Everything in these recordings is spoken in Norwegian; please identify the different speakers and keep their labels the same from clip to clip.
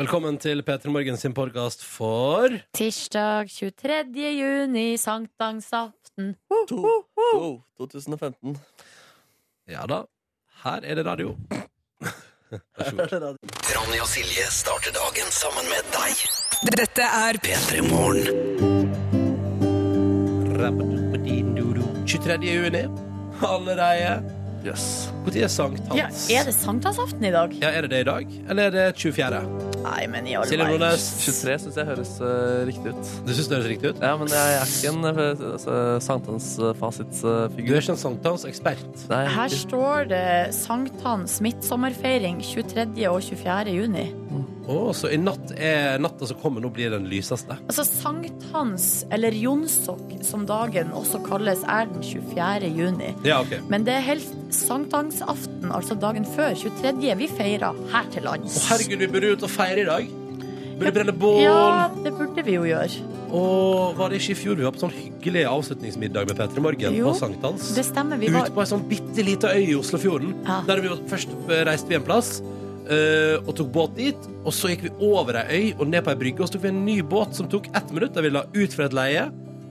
Speaker 1: Velkommen til P3 Morgen sin podkast for
Speaker 2: Tirsdag 23. juni, sankthansaften.
Speaker 3: To, to, 2015.
Speaker 1: Ja da, her er det radio. Vær så god.
Speaker 4: Ronny og Silje starter dagen sammen med deg.
Speaker 5: Dette er
Speaker 4: P3 Morgen.
Speaker 1: 23. juni. Allerede.
Speaker 3: Yes.
Speaker 1: Når er sankthans?
Speaker 2: Ja, er det sankthansaften i dag?
Speaker 1: Ja, er det det i dag? Eller er det 24.?
Speaker 2: Nei, men i all
Speaker 1: Silje
Speaker 2: verden.
Speaker 1: Nordnes.
Speaker 3: 23 syns jeg høres eh, riktig ut.
Speaker 1: Du syns det høres riktig ut?
Speaker 3: Ja, men jeg er ikke en eh, altså,
Speaker 1: Du er
Speaker 3: sankthansfasitfigur.
Speaker 1: ikke en sankthansekspert.
Speaker 3: Nei,
Speaker 2: Her
Speaker 3: ikke.
Speaker 2: står det sankthans midtsommerfeiring 23. og 24. juni.
Speaker 1: Å, så i natt er natta som kommer, nå blir den lyseste.
Speaker 2: Altså sankthans, eller jonsok, som dagen også kalles, er den 24. juni.
Speaker 1: Ja, OK.
Speaker 2: Men det er helst sankthansaften, altså dagen før, 23. vi feirer her til lands.
Speaker 1: Å, herregud, vi burde ut og feire i dag. Burde brenne bål.
Speaker 2: Ja, det burde vi jo gjøre.
Speaker 1: Og var det ikke i fjor vi var på sånn hyggelig avslutningsmiddag med P3 Morgen
Speaker 2: Jo,
Speaker 1: på sankthans?
Speaker 2: Det stemmer. Vi var
Speaker 1: Ute på ei sånn bitte lita øy i Oslofjorden.
Speaker 2: Ja.
Speaker 1: Der vi var, først eh, reiste vi en plass eh, og tok båt dit. Og så gikk vi over ei øy og ned på ei brygge, og så tok vi en ny båt som tok ett minutt. Der vi la ut fra et leie,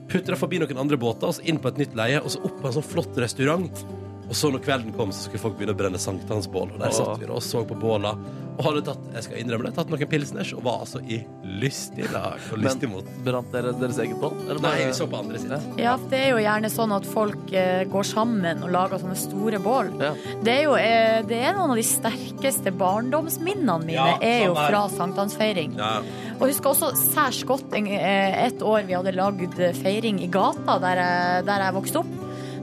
Speaker 1: putra forbi noen andre båter, og så inn på et nytt leie, og så opp på en sånn flott restaurant. Og så når kvelden kom, så skulle folk begynne å brenne sankthansbål. Og der
Speaker 3: Åh.
Speaker 1: satt vi da og så på båla. Og hadde tatt jeg skal innrømme det, tatt noen pilsners og var altså i lystig lag og lystig mot.
Speaker 3: Brant dere deres eget bål? eller
Speaker 1: Nei,
Speaker 3: bare-
Speaker 1: vi så på andre
Speaker 3: Ja.
Speaker 1: siden.
Speaker 2: Ja, for det er jo gjerne sånn at folk eh, går sammen og lager sånne store bål.
Speaker 3: Ja.
Speaker 2: Det er jo eh, det er noen av de sterkeste barndomsminnene mine
Speaker 1: Ja,
Speaker 2: er jo
Speaker 1: sånn er.
Speaker 2: fra sankthansfeiring.
Speaker 1: Ja.
Speaker 2: Og husker også særs godt en- eh, et år vi hadde lagd eh, feiring i gata der jeg, der jeg vokste opp.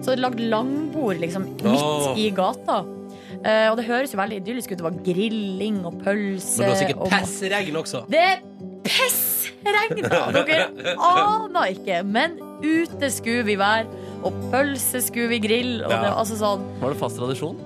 Speaker 2: Så hadde lagd langbord liksom midt
Speaker 1: Åh.
Speaker 2: i gata. Eh, og det høres jo veldig idyllisk ut. Det var grilling og pølse.
Speaker 1: Men det var sikkert
Speaker 2: og-
Speaker 1: pessregn også.
Speaker 2: det pissregna! Dere aner ikke. Men ute skulle vi være, og pølse skulle vi grille. Og
Speaker 1: Ja.
Speaker 2: det var altså sånn
Speaker 3: Var det fast tradisjon?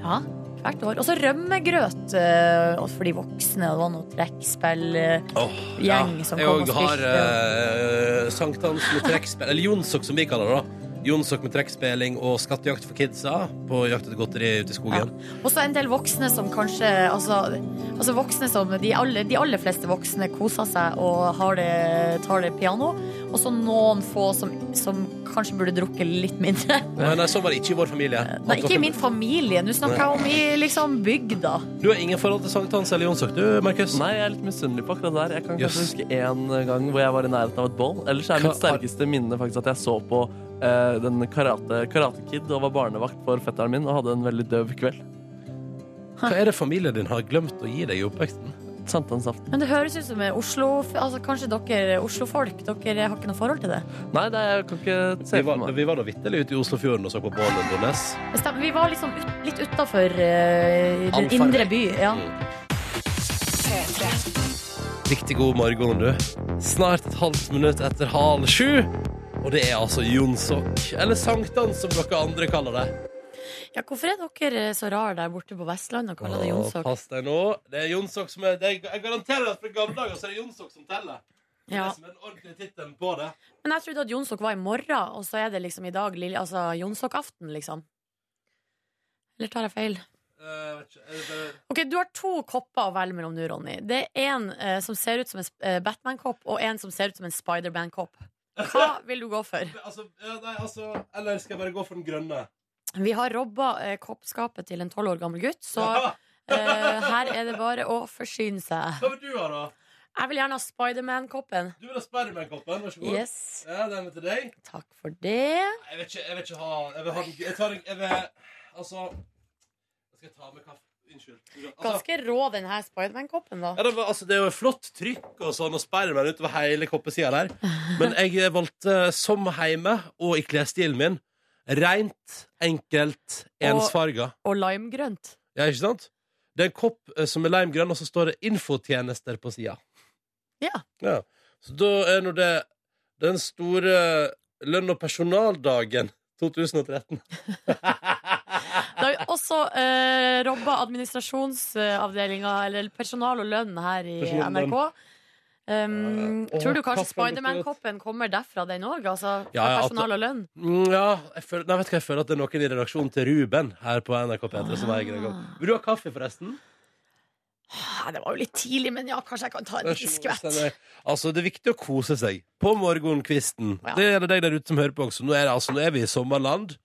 Speaker 2: Ja, hvert år. Og så rømmegrøt eh, og for de voksne. og Det var noe eh, trekkspillgjeng
Speaker 1: Åh,
Speaker 2: som
Speaker 1: Jeg
Speaker 2: kom og
Speaker 1: også har
Speaker 2: spilte.
Speaker 1: eh, sankthans med trekkspill Eller Jonsok, som vi kaller det. da Jonsok med trekkspilling og skattejakt for kidsa på jakt etter godteri ute i skogen.
Speaker 2: Og så en del voksne som kanskje Altså, altså voksne som de aller, de aller fleste voksne koser seg og har det, tar det piano. Og så noen få som, som kanskje burde drukket litt mindre.
Speaker 1: Nei, nei, Sånn var det ikke i vår familie.
Speaker 2: Nei, ikke i min familie. Nå snakker jeg om i liksom bygda.
Speaker 1: Du har ingen forhold til sankthans eller Jonsok, du, Markus?
Speaker 3: Nei, jeg er litt misunnelig på akkurat der. Jeg kan kanskje
Speaker 1: Jøss.
Speaker 3: huske en gang hvor jeg var i nærheten av et bål. Ellers er mitt
Speaker 1: Hva- har-
Speaker 3: sterkeste minne faktisk at jeg så på eh, den karate, karate Kid og var barnevakt for fetteren min og hadde en veldig døv kveld.
Speaker 1: Hva er det familien din har glemt å gi deg i oppveksten?
Speaker 3: Sankthansaften.
Speaker 2: Men det høres ut som en Oslo Altså Kanskje dere Oslo-folk Dere har ikke noe forhold til det.
Speaker 3: Nei, det er, jeg kan ikke
Speaker 1: Vi
Speaker 3: se
Speaker 1: var,
Speaker 3: for meg.
Speaker 1: vi var da vitterlig ute i Oslofjorden og så på Bålen Nordnes.
Speaker 2: Det stemmer. Vi var liksom ut, litt utafor den
Speaker 1: Allfarvei.
Speaker 2: indre by. Ja.
Speaker 1: Riktig god morgen, du. Snart et halvt minutt etter halv sju. Og det er altså Jonsok, eller sankthans som dere andre kaller det.
Speaker 2: ja, hvorfor er dere så rare der borte på Vestlandet og kaller det
Speaker 1: Åh,
Speaker 2: Jonsok?
Speaker 1: Pass deg nå. Det er Jonsok som er det er, Jeg garanterer at fra gamle dager så er det Jonsok som teller. Det
Speaker 2: Ja.
Speaker 1: er som er den ordentlige tittelen på det.
Speaker 2: Men jeg trodde at Jonsok var i morgen, og så er det liksom i dag lille, altså Jonsokaften, liksom. Eller tar jeg feil?
Speaker 1: Eh, vet ikke, er det bare-
Speaker 2: Ok, Du har to kopper å velge mellom nå, Ronny. Det er en eh, som ser ut som en eh, Batman-kopp, og en som ser ut som en Spiderman-kopp. Hva vil du gå for?
Speaker 1: altså, ja, nei, altså, eller skal jeg bare gå for den grønne?
Speaker 2: Vi har robba eh, koppskapet til en tolv år gammel gutt, så eh, her er det bare å forsyne seg.
Speaker 1: Hva vil du ha, da?
Speaker 2: Jeg vil gjerne ha Spiderman-koppen.
Speaker 1: Du vil ha Spiderman-koppen? Vær så god.
Speaker 2: Yes,
Speaker 1: Ja, den er til deg.
Speaker 2: takk for det.
Speaker 1: Nei, Jeg vil ikke, jeg vil ikke ha Jeg vil ha den gr- Jeg tar den jeg vil, Altså Jeg skal ta med kaffe. Unnskyld. Altså,
Speaker 2: Ganske rå, den her Spiderman-koppen, da.
Speaker 1: Ja, det, var, altså, det er jo flott trykk og sånn, og Spiderman utover hele koppesida der. Men jeg valgte som heime og i klesstilen min rent, enkelt, ensfarga.
Speaker 2: Og limegrønt.
Speaker 1: Ja, ikke sant? Det er en kopp eh, som er limegrønn, og så står det 'infotjenester' på sida.
Speaker 2: Ja.
Speaker 1: ja. Så da er nå det den store lønn- og personaldagen 2013.
Speaker 2: Det har vi også eh, robba administrasjonsavdelinga, eller personal og lønn, her i
Speaker 1: Personal og lønn.
Speaker 2: NRK. Um,
Speaker 1: Eh, åh,
Speaker 2: tror
Speaker 1: kaffen
Speaker 2: du kanskje
Speaker 1: lukter
Speaker 2: Spiderman-koppen kommer derfra, den òg? Altså, fra
Speaker 1: Ja, ja, at-
Speaker 2: personal og lønn?
Speaker 1: Mm, ja, jeg føler,
Speaker 2: Ah.
Speaker 1: nei, vet du hva, jeg føler at det er noen i redaksjonen til Ruben her på NRK P3 som eier den koppen. Vil du ha kaffe, forresten?
Speaker 2: Ja, Ah, det var jo litt tidlig, men ja, kanskje jeg kan ta en liten skvett.
Speaker 1: Altså, det er viktig å kose seg på morgenkvisten.
Speaker 2: Ja.
Speaker 1: Det er det deg der ute som hører på også. Nå er, det, altså, nå er vi i sommerland.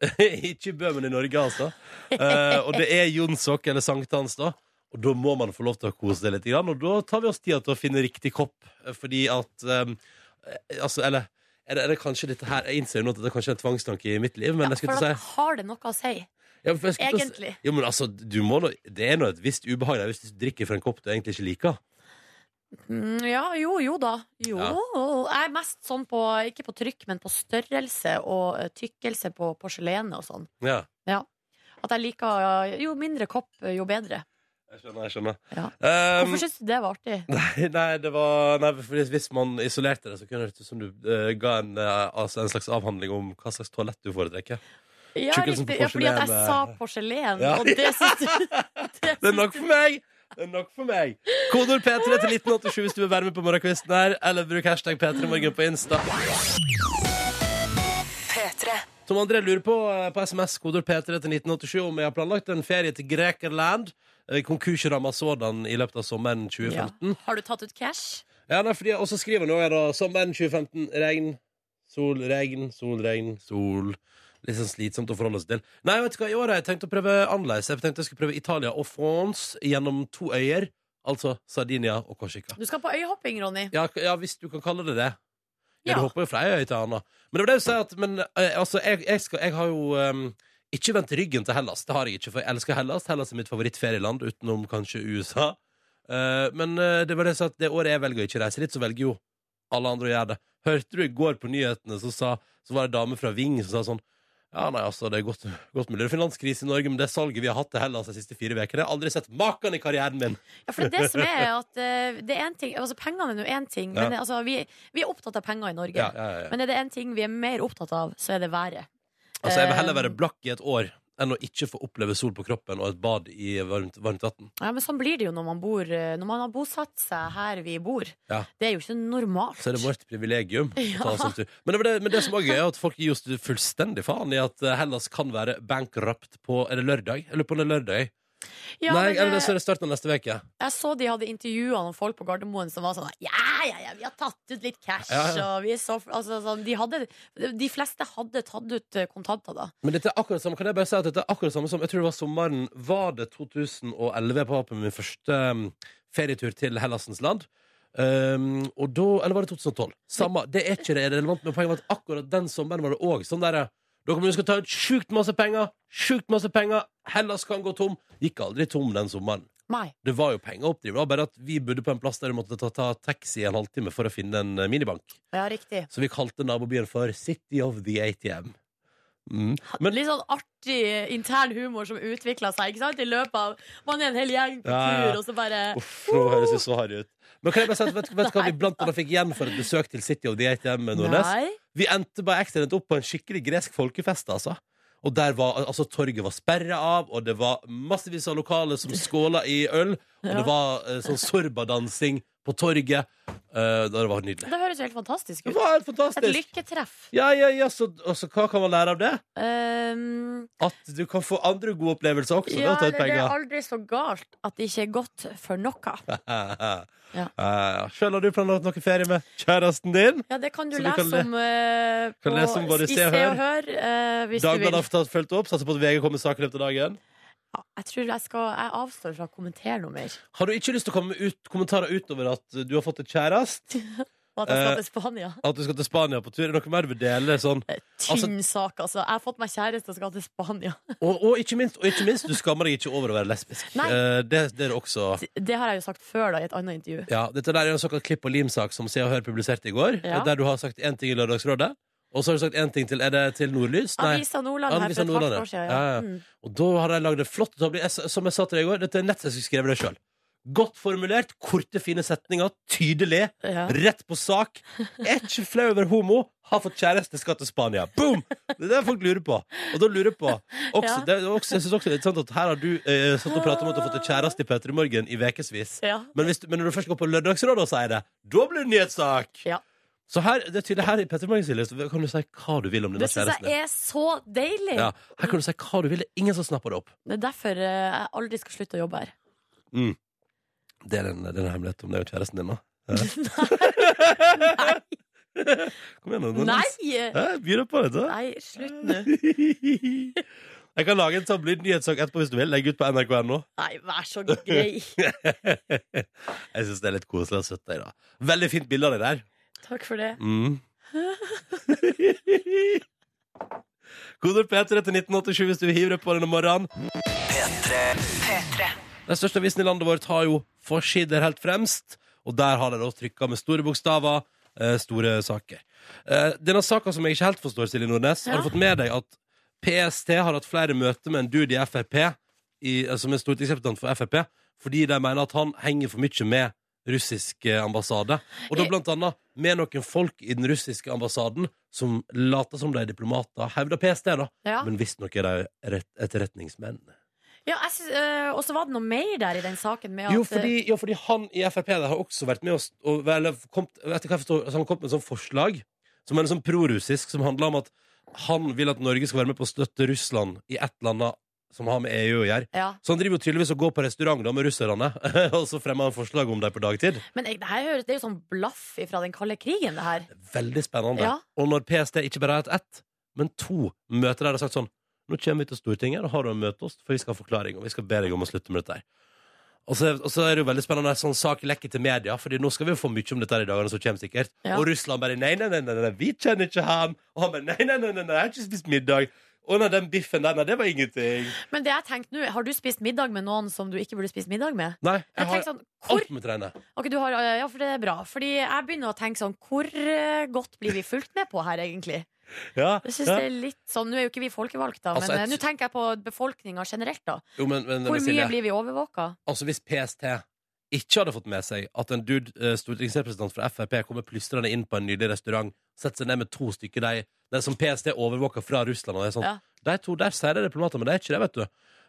Speaker 1: Ikke i Bø, men i Norge, altså. Eh, og det er Jonsok eller sankthans, da. Og da må man få lov til å kose seg litt. Grann. Og da tar vi oss tida til å finne riktig kopp, eh, fordi at eh, Altså, eller er det, er det kanskje dette her Jeg innser jo nå at dette er kanskje en tvangstanke i mitt liv, men jeg
Speaker 2: Ja, for
Speaker 1: skulle
Speaker 2: da
Speaker 1: til å si
Speaker 2: har det noe å si,
Speaker 1: ja, for jeg skulle til å si-
Speaker 2: egentlig.
Speaker 1: Jo, men altså, du må nå Det er nå et visst ubehag der hvis du drikker fra en kopp du egentlig ikke liker.
Speaker 2: Mm, ja, jo, jo da. Jo.
Speaker 1: Ja.
Speaker 2: Jeg er mest sånn på, ikke på trykk, men på størrelse og eh, tykkelse på porselenet og sånn.
Speaker 1: Ja.
Speaker 2: At jeg liker eh, Jo mindre kopp, eh, jo bedre.
Speaker 1: Jeg skjønner, jeg skjønner.
Speaker 2: Ja.
Speaker 1: Um,
Speaker 2: Hvorfor syns du det var artig?
Speaker 1: nei, nei, det var nei, fordi Hvis man isolerte det, så kunne det ut som du eh, ga en, eh, altså en slags avhandling om hva slags toalett du foretrekker.
Speaker 2: Ja,
Speaker 1: Tjukkelsen på
Speaker 2: riktig. Ja, fordi at jeg
Speaker 1: porselen,
Speaker 2: sa
Speaker 1: eh.
Speaker 2: porselen,
Speaker 1: Ja.
Speaker 2: og det syns du
Speaker 1: Det er nok for meg! Det er nok for meg. Kodord P3 til 1987 hvis du vil være med på morgenkvisten her, eller bruk hashtag P3morgen på Insta. Tom André lurer på eh, på SMS kodord P3 til 1987 om jeg har planlagt en ferie til Grekerland. eh, Konkursramma sådan i løpet av sommeren 2015.
Speaker 2: Har du tatt ut cash?
Speaker 1: Ja, nei, fordi, Og så skriver han jo her da Sommeren 2015, regn, sol, regn, sol, regn, sol Litt sånn slitsomt å forholde seg til Nei, vet du hva, i år har jeg tenkt å prøve annerledes Jeg tenkte jeg skulle prøve Italia og France Gjennom to øyer, altså Sardinia og Korsika
Speaker 2: Du skal på øyhopping, Ronny.
Speaker 1: ja, k- ja, hvis du kan kalle det det Ja,
Speaker 2: Ja.
Speaker 1: du hopper jo fra ei øy til en annen Men det var det du sier at Men eh, altså, jeg, jeg, skal, jeg har jo ehm, ikke vendt ryggen til Hellas Det har jeg ikke, for jeg elsker Hellas Hellas er mitt favorittferieland, utenom kanskje USA Eh, men eh, det var det jeg sa at det året jeg velger å ikke reise dit, så velger jo alle andre å gjøre det. Hørte du i går på nyhetene, så, sa, så var det en dame fra Ving som sa sånn Ja, nei, altså, det er godt, godt mulig det er finanskrise i Norge, men det salget vi har hatt til Hellas de siste fire ukene, jeg har aldri sett maken i karrieren min.
Speaker 2: Ja, for det er det som er at eh, det er en ting, altså Pengene er nå én ting, men
Speaker 1: Ja.
Speaker 2: altså, vi, vi er opptatt av penger i Norge.
Speaker 1: Ja, ja, ja.
Speaker 2: Men er det én ting vi er mer opptatt av, så er det været.
Speaker 1: Altså, jeg vil heller
Speaker 2: Eh,
Speaker 1: være blakk i et år enn å ikke få oppleve sol på kroppen og et bad i varmt, varmt vann.
Speaker 2: Ja, men Sånn blir det jo når man bor eh, Når man har bosatt seg her vi bor.
Speaker 1: Ja.
Speaker 2: Det er jo ikke normalt.
Speaker 1: Så er det vårt privilegium. å ta
Speaker 2: Ja.
Speaker 1: oss en tur. Men, det, var det, men det som også er gøy, er at folk gir oss fullstendig faen i at eh, Hellas kan være bankrupt på Er det lørdag? Jeg lurer på om det er lørdag.
Speaker 2: Ja,
Speaker 1: Nei,
Speaker 2: men,
Speaker 1: eller
Speaker 2: eh,
Speaker 1: så er det starten av neste uke.
Speaker 2: jeg så de hadde intervjua noen folk på Gardermoen som var sånn Ja, ja, ja, vi har tatt ut litt cash,
Speaker 1: Ja, ja.
Speaker 2: og vi er så altså, sånn, de, hadde, de fleste hadde tatt ut eh, kontanter da.
Speaker 1: Men dette er akkurat samme, kan jeg bare si at dette er akkurat samme som Jeg tror det var sommeren Var det 2011 jeg var på min første um, ferietur til Hellasens land? Um, og da, eller var det 2012? Samme, det er ikke det relevant, men poenget var at akkurat den sommeren var det òg sånn derre Dere kommer til å skal ta ut sjukt masse penger! Sjukt masse penger! Hellas kan gå tom! Gikk aldri tom den sommeren.
Speaker 2: Nei.
Speaker 1: Det var jo penger å oppdrive, det var bare at vi bodde på en plass der vi måtte ta, ta taxi en halvtime for å finne en eh, minibank.
Speaker 2: Ja, riktig.
Speaker 1: Så vi kalte nabobyen for City of the ATM. Mm. Men
Speaker 2: Litt sånn artig intern humor som utvikla seg ikke sant? i løpet av Man er en hel gjeng på
Speaker 1: Ja, ja.
Speaker 2: tur, og så bare
Speaker 1: Uff, nå høres vi så harry ut. Men kan jeg bare si at vet, vet du hva vi blant annet fikk igjen for et besøk til City of the ATM? Nordnes?
Speaker 2: Nei.
Speaker 1: Vi endte bare ekstremt opp på en skikkelig gresk folkefest, altså. Og der var, altså Torget var sperra av, og det var massevis av lokale som skåla i øl. Og
Speaker 2: Ja.
Speaker 1: det var eh, sånn sorbadansing på torget. eh, da det var nydelig.
Speaker 2: Det høres jo helt fantastisk
Speaker 1: Det
Speaker 2: ut.
Speaker 1: var helt
Speaker 2: Et
Speaker 1: fantastisk!
Speaker 2: lykketreff.
Speaker 1: Ja, ja, ja, så altså, hva kan man lære av det?
Speaker 2: Um,
Speaker 1: At du kan få andre gode opplevelser også. ved
Speaker 2: ja,
Speaker 1: å ta ut
Speaker 2: eller det er
Speaker 1: penger.
Speaker 2: aldri så galt at det ikke er godt for noe.
Speaker 1: ja. Sjøl Eh, har du planlagt noe ferie med kjæresten din.
Speaker 2: Ja, det kan du
Speaker 1: Så du
Speaker 2: lese
Speaker 1: kan le-
Speaker 2: om eh,
Speaker 1: kan
Speaker 2: på,
Speaker 1: lese om både
Speaker 2: i
Speaker 1: Se og Hør.
Speaker 2: Hør. eh, hvis du vil.
Speaker 1: Dagbladet har tatt- fulgt opp. Satser på at VG kommer med saker etter dagen.
Speaker 2: Ja, jeg tror jeg skal Jeg avstår fra å kommentere noe mer.
Speaker 1: Har du ikke lyst til å komme med ut, kommentarer utover at uh, du har fått et kjæreste?
Speaker 2: Og at jeg
Speaker 1: Eh,
Speaker 2: skal til Spania.
Speaker 1: At du skal til Spania på tur? Er det noe mer du vil dele? Sånn. altså-
Speaker 2: Tynn sak, altså. Jeg har fått meg kjæreste og skal til Spania.
Speaker 1: Og, og, ikke minst, og ikke minst, du skammer deg ikke over å være lesbisk.
Speaker 2: Nei.
Speaker 1: Eh, det, det er det også.
Speaker 2: Det har jeg jo sagt før, da, i et annet intervju.
Speaker 1: Ja, dette der er en såkalt klipp- og limsak som Se og Hør publiserte i går,
Speaker 2: Ja.
Speaker 1: der du har sagt én ting i Lørdagsrådet, og så har du sagt én ting til Er det til Nordlys?
Speaker 2: Avisa Nordland her
Speaker 1: Avisa
Speaker 2: for et kvart
Speaker 1: Nordland,
Speaker 2: år siden.
Speaker 1: ja,
Speaker 2: Ja.
Speaker 1: ja.
Speaker 2: Mm.
Speaker 1: Og da har de lagd en flott tabli. Jeg, som jeg sa til deg i går, dette er nett som jeg skulle skrevet det sjøl. Godt formulert, korte, fine setninger, tydelig,
Speaker 2: Ja.
Speaker 1: rett på sak. Er ikke flau over homo, har fått kjæreste, skal til Spania. Boom! Det er det folk lurer på. Og da lurer jeg på også,
Speaker 2: Ja.
Speaker 1: det er også, Jeg synes også det er litt sant at her har du eh, satt og pratet om at du har fått deg kjæreste i P3 Morgen i ukevis.
Speaker 2: Ja.
Speaker 1: Men, hvis du- men når du først går på Lørdagsrådet og sier det, da blir det nyhetssak!
Speaker 2: Ja.
Speaker 1: Så her, det er tydelig her i P3 Morgen Silje, så kan du si hva du vil om denne
Speaker 2: Det syns
Speaker 1: kjæresten. din.
Speaker 2: jeg er så deilig!
Speaker 1: Ja, her kan du si hva du vil. Det er ingen som snapper det opp.
Speaker 2: Det er derfor eh, jeg aldri skal slutte å jobbe her.
Speaker 1: Mm. Det er en, det er en hemmelighet om det er jo kjæresten din, da. Kom igjen, nå.
Speaker 2: Nei!
Speaker 1: Hæ? Byr deg på, vet du.
Speaker 2: Nei, slutt nå.
Speaker 1: Jeg kan lage en sånn blind nyhetssak etterpå hvis du vil. Legg ut på nrk.no.
Speaker 2: Nei, vær så grei.
Speaker 1: Jeg syns det er litt koselig og søtt. deg, da. Veldig fint bilde av deg der.
Speaker 2: Takk for det.
Speaker 1: Mm. Koder P3 til 1987 hvis du vil hive deg på den om morgenen. Den største avisen i landet vårt har jo forsider helt fremst, og der har de da trykka med store bokstaver. eh, Store saker. Eh, Denne saka som jeg ikke helt forstår, Silje Nordnes, har du
Speaker 2: Ja.
Speaker 1: fått med deg at PST har hatt flere møter med en dude i Frp, i, eh, som er stortingsrepresentant for Frp, fordi de mener at han henger for mye med russisk eh, ambassade. Og da
Speaker 2: Jeg-
Speaker 1: blant annet med noen folk i den russiske ambassaden som later som de er diplomater, hevder PST, da,
Speaker 2: Ja.
Speaker 1: men visstnok er de rett- etterretningsmenn.
Speaker 2: Ja, jeg synes, eh, og så var det noe mer der i den saken med at
Speaker 1: Jo fordi, jo, fordi han i Frp der har også vært med oss og, eller, kommet- etter hva jeg forstår, altså, Han kom med et sånt forslag som er en sånn prorussisk, som handler om at han vil at Norge skal være med på å støtte Russland i et eller annet som har med EU å gjøre.
Speaker 2: eh, ja.
Speaker 1: Så han driver jo tydeligvis og går på restaurant da med russerne, og så fremmer han forslag om dem på dagtid.
Speaker 2: Men jeg, det, her, høres- det er jo sånn blaff fra den kalde krigen, det her.
Speaker 1: Veldig spennende.
Speaker 2: Ja.
Speaker 1: Og når PST ikke bare har hatt ett, men to møter der har sagt sånn Nå kommer vi til Stortinget, da har du å møte oss, for vi skal ha forklaring, og vi skal be deg om å slutte med dette her. Og så, og så er det jo veldig spennende når en sånn sak lekker til media, Fordi nå skal vi jo få mye om dette her i dagene som kommer, sikkert.
Speaker 2: Ja.
Speaker 1: Og Russland bare nei, nei, nei, nei, nei, vi kjenner ikke han. Og han bare nei, nei, nei, nei, nei jeg har ikke spist middag. Å nei, den biffen der, nei, det var ingenting.
Speaker 2: Men det jeg tenkte nå, har du spist middag med noen som du ikke burde spist middag med?
Speaker 1: Nei,
Speaker 2: Jeg
Speaker 1: jeg har
Speaker 2: tenkte sånn, hvor,
Speaker 1: alt med trene.
Speaker 2: ok, du har, eh, ja, for det er bra. Fordi jeg begynner å tenke sånn, hvor eh, godt blir vi fulgt med på her, egentlig?
Speaker 1: Ja,
Speaker 2: Jeg synes
Speaker 1: ja.
Speaker 2: det er litt sånn, Nå er jo ikke vi folkevalgte, da,
Speaker 1: Altså,
Speaker 2: men eh,
Speaker 1: jeg-
Speaker 2: nå tenker jeg på befolkninga generelt. da
Speaker 1: Jo, men, men,
Speaker 2: Hvor
Speaker 1: men
Speaker 2: mye
Speaker 1: Silje,
Speaker 2: blir vi overvåka?
Speaker 1: altså hvis PST ikke hadde fått med seg at en dude, eh, stortingsrepresentant fra Frp, kommer plystrende inn på en nydelig restaurant, setter seg ned med to stykker de, de som PST overvåker fra Russland, og det er sånn
Speaker 2: Ja.
Speaker 1: De to der sier de er diplomater, men de er ikke det, vet du.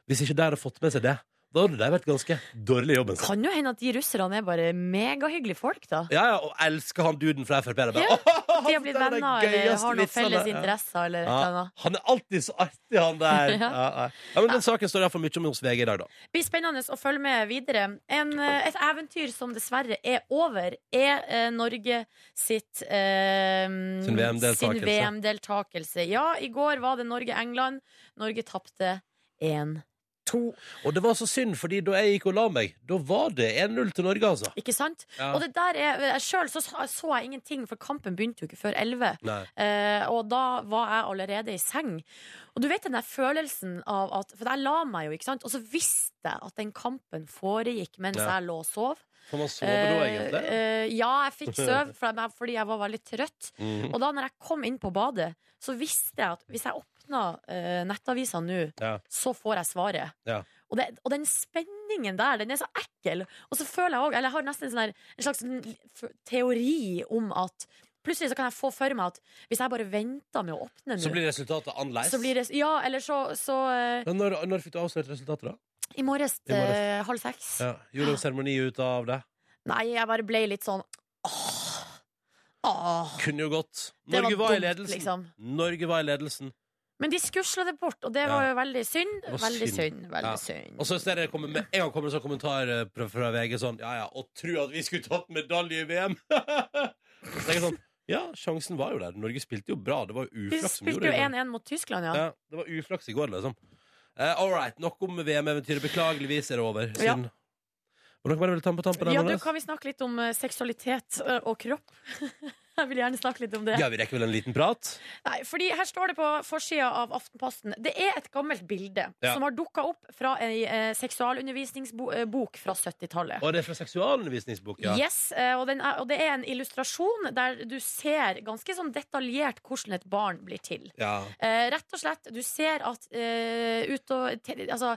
Speaker 1: Hvis ikke de hadde fått med seg det, da hadde de vært ganske dårlig i jobben sin.
Speaker 2: Kan jo hende at de russerne er bare megahyggelige folk, da.
Speaker 1: Ja, ja, og elsker han duden fra Frp. det er
Speaker 2: Ja,
Speaker 1: Bare,
Speaker 2: De har blitt
Speaker 1: det er de
Speaker 2: venner eller
Speaker 1: gøyeste
Speaker 2: har noen felles
Speaker 1: vitsene. Ja.
Speaker 2: interesser eller et
Speaker 1: Ja,
Speaker 2: eller annet.
Speaker 1: han er alltid så artig, han der.
Speaker 2: Ja.
Speaker 1: Ja, ja. ja, men Den saken står iallfall mye om hos VG i dag, da.
Speaker 2: blir spennende å følge med videre. En, eh, et eventyr som dessverre er over, er eh, Norge sitt eh,
Speaker 1: Sin VM-deltakelse.
Speaker 2: sin VM-deltakelse. ja, i går var det Norge-England. Norge tapte 1-2.
Speaker 1: Og det var så synd, fordi da jeg gikk og la meg, da var det 1-0 til Norge, altså.
Speaker 2: Ikke sant?
Speaker 1: Ja.
Speaker 2: Og det der er Sjøl så, så jeg ingenting, for kampen begynte jo ikke før 11.
Speaker 1: Nei.
Speaker 2: Eh, og da var jeg allerede i seng. Og du vet den der følelsen av at For jeg la meg jo, ikke sant? Og så visste jeg at den kampen foregikk mens
Speaker 1: Ja.
Speaker 2: jeg lå og sov.
Speaker 1: Får man sove da,
Speaker 2: Eh,
Speaker 1: egentlig?
Speaker 2: eh, ja, jeg fikk søv for jeg- fordi jeg var veldig trøtt.
Speaker 1: Mhm.
Speaker 2: Og da når jeg kom inn på badet, så visste jeg at hvis jeg åpna uh, nettavisa nå,
Speaker 1: Ja.
Speaker 2: så får jeg svaret.
Speaker 1: Ja.
Speaker 2: Og, det, og den spenningen der, den er så ekkel. Og så føler jeg òg, eller jeg har nesten en, sånn her, en slags sånn f- teori om at Plutselig så kan jeg få for meg at hvis jeg bare venter med å åpne
Speaker 1: Så
Speaker 2: nå,
Speaker 1: blir resultatet annerledes.
Speaker 2: eh. så blir det Ja, eller så, så eh,
Speaker 1: Men når, når fikk du avslørt resultatet, da?
Speaker 2: I morges
Speaker 1: I morges.
Speaker 2: eh, halv seks.
Speaker 1: Ja. Gjorde du en seremoni ut av det?
Speaker 2: Nei, jeg bare ble litt sånn Åh. Åh.
Speaker 1: Kunne jo gått.
Speaker 2: Det
Speaker 1: Norge var,
Speaker 2: dumt,
Speaker 1: i ledelsen.
Speaker 2: Liksom.
Speaker 1: Norge var i ledelsen.
Speaker 2: Men de skusla det bort, og det var jo veldig synd.
Speaker 1: var
Speaker 2: Veldig
Speaker 1: synd.
Speaker 2: synd. veldig
Speaker 1: Ja.
Speaker 2: synd
Speaker 1: Og så ser jeg det komme med, en gang kommer det en sånn kommentar eh, fra, fra VG sånn Ja ja, og tro at vi skulle tatt medalje i VM! så tenker jeg sånn Ja, sjansen var jo der. Norge spilte jo bra. Det var jo
Speaker 2: De
Speaker 1: uflaks som
Speaker 2: spilte
Speaker 1: gjorde
Speaker 2: jo
Speaker 1: det.
Speaker 2: 1-1 mot Tyskland, ja.
Speaker 1: Ja, det var uflaks i går, liksom. Eh, all right, nok om VM-eventyret. Beklageligvis er det over.
Speaker 2: Ja.
Speaker 1: Siden... Var det noe mer du ville ta på tampen?
Speaker 2: Ja, du,
Speaker 1: Anders?
Speaker 2: Kan vi snakke litt om eh, seksualitet eh, og kropp? Jeg vil gjerne snakke litt om det.
Speaker 1: ja, vi rekker vel en liten prat?
Speaker 2: Nei, fordi Her står det på forsida av Aftenposten Det er et gammelt bilde
Speaker 1: Ja.
Speaker 2: som har dukka opp fra ei eh, seksualundervisningsbok fra 70-tallet.
Speaker 1: Og det er fra seksualundervisningsbok, ja.
Speaker 2: Yes, eh, og, den er, og det er en illustrasjon der du ser ganske sånn detaljert hvordan et barn blir til.
Speaker 1: ja.
Speaker 2: Eh, rett og slett, du ser at eh, ut og, te, altså,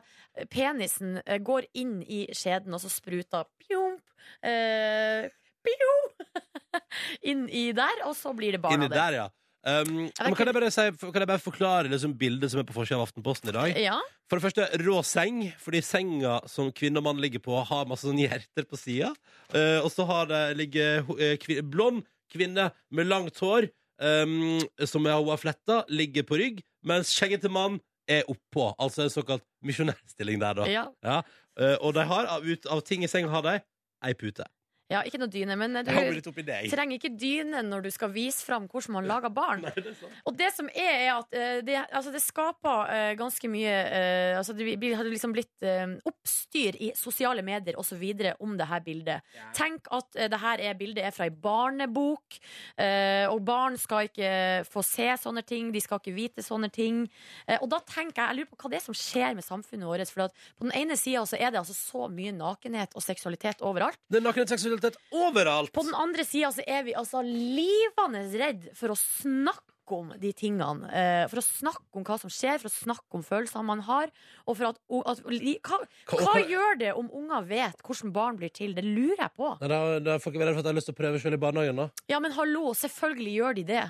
Speaker 2: penisen eh, går inn i skjeden, og så spruter pjomp, eh, pjom, inn i der, og så blir det barn
Speaker 1: Inni
Speaker 2: av det.
Speaker 1: der, ja. Um,
Speaker 2: vet
Speaker 1: men
Speaker 2: ikke-
Speaker 1: kan jeg bare, si, kan jeg bare forklare liksom bildet som er på forsiden av Aftenposten i dag?
Speaker 2: Ja,
Speaker 1: For det første, rå seng, fordi senga som kvinne og mann ligger på, har masse sånne hjerter på sida. Eh, og så har det ligger ho- eh, kvi- blond kvinne med langt hår, eh, som er, hun har fletta, ligger på rygg, mens skjegget til mann er oppå. Altså en såkalt misjonærstilling der, da.
Speaker 2: ja.
Speaker 1: Ja, eh, og de har av, ut, av ting i senga har de ei pute.
Speaker 2: Ja, ikke noe dyne, men du
Speaker 1: Jeg hopper litt oppi deg.
Speaker 2: trenger ikke dyne når du skal vise fram hvordan man lager barn.
Speaker 1: Nei, det er sant.
Speaker 2: Og det som er, er at eh, det, altså det skaper eh, ganske mye eh, altså Det blir- hadde liksom blitt eh, oppstyr i sosiale medier osv. om det her bildet. Tenk at eh, det her er, bildet er fra ei barnebok, eh, og barn skal ikke få se sånne ting, de skal ikke vite sånne ting. Eh, og da tenker jeg, jeg lurer på hva det er som skjer med samfunnet vårt. For at på den ene sida er det altså så mye nakenhet og seksualitet overalt.
Speaker 1: Det er nakenhet seksualitet overalt.
Speaker 2: På den andre sida så er vi altså livende redd for å snakke om de tingene. eh, For å snakke om hva som skjer, for å snakke om følelsene man har. Og for at, u- at li- hva, hva gjør det om unger vet hvordan barn blir til? Det lurer jeg på.
Speaker 1: Nei, da, da får ikke være redd for at jeg har lyst til å prøve selv i barnehagen, da.
Speaker 2: Ja, men hallo, selvfølgelig gjør de det.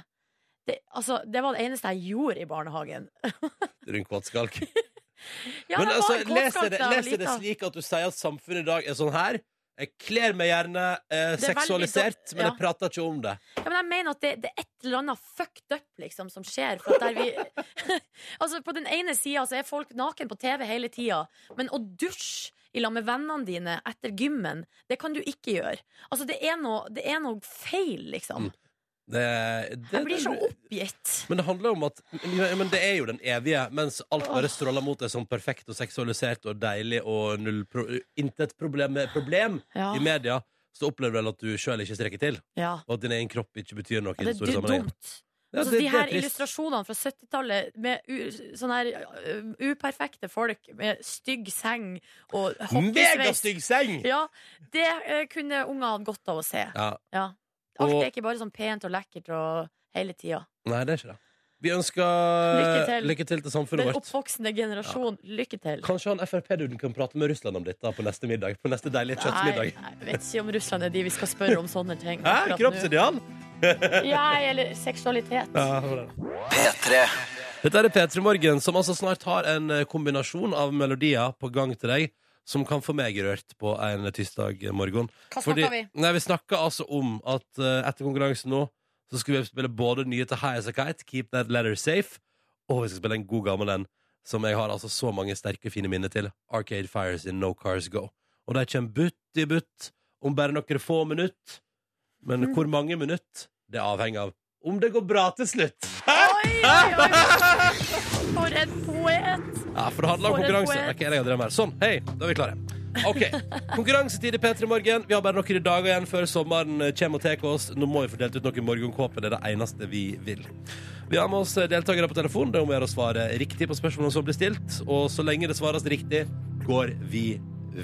Speaker 2: Det, altså, det var det eneste jeg gjorde i barnehagen.
Speaker 1: Rundt kåtskalk.
Speaker 2: Ja,
Speaker 1: Men
Speaker 2: det
Speaker 1: altså,
Speaker 2: var en
Speaker 1: leser det,
Speaker 2: kåtskap da jeg var
Speaker 1: leser det
Speaker 2: lita.
Speaker 1: slik at du sier at samfunnet i dag er sånn her? Jeg kler meg gjerne eh,
Speaker 2: Det er veldig
Speaker 1: seksualisert,
Speaker 2: sånn-
Speaker 1: men
Speaker 2: ja.
Speaker 1: jeg prater ikke om det.
Speaker 2: Ja, men jeg mener at det, det er et eller annet fucked up liksom, som skjer. For at der vi, altså, på den ene sida så er folk naken på TV hele tida, men å dusje i lag med vennene dine etter gymmen, det kan du ikke gjøre. Altså, det er noe, det er noe feil, liksom.
Speaker 1: det, Mm. det
Speaker 2: Jeg blir så oppgitt.
Speaker 1: Men det handler om at ja, men Det er jo den evige, mens alt bare stråler mot deg som perfekt og seksualisert og deilig og null pro intet problem med problem
Speaker 2: Ja.
Speaker 1: i media, så opplever du vel at du sjøl ikke strekker til,
Speaker 2: Ja.
Speaker 1: og at din egen kropp ikke betyr noe i
Speaker 2: Det
Speaker 1: den store
Speaker 2: er
Speaker 1: sammenhengen.
Speaker 2: dumt.
Speaker 1: Ja,
Speaker 2: altså,
Speaker 1: det- det
Speaker 2: de
Speaker 1: er
Speaker 2: her
Speaker 1: trist.
Speaker 2: illustrasjonene fra 70-tallet med u sånne her ø, uperfekte folk med stygg seng og hockeysveis
Speaker 1: Megastygg seng!
Speaker 2: Ja, det ø, kunne unger hatt godt av å se.
Speaker 1: Ja.
Speaker 2: Ja. Alt
Speaker 1: Og-
Speaker 2: er ikke bare sånn pent og lekkert og hele tida.
Speaker 1: Nei, det er ikke det. Vi ønsker
Speaker 2: Lykke til.
Speaker 1: lykke til til samfunnet
Speaker 2: Den
Speaker 1: vårt.
Speaker 2: oppvoksende generasjon, lykke til.
Speaker 1: Kanskje han Frp-duden kan prate med Russland om dette på neste middag. På neste deilige
Speaker 2: Nei,
Speaker 1: kjøttmiddag.
Speaker 2: nei, jeg vet ikke om Russland er de vi skal spørre om sånne ting.
Speaker 1: Hæ?
Speaker 2: akkurat nå.
Speaker 1: Kroppsideal?
Speaker 2: Ja, eller seksualitet.
Speaker 1: Ja, det var det.
Speaker 4: P3.
Speaker 1: Dette er P3 Morgen, som altså snart har en eh, kombinasjon av melodier på gang til deg, som kan få meg rørt på en tirsdag morgen.
Speaker 2: Hva snakker
Speaker 1: Fordi,
Speaker 2: vi?
Speaker 1: Nei, vi snakker altså om at eh, etter konkurransen nå, så skal vi spille både nye til High As A Kite, Keep That Letter Safe, og vi skal spille en god gammel en, som jeg har altså så mange sterke, fine minner til, Arcade Fires in No Cars Go. Og de kommer butt i butt, om bare noen få minutt. Men
Speaker 2: Mm.
Speaker 1: hvor mange minutt, det avhenger av om det går bra til slutt.
Speaker 2: Oi, oi, oi! For en poet!
Speaker 1: Ja, for det handler om
Speaker 2: For en
Speaker 1: konkurranse.
Speaker 2: poet.
Speaker 1: Ok, jeg har drevet med det. Sånn, hei, da er vi klare. Ok, Konkurransetid i P3 Morgen. Vi har bare noen dager igjen før sommeren kommer og tar oss. Nå må vi få delt ut noen morgenkåper. Det er det eneste vi vil. Vi har med oss deltakere på telefon. Det er om å gjøre å svare riktig på spørsmålene som blir stilt. Og så lenge det svares riktig, går vi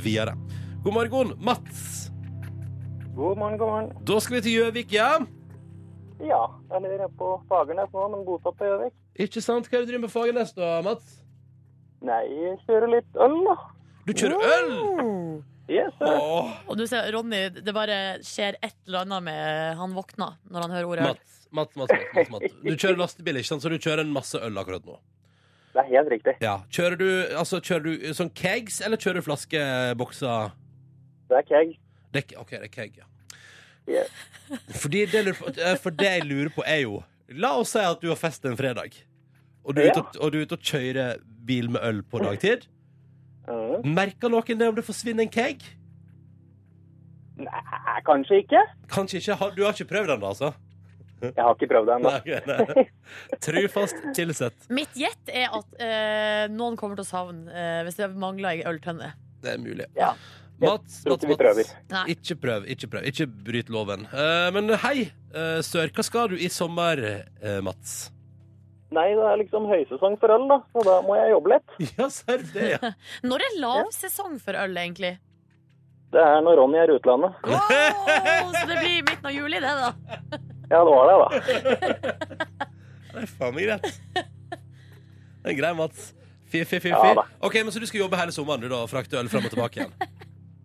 Speaker 1: videre. God morgen, Mats.
Speaker 5: God morgen, god morgen.
Speaker 1: Da skal vi til Gjøvik, ja?
Speaker 5: Ja, jeg lever på Fagernes nå, men bosatt på Gjøvik.
Speaker 1: Ikke sant? Hva er det du driver med på Fagernes, da, Mats?
Speaker 5: Nei, jeg kjører litt øl, da.
Speaker 1: Du kjører øl!
Speaker 5: Yes, sir.
Speaker 1: Åh.
Speaker 2: Og du ser, Ronny, det bare skjer et eller annet med Han våkner når han hører ordet øl.
Speaker 1: Mats, Mats, Mats, Mats, Mats, Mats. Du kjører lastebil, ikke sant? Så du kjører en masse øl akkurat nå.
Speaker 5: Det er helt riktig.
Speaker 1: Ja, Kjører du, altså, kjører du sånn kegs, eller kjører du flaskebokser?
Speaker 5: Det er keg.
Speaker 1: Det, er ke- OK, det er keg, ja.
Speaker 5: Ja.
Speaker 1: Fordi det, lurer på, eh, for det jeg lurer på, er jo La oss si at du har fest en fredag, og du er ute og, og, du er ute og kjører bil med øl på dagtid.
Speaker 5: Mm.
Speaker 1: Merker noen det om det forsvinner en keg?
Speaker 5: Nei, kanskje ikke.
Speaker 1: Kanskje ikke. Har- Du har ikke prøvd den, altså?
Speaker 5: Jeg har ikke prøvd det ennå.
Speaker 1: Nei, ok, nei. Trufast tilsett.
Speaker 2: Mitt gjett er at eh, noen kommer til å savne eh, hvis det mangler ei øltønne.
Speaker 1: Det er mulig.
Speaker 5: Ja.
Speaker 1: Mats,
Speaker 5: tror
Speaker 1: Mats,
Speaker 5: ikke vi
Speaker 1: Mats.
Speaker 5: prøver.
Speaker 2: Nei.
Speaker 1: Ikke prøv, ikke prøv. Ikke bryt loven. Eh, men hei, eh, Sør. Hva skal du i sommer, eh, Mats?
Speaker 5: Nei, det er liksom høysesong for øl, da, så da må jeg jobbe litt.
Speaker 1: Ja, serr det, ja.
Speaker 2: Når er lavsesong for øl, egentlig?
Speaker 5: Det er når Ronny er i utlandet.
Speaker 2: Wow, så det blir midten av juli, det, da.
Speaker 5: Ja, det var det, da.
Speaker 1: Det er faen meg greit. Det er grei, Mats. Fy, fy, fy,
Speaker 5: Ja,
Speaker 1: fy.
Speaker 5: da.
Speaker 1: Ok, men Så du skal jobbe hele sommeren du da, og frakte øl fram og tilbake igjen?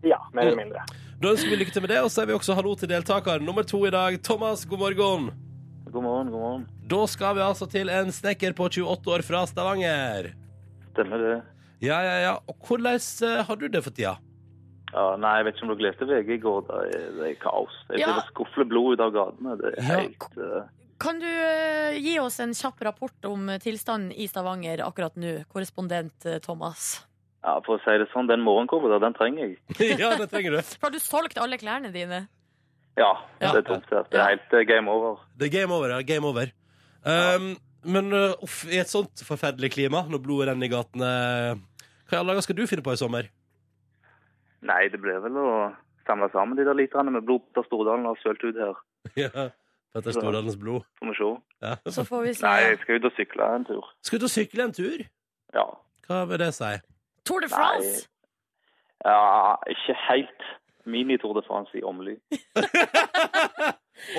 Speaker 5: Ja, mer eller mindre.
Speaker 1: Da ønsker vi lykke til med det, og så sier vi også hallo til deltaker nummer to i dag. Thomas, god morgen.
Speaker 5: God morgen, god morgen.
Speaker 1: Da skal vi altså til en snekker på 28 år fra Stavanger.
Speaker 6: Stemmer det.
Speaker 1: Ja, ja, ja. Og hvordan eh, har du det for tida?
Speaker 6: Ja, nei, jeg vet ikke om dere leste VG i går. Da er det er kaos. Jeg
Speaker 2: Ja.
Speaker 6: ser det skufler blod ut av gatene. Det er
Speaker 1: Ja.
Speaker 6: helt eh,
Speaker 2: Kan du eh, gi oss en kjapp rapport om tilstanden i Stavanger akkurat nå, korrespondent eh, Thomas?
Speaker 6: Ja, For å si det sånn, den morgenkåpa der, den trenger jeg.
Speaker 1: ja, det trenger du.
Speaker 2: Har du solgt alle klærne dine?
Speaker 6: Ja,
Speaker 2: Ja.
Speaker 6: det er tomt. Det Det er helt eh, game over.
Speaker 1: Det er game over, ja. Game over. Ehm, Men øh, uff, i et sånt forferdelig klima, når blodet renner i gatene Hva i alle dager skal du finne på i sommer?
Speaker 6: Nei, det ble vel å samle sammen de der literne med blod på Stordalen og sølt ut her.
Speaker 1: Ja. Petter Stordalens blod.
Speaker 6: Får vi se.
Speaker 1: Ja.
Speaker 2: Så får vi se.
Speaker 6: Nei, jeg skal ut og sykle en tur.
Speaker 1: Skal du sykle en tur?
Speaker 6: Ja.
Speaker 1: Hva vil det si?
Speaker 2: Tour de France!
Speaker 6: ja ikke helt mini-Tour de France i Åmli.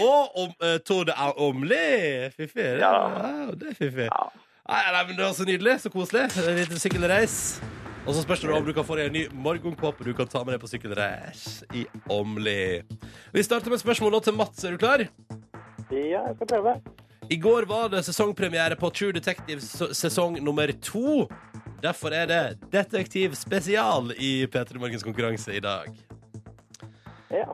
Speaker 1: Å, om, eh, Tour de Omli! Fiffig. det er-
Speaker 6: Ja.
Speaker 1: ja, Det er fiffig.
Speaker 6: Ja.
Speaker 1: Nei, nei, men det var så nydelig. Så koselig. En liten sykkelreis. Og så spørs det om du kan få deg en ny morgenkåpe du kan ta med deg på sykkelreis i Åmli. Vi starter med spørsmålet til Mats. Er du klar?
Speaker 5: Ja, jeg skal prøve.
Speaker 1: I går var det sesongpremiere på True Detective s- sesong nummer to. Derfor er det Detektiv spesial i P3 Morgens konkurranse i dag.
Speaker 5: Ja.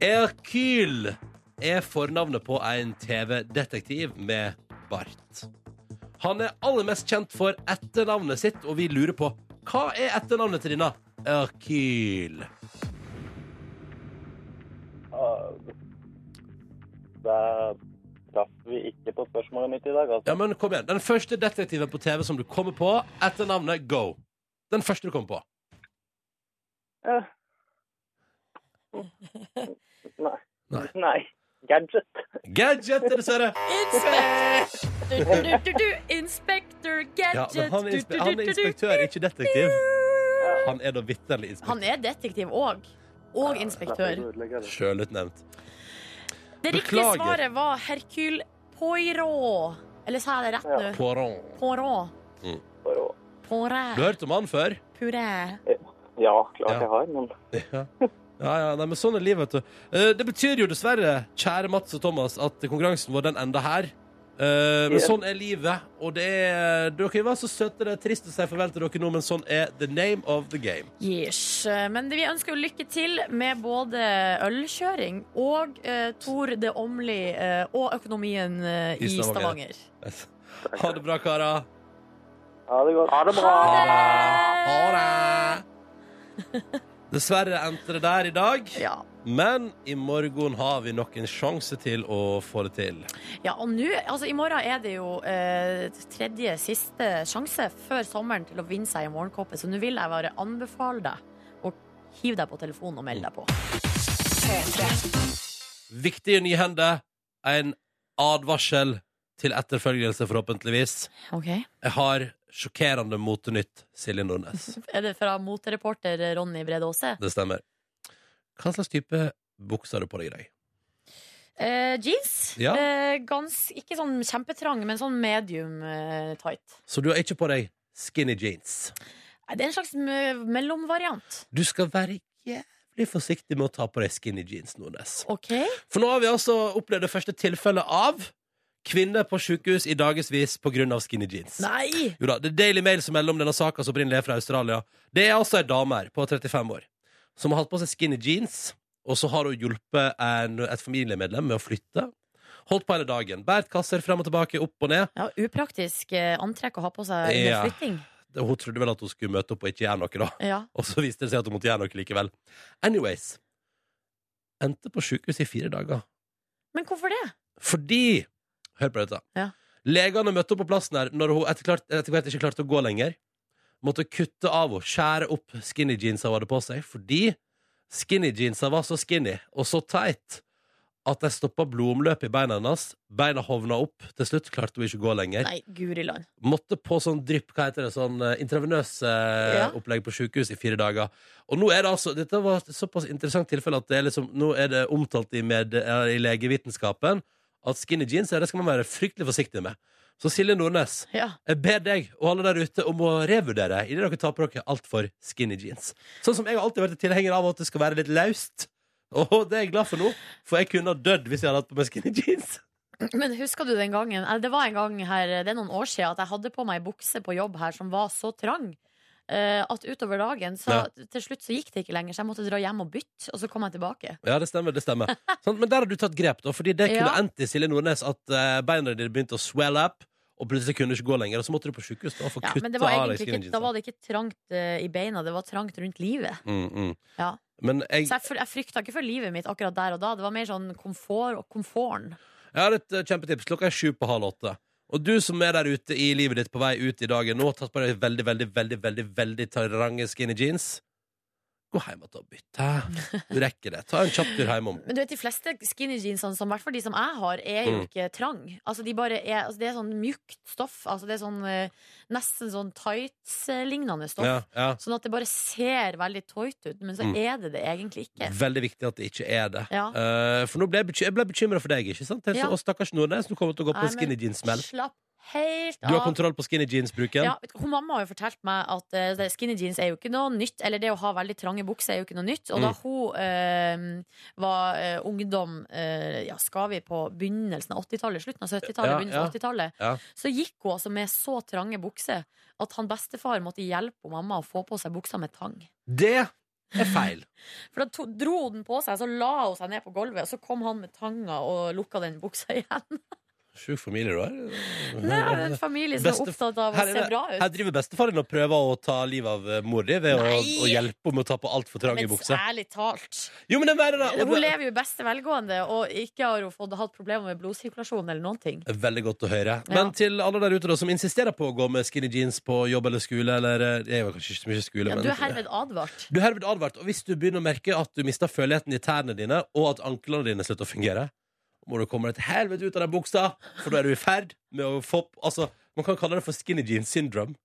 Speaker 1: Hercule er fornavnet på en TV-detektiv med bart. Han er aller mest kjent for etternavnet sitt, og vi lurer på hva er etternavnet til denne Hercule?
Speaker 5: Ah, Da traff vi ikke på spørsmålet mitt i dag, altså.
Speaker 1: Ja, men kom igjen. Den første detektiven på TV som du kommer på, etternavnet Go. Den første du kommer på.
Speaker 5: Eh. Nei.
Speaker 1: Nei.
Speaker 5: Nei. Gadget.
Speaker 1: Gadget, dessverre.
Speaker 2: Inspect- Du, du, du, du, du. Inspector
Speaker 1: Ja,
Speaker 2: Gadget!
Speaker 1: men han er,
Speaker 2: Du, du,
Speaker 1: inspe han
Speaker 2: du,
Speaker 1: er
Speaker 2: du, du.
Speaker 1: inspektør, ikke detektiv. Han er da vitterlig inspektør.
Speaker 2: Han er detektiv òg. Og inspektør.
Speaker 1: Sjølutnevnt.
Speaker 2: Det riktige
Speaker 1: Beklager.
Speaker 2: svaret var Hercule Poirot. Eller sa jeg det rett nå?
Speaker 1: Poirot.
Speaker 2: Poirot.
Speaker 5: For å...
Speaker 1: Du har
Speaker 2: Poirot.
Speaker 1: hørt om han før?
Speaker 2: Puré.
Speaker 5: Ja, klart
Speaker 1: Ja.
Speaker 5: jeg har, men
Speaker 1: Ja, ja, ja nei, men sånn er livet, vet du. Eh, det betyr jo dessverre, kjære Mats og Thomas, at konkurransen vår den enda her. Eh,
Speaker 5: Ja.
Speaker 1: men sånn er livet, og det er Dere var så søte, det er trist å si farvel til dere nå, men sånn er the name of the game.
Speaker 2: Yes. Men vi ønsker jo lykke til med både ølkjøring og eh, Tour de Omli eh, og økonomien eh,
Speaker 1: I
Speaker 2: i
Speaker 1: Stavanger.
Speaker 2: Stavanger.
Speaker 1: Ha det bra, karer.
Speaker 5: ha det godt.
Speaker 6: Ha det bra!
Speaker 1: Ha det! Dessverre endte det der i dag,
Speaker 2: Ja.
Speaker 1: men i morgen har vi nok en sjanse til å få det til.
Speaker 2: ja, og nå Altså, i morgen er det jo eh, tredje siste sjanse før sommeren til å vinne seg en morgenkåpe, så nå vil jeg bare anbefale deg å hive deg på telefonen og melde deg på.
Speaker 1: Viktige nyhender. En advarsel til etterfølgelse, forhåpentligvis.
Speaker 2: Ok?
Speaker 1: Jeg har sjokkerende motenytt, Silje Nordnes.
Speaker 2: Er det fra motereporter Ronny Brede Aase?
Speaker 1: Det stemmer. Hva slags type bukser har du på deg i dag?
Speaker 2: Eh, jeans.
Speaker 1: Ja.
Speaker 2: Eh, gans, ikke sånn kjempetrang, men sånn medium eh, tight.
Speaker 1: Så du har ikke på deg skinny jeans.
Speaker 2: Nei, Det er en slags me- mellomvariant.
Speaker 1: Du skal være jævlig forsiktig med å ta på deg skinny jeans, Nordnes.
Speaker 2: OK?
Speaker 1: For nå har vi altså opplevd det første tilfellet av kvinner på sykehus i dagevis pga. skinny jeans.
Speaker 2: Nei!
Speaker 1: Jo da, Det er Daily Mail som melder om denne saka, som opprinnelig er fra Australia. Det er altså ei dame her på 35 år som har hatt på seg skinny jeans, og så har hun hjulpet en, et familiemedlem med å flytte. Holdt på hele dagen. Båret kasser frem og tilbake, opp og ned.
Speaker 2: Ja, Upraktisk eh, antrekk å ha på seg under
Speaker 1: Ja.
Speaker 2: flytting.
Speaker 1: Det- Hun trodde vel at hun skulle møte opp og ikke gjøre noe, da.
Speaker 2: Ja.
Speaker 1: Og så viste det seg at hun måtte gjøre noe likevel. Anyways. Endte på sjukehuset i fire dager.
Speaker 2: Men hvorfor det?
Speaker 1: Fordi Hør på dette.
Speaker 2: Ja.
Speaker 1: Legene møtte opp på plassen her når hun etter, klart, etter hvert ikke klarte å gå lenger. Måtte kutte av henne, skjære opp skinny jeansa hun hadde på seg, fordi skinny jeansa var så skinny og så teit at de stoppa blodomløpet i beina hennes. Beina hovna opp. Til slutt klarte hun ikke å gå lenger.
Speaker 2: Nei, guri land.
Speaker 1: Måtte på sånn drypp, hva heter det, sånn eh, intravenøs eh,
Speaker 2: Ja.
Speaker 1: opplegg på sykehus i fire dager. Og nå er det altså, dette var et såpass interessant tilfelle at det er liksom, nå er det omtalt i, med, eh, i legevitenskapen at skinny jeans er det skal man være fryktelig forsiktig med. Så Silje Nordnes,
Speaker 2: Ja.
Speaker 1: jeg ber deg og alle der ute om å revurdere i det dere tar på dere altfor skinny jeans. Sånn som jeg har alltid vært tilhenger av at det skal være litt laust. Og det er jeg glad for nå, for jeg kunne ha dødd hvis jeg hadde hatt på meg skinny jeans.
Speaker 2: Men husker du den gangen eh, Det var en gang her, det er noen år siden At jeg hadde på meg en bukse på jobb her Som var så trang eh, At utover dagen så, Til slutt så gikk det ikke lenger Så jeg måtte dra hjem og bytte Og så kom jeg tilbake
Speaker 1: Ja, det stemmer. det stemmer Sant? Men der har du tatt grep, da. Fordi det kunne
Speaker 2: Ja.
Speaker 1: endt i Silje Nordnes at eh, beina dine begynte å swell up, og og plutselig kunne du ikke gå lenger, og så måtte du på sykehus da, for å
Speaker 2: Ja,
Speaker 1: kutte
Speaker 2: men det var
Speaker 1: av deg
Speaker 2: egentlig ikke, da var det ikke trangt eh, i beina, det var trangt rundt livet.
Speaker 1: Mm, mm.
Speaker 2: Ja.
Speaker 1: Men jeg,
Speaker 2: Så jeg, fr- jeg frykta ikke for livet mitt akkurat der og da. Det var mer sånn komfort og komforten.
Speaker 1: jeg har et eh, kjempetips. Klokka er sju på halv åtte. Og du som er der ute i livet ditt på vei ut i dagen nå, tatt på deg veldig, veldig, veldig veldig, veldig trange skinny jeans. Gå hjem igjen og bytte. Du rekker det. Ta en kjapp tur hjemom.
Speaker 2: Men du vet, de fleste skinny jeansene, som i hvert fall de som jeg har, er jo
Speaker 1: Mm.
Speaker 2: ikke trang. Altså, de bare er, altså, det er sånn mjukt stoff. Altså, det er sånn eh, nesten sånn tights-lignende stoff.
Speaker 1: Ja, ja.
Speaker 2: Sånn at det bare ser veldig toit ut, men så
Speaker 1: Mm.
Speaker 2: er det det egentlig ikke.
Speaker 1: Veldig viktig at det ikke er det.
Speaker 2: Ja.
Speaker 1: Eh, for nå ble jeg, beky jeg ble bekymra for deg, ikke sant? Jeg så-
Speaker 2: Ja.
Speaker 1: Og stakkars Nordnes, du kommer til å gå på
Speaker 2: Nei,
Speaker 1: en skinny
Speaker 2: men
Speaker 1: jeans-smell.
Speaker 2: Slapp helt
Speaker 1: Du har
Speaker 2: av.
Speaker 1: kontroll på skinny jeans-bruken.
Speaker 2: Ja, vet du hva, hun mamma har jo fortalt meg at eh, det- skinny jeans er jo ikke noe nytt. Eller det å ha veldig trange bukser er jo ikke noe nytt. Og da
Speaker 1: Mm.
Speaker 2: hun eh, var eh, ungdom, eh, ja, skal vi på begynnelsen av 80-tallet, slutten av 70-tallet,
Speaker 1: Ja,
Speaker 2: begynnelsen av
Speaker 1: ja.
Speaker 2: 80-tallet,
Speaker 1: Ja.
Speaker 2: så gikk hun altså med så trange bukser at han bestefar måtte hjelpe hun mamma å få på seg buksa med tang.
Speaker 1: Det er feil.
Speaker 2: For da to, dro hun den på seg, så la hun seg ned på gulvet, og så kom han med tanga og lukka den buksa igjen.
Speaker 1: Sjuk familie du har.
Speaker 2: Det er jo en familie som
Speaker 1: Bestef-
Speaker 2: er opptatt av å
Speaker 1: Her, er
Speaker 2: se
Speaker 1: det-
Speaker 2: bra ut.
Speaker 1: her driver bestefar din og prøver å ta livet av eh, mor di ved å,
Speaker 2: Nei!
Speaker 1: å hjelpe henne med å ta på altfor trange
Speaker 2: Men
Speaker 1: bukser.
Speaker 2: ærlig talt
Speaker 1: Jo, men det er mer enn det.
Speaker 2: Hun
Speaker 1: og det.
Speaker 2: lever jo i beste velgående, og ikke har hun fått, hatt problemer med blodsirkulasjon eller noen ting.
Speaker 1: er Veldig godt å høre. Men
Speaker 2: Ja.
Speaker 1: til alle der ute da, som insisterer på å gå med skinny jeans på jobb eller skole, eller eh, Det er jo kanskje ikke så mye skole,
Speaker 2: Ja,
Speaker 1: men
Speaker 2: du er herved advart.
Speaker 1: Du er herved advart, og hvis du begynner å merke at du mister føleligheten i tærne dine, og at anklene dine slutter å fungere, må du komme deg til helvete ut av den buksa, for da er du i ferd med å få Altså, man kan kalle det for skinny jeans syndrome.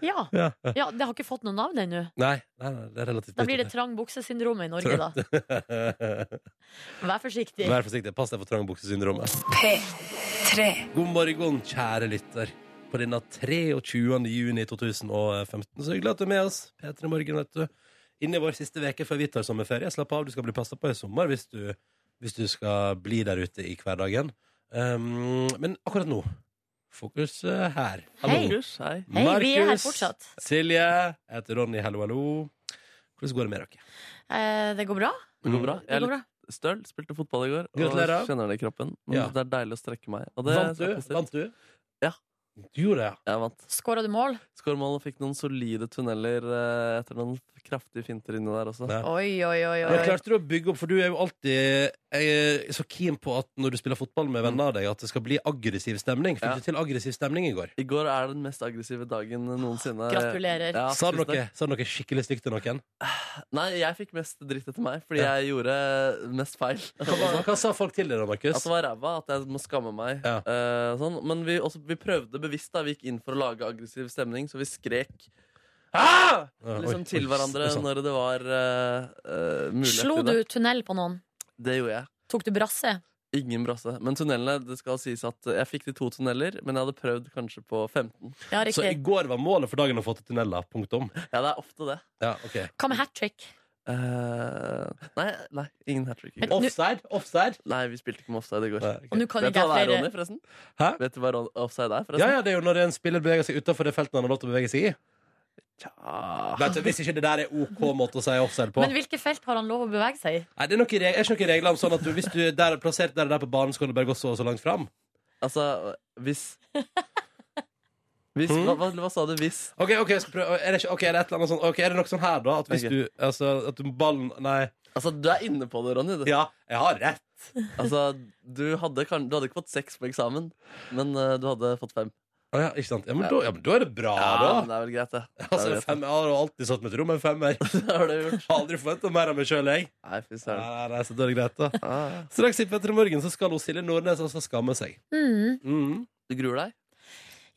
Speaker 2: Ja.
Speaker 1: Ja.
Speaker 2: ja, Det har ikke fått noe navn ennå.
Speaker 1: Nei, nei, nei, det er relativt
Speaker 2: Da blir det trang buksesyndromet i Norge, da.
Speaker 1: det
Speaker 2: Vær forsiktig.
Speaker 1: Vær forsiktig. Pass deg for trangbuksesyndromet. God morgen, kjære lytter. På denne 23. juni 2015 så hyggelig at du er med oss. P3 Morgen, vet du. Inn i vår siste uke før vi tar sommerferie. Slapp av, du skal bli passa på i sommer hvis du, hvis du skal bli der ute i hverdagen. Um, men akkurat nå fokus eh, her.
Speaker 2: Hei.
Speaker 3: Markus, hei.
Speaker 2: Hei, vi er her
Speaker 1: Markus,
Speaker 2: fortsatt.
Speaker 1: Silje. Jeg heter Ronny. Hallo, hallo. Hvordan går det med dere?
Speaker 2: Eh, det går bra?
Speaker 3: Det går bra. Jeg
Speaker 2: Det
Speaker 3: er
Speaker 2: går
Speaker 3: litt
Speaker 2: bra.
Speaker 3: støl. Spilte fotball i går og
Speaker 1: Gratulerer.
Speaker 3: kjenner det i kroppen. Men
Speaker 1: Ja.
Speaker 3: det er deilig å strekke meg. Og det
Speaker 1: Vant
Speaker 3: er
Speaker 1: du?
Speaker 3: positivt.
Speaker 1: Vant du?
Speaker 3: Ja.
Speaker 1: Du gjorde det, ja.
Speaker 3: Jeg vant.
Speaker 2: Skåra du mål?
Speaker 3: Skårmål og fikk noen solide tunneler eh, etter noen kraftige finter inni der også.
Speaker 1: Ja.
Speaker 2: Oi, oi, oi.
Speaker 1: Men
Speaker 2: oi.
Speaker 1: klarte du å bygge opp, for du er jo alltid jeg er så keen på at når du spiller fotball med venner av deg, at det skal bli aggressiv stemning. Fikk
Speaker 3: Ja.
Speaker 1: du til aggressiv stemning i går?
Speaker 3: I går er den mest aggressive dagen noensinne.
Speaker 2: Gratulerer.
Speaker 3: eh, Ja,
Speaker 1: sa, du
Speaker 3: tusen takk.
Speaker 1: noe, sa du noe skikkelig stygt til noen?
Speaker 3: Nei, jeg fikk mest dritt etter meg, fordi
Speaker 1: Ja.
Speaker 3: jeg gjorde mest feil.
Speaker 1: Hva, var- hva sa folk til deg da,
Speaker 3: At
Speaker 1: Markus?
Speaker 3: det var ræva, at jeg må skamme meg.
Speaker 1: Ja.
Speaker 3: eh, sånn. Men vi, også, vi prøvde bevisst. da Vi gikk inn for å lage aggressiv stemning, så vi skrek ah!
Speaker 1: Ja, oi,
Speaker 3: liksom til
Speaker 1: oi,
Speaker 3: hverandre
Speaker 1: sånn.
Speaker 3: når det var eh, eh, mulighet
Speaker 2: Slo
Speaker 3: til
Speaker 2: du
Speaker 3: det.
Speaker 2: tunnel på noen?
Speaker 3: Det gjorde jeg.
Speaker 2: Tok du brasse?
Speaker 3: Ingen brasse. Men tunnelene, det skal sies at jeg fikk de to tunneler, men jeg hadde prøvd kanskje på 15.
Speaker 2: Ja,
Speaker 1: Så i
Speaker 2: riktig.
Speaker 1: går var målet for dagen å få til tunneler. Punktum.
Speaker 3: Ja, det er ofte det.
Speaker 1: Ja, ok.
Speaker 2: Hva med hat trick?
Speaker 3: Eh, nei, nei, ingen hat trick. i går.
Speaker 1: Offside? Offside?
Speaker 3: Nei, vi spilte ikke med offside i går.
Speaker 1: Ja,
Speaker 2: Og
Speaker 1: ok.
Speaker 2: nå kan
Speaker 3: Vet du
Speaker 2: ikke
Speaker 3: hva
Speaker 2: jeg
Speaker 3: det er, Ronny,
Speaker 2: flere
Speaker 3: forresten?
Speaker 1: Hæ?
Speaker 3: Vet du hva ron- offside er,
Speaker 1: Ja,
Speaker 3: forresten?
Speaker 1: ja, det er jo når en spiller beveger seg utenfor det feltet han har lov til å bevege seg i.
Speaker 3: Tja.
Speaker 1: Vet du, Hvis ikke det der er OK måte å si offside på.
Speaker 2: Men hvilke felt har han lov å bevege seg i?
Speaker 1: Nei, det er noen reg- er ikke noen regler om sånn at du, hvis du er der, plassert der og der på banen, så kan du bare gå så og så langt fram.
Speaker 3: Altså, hvis Hvis,
Speaker 1: Hmm?
Speaker 3: hva, hva, hva sa du? Hvis
Speaker 1: Ok, ok, jeg skal prøve Er det, ikke, ok, er det et eller annet sånn Ok, er det nok sånn her da At hvis
Speaker 3: Ok.
Speaker 1: du Altså, at du ballen Nei
Speaker 3: Altså, du er inne på det, Ronny. Du,
Speaker 1: Ja, jeg har rett
Speaker 3: altså, du, hadde, kan, du hadde ikke fått seks på eksamen, men eh, du hadde fått fem.
Speaker 1: Å ja, ikke sant Ja, men da, ja, men da er det bra
Speaker 3: men
Speaker 1: da
Speaker 3: det er vel greit, det. det. er
Speaker 1: Altså, en
Speaker 3: vel greit,
Speaker 1: femmer Jeg har alltid satt meg til rom En femmer Jeg
Speaker 3: det. Det har du gjort.
Speaker 1: Har aldri forventet mer av meg selv, jeg Nei,
Speaker 3: Nei, fy søren.
Speaker 1: nei, nei, så da er det greit da
Speaker 3: Ah, ja.
Speaker 1: Straks i Petter Morgen så skal hun Silje Nordnes altså skamme seg
Speaker 2: Mm.
Speaker 1: Mhm.
Speaker 3: Du gruer deg?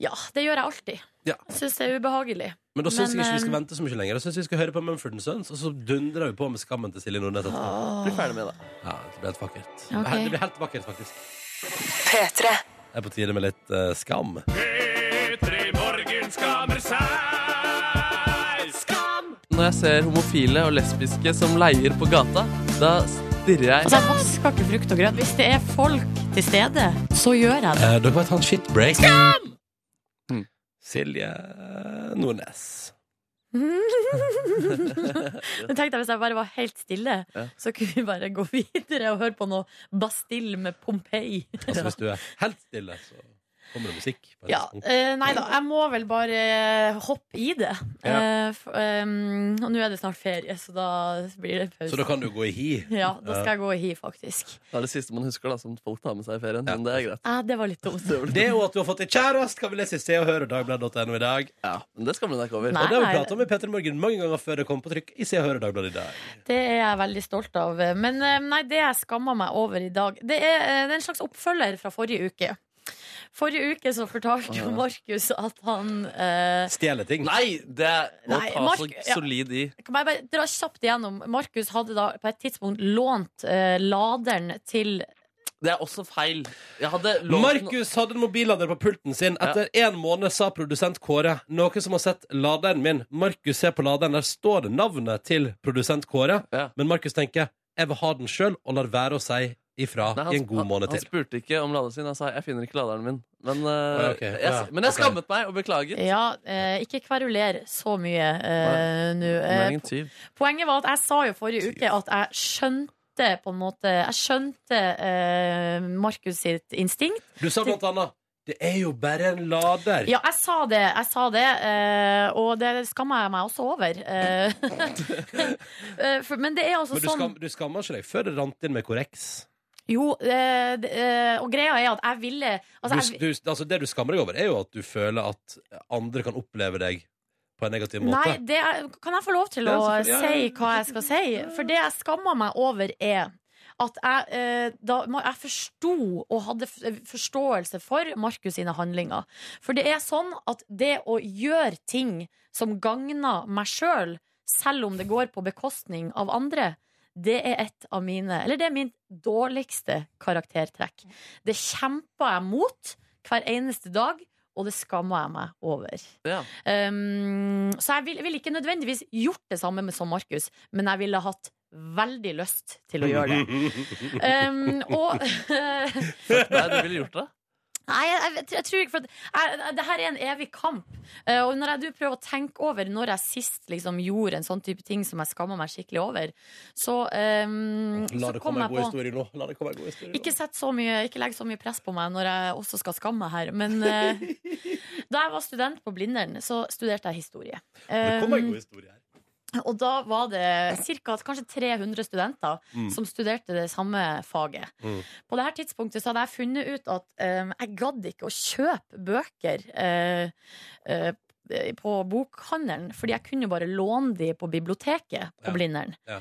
Speaker 2: Ja, det gjør jeg alltid.
Speaker 1: Ja.
Speaker 2: Jeg syns det er ubehagelig.
Speaker 1: Men da synes
Speaker 2: Men,
Speaker 1: jeg ikke vi skal
Speaker 2: ehm,
Speaker 1: vente så mye lenger Da synes jeg vi skal høre på Mumford Sons Og så dundrer vi på med skammen til Silje Nordnes etterpå.
Speaker 3: Bli ferdig med det.
Speaker 1: Ja, det blir helt vakkert
Speaker 2: Ah. Ok.
Speaker 1: Det blir helt vakkert faktisk Det er på tide med litt eh, skam
Speaker 3: Når jeg ser homofile og lesbiske som leier på gata, da stirrer jeg
Speaker 2: Altså, jeg vasker ikke frukt og grønt. Hvis det er folk til stede, så gjør jeg det.
Speaker 1: Eh, dere vet han shitbreak
Speaker 3: Mm.
Speaker 1: Silje Nordnes
Speaker 2: Men tenk deg hvis jeg bare var helt stille,
Speaker 3: Ja.
Speaker 2: så kunne vi bare gå videre og høre på noe Bastille med Pompeii.
Speaker 1: Altså hvis du er helt stille så Kommer det musikk? på et
Speaker 2: Ja,
Speaker 1: tidspunkt?
Speaker 2: eh, nei da, jeg må vel bare eh, hoppe i det.
Speaker 1: Ja.
Speaker 2: Eh, f- ehm, og nå er det snart ferie, så da blir det pause.
Speaker 1: Så da kan du gå i hi.
Speaker 2: Ja, da skal jeg gå i hi, faktisk.
Speaker 3: Det er det siste man husker da, som folk tar med seg i ferien.
Speaker 1: Ja.
Speaker 3: Men det er greit.
Speaker 2: Eh, det var litt dumt.
Speaker 3: Det, var det.
Speaker 1: Det og at du har fått deg kjæreste, kan vi lese i Se og Hør og Dagbladet.no i dag.
Speaker 3: Ja, men det skammer du deg ikke over.
Speaker 1: Og
Speaker 2: Nei,
Speaker 1: det har vi
Speaker 2: nei,
Speaker 1: pratet om i Petter Morgen mange ganger før det kom på trykk i Se og Hør og Dagbladet i dag.
Speaker 2: Det er jeg veldig stolt av. Men eh, nei, det jeg skammer meg over i dag, det er, eh, det er en slags oppfølger fra forrige uke. Forrige uke så fortalte jo Markus at han eh,
Speaker 1: Stjele ting.
Speaker 3: Nei, det må
Speaker 2: Nei,
Speaker 3: ta
Speaker 2: Mark-
Speaker 3: så
Speaker 2: ja.
Speaker 3: solid i.
Speaker 2: Kan jeg bare dra kjapt igjennom? Markus hadde da på et tidspunkt lånt eh, laderen til
Speaker 3: Det er også feil. Jeg hadde lånt den-
Speaker 1: Markus hadde en mobillader på pulten sin. Etter en måned sa produsent Kåre noe som har sett laderen min. Markus ser på laderen, der står det navnet til produsent Kåre.
Speaker 3: Ja.
Speaker 1: Men Markus tenker jeg vil ha den sjøl, og lar være å si ifra
Speaker 3: Nei, han,
Speaker 1: i en god
Speaker 3: han,
Speaker 1: måned
Speaker 3: han
Speaker 1: til.
Speaker 3: spurte ikke om laderen sin. Han sa 'jeg finner ikke laderen min'. Men, eh,
Speaker 1: ja, ok.
Speaker 3: jeg,
Speaker 1: Ja,
Speaker 3: men jeg
Speaker 1: ok.
Speaker 3: skammet meg og beklaget.
Speaker 2: Ja, eh, ikke kveruler så mye eh, nå.
Speaker 3: Men jeg er
Speaker 2: Eh,
Speaker 3: ingen tyv.
Speaker 2: poenget var at jeg sa jo forrige uke at jeg skjønte på en måte Jeg skjønte eh, Markus sitt instinkt.
Speaker 1: Du sa blant annet det er jo bare en lader.
Speaker 2: Ja, jeg sa det, jeg sa det eh, og det skammer jeg meg også over. Eh, eh, for, men det er altså
Speaker 1: Men du,
Speaker 2: sånn
Speaker 1: skam, du skammer ikke deg før det rant inn med Correx.
Speaker 2: Jo, eh, det- eh, og greia er at jeg ville altså, jeg,
Speaker 1: du, du, altså det du skammer deg over, er jo at du føler at andre kan oppleve deg på en negativ måte.
Speaker 2: Nei, det er, kan jeg få lov til
Speaker 1: Ja,
Speaker 2: å
Speaker 1: selvfølgelig. Ja, ja,
Speaker 2: si
Speaker 1: ja.
Speaker 2: hva jeg skal si? For det jeg skammer meg over, er at jeg, eh, da, må- jeg forsto og hadde f- eh, forståelse for Markus sine handlinger. For det er sånn at det å gjøre ting som gagner meg sjøl, selv, selv om det går på bekostning av andre, det er et av mine Eller det er min dårligste karaktertrekk. Det kjemper jeg mot hver eneste dag, og det skammer jeg meg over.
Speaker 3: Ja.
Speaker 2: Um, så jeg ville vil ikke nødvendigvis gjort det samme med- som Markus, men jeg ville hatt veldig lyst til å gjøre det. Um, og
Speaker 3: Nei, du ville gjort det.
Speaker 2: Nei, jeg, jeg, jeg tror ikke For at jeg, jeg- det her er en evig kamp. Eh, og når jeg du prøver å tenke over når jeg sist liksom, gjorde en sånn type ting som jeg skammer meg skikkelig over, så, um,
Speaker 1: La
Speaker 2: så
Speaker 1: det
Speaker 2: kom
Speaker 1: komme
Speaker 2: jeg
Speaker 1: en god
Speaker 2: på
Speaker 1: historie nå. La det komme en god historie
Speaker 2: ikke,
Speaker 1: nå.
Speaker 2: sett så mye, ikke legg så mye press på meg når jeg også skal skamme meg her. Men eh, da jeg var student på Blindern, så studerte jeg historie.
Speaker 1: Det kommer en
Speaker 2: Um,
Speaker 1: god historie her.
Speaker 2: Og da var det cirka, kanskje 300 studenter
Speaker 1: Mm.
Speaker 2: som studerte det samme faget.
Speaker 1: Mm.
Speaker 2: På det her tidspunktet så hadde jeg funnet ut at eh, jeg gadd ikke å kjøpe bøker eh, eh, på bokhandelen, fordi jeg kunne jo bare låne de på biblioteket på
Speaker 1: Ja.
Speaker 2: Blindern.
Speaker 1: Ja.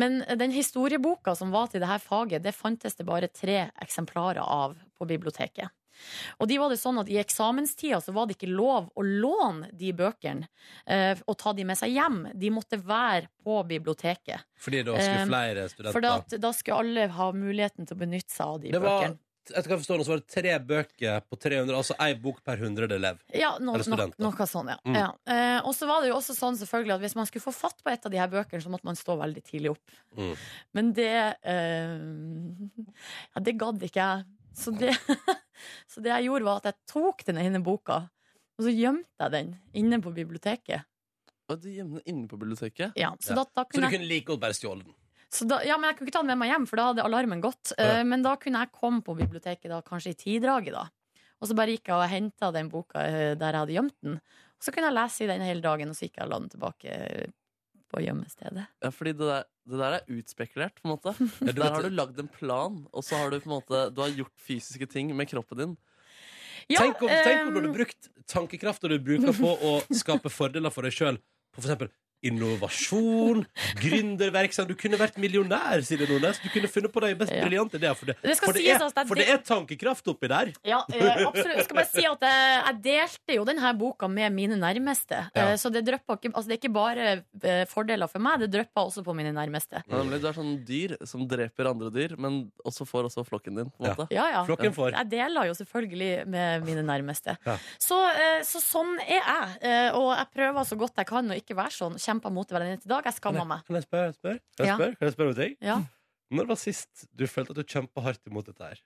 Speaker 2: Men den historieboka som var til det her faget, det fantes det bare tre eksemplarer av på biblioteket. Og de var det sånn at I eksamenstida så var det ikke lov å låne de bøkene eh, og ta de med seg hjem. De måtte være på biblioteket.
Speaker 1: Fordi da skulle
Speaker 2: Um,
Speaker 1: flere studenter
Speaker 2: For da, da skulle alle ha muligheten til å benytte seg av de
Speaker 1: Det var,
Speaker 2: bøkene.
Speaker 1: etter hva jeg forstår nå, så var det tre bøker på 300, altså ei bok per 100 elev.
Speaker 2: Ja, no,
Speaker 1: Eller
Speaker 2: no,
Speaker 1: studenter.
Speaker 2: noe sånn, ja.
Speaker 1: Mm.
Speaker 2: ja. Eh, og så var det jo også sånn selvfølgelig at hvis man skulle få fatt på et av de her bøkene, så måtte man stå veldig tidlig opp.
Speaker 1: Mm.
Speaker 2: Men det eh, Ja, det gadd ikke jeg. Så det, så det jeg gjorde, var at jeg tok den ene boka, og så gjemte jeg den inne på biblioteket.
Speaker 3: Og du gjemte den inne på biblioteket.
Speaker 2: Ja, så
Speaker 1: Ja.
Speaker 2: da, da
Speaker 1: Så du
Speaker 2: kunne jeg
Speaker 1: kunne like godt bare stjåle den.
Speaker 2: Så da, ja, men jeg kunne ikke ta den med meg hjem, for da hadde alarmen gått.
Speaker 1: Ja.
Speaker 2: Eh, men da kunne jeg komme på biblioteket da, kanskje i tidraget, da. Og så bare gikk jeg og henta den boka eh, der jeg hadde gjemt den. Og så kunne jeg lese i den hele dagen, og så gikk jeg og la den tilbake eh, på gjemmestedet.
Speaker 3: Ja, fordi det der, det der er utspekulert, på en måte.
Speaker 1: Ja, du
Speaker 3: Der har
Speaker 1: vet-
Speaker 3: du lagd en plan, og så har du på en måte Du har gjort fysiske ting med kroppen din.
Speaker 2: Ja,
Speaker 1: tenk, om, tenk om du
Speaker 2: eh,
Speaker 1: hadde brukt tankekrafta du bruker på å skape fordeler for deg sjøl, på f.eks. innovasjon, gründerverksamhet Du kunne vært millionær, Silje Nordnes. Du kunne funnet på de best
Speaker 2: Ja.
Speaker 1: briljante ideer. For det,
Speaker 2: Det skal
Speaker 1: for det,
Speaker 2: sies
Speaker 1: er,
Speaker 2: at det er
Speaker 1: for det er tankekraft oppi der.
Speaker 2: Ja, eh, absolutt. Jeg skal bare si at jeg, jeg delte jo denne boka med mine nærmeste.
Speaker 1: Ja.
Speaker 2: Eh, så det, drypper ikke, altså det er ikke bare eh, fordeler for meg, det drypper også på mine nærmeste.
Speaker 3: Ja, nemlig, Du er sånn dyr som dreper andre dyr, men også får også flokken din. på en
Speaker 1: Ja.
Speaker 3: måte
Speaker 2: Ja, ja.
Speaker 1: Flokken får.
Speaker 2: Jeg deler jo selvfølgelig med mine nærmeste.
Speaker 1: Ja.
Speaker 2: Så, eh, så sånn er jeg. eh, Og jeg prøver så godt jeg kan å ikke være sånn. Kjemper mot det hver eneste dag. Jeg
Speaker 1: Kan
Speaker 2: skammer
Speaker 1: jeg,
Speaker 2: meg.
Speaker 1: kan jeg spørre spør? kan jeg
Speaker 2: Ja.
Speaker 1: spørre- kan jeg spørre om en ting?
Speaker 2: Ja.
Speaker 1: Når var sist du følte at du kjempa hardt imot dette her?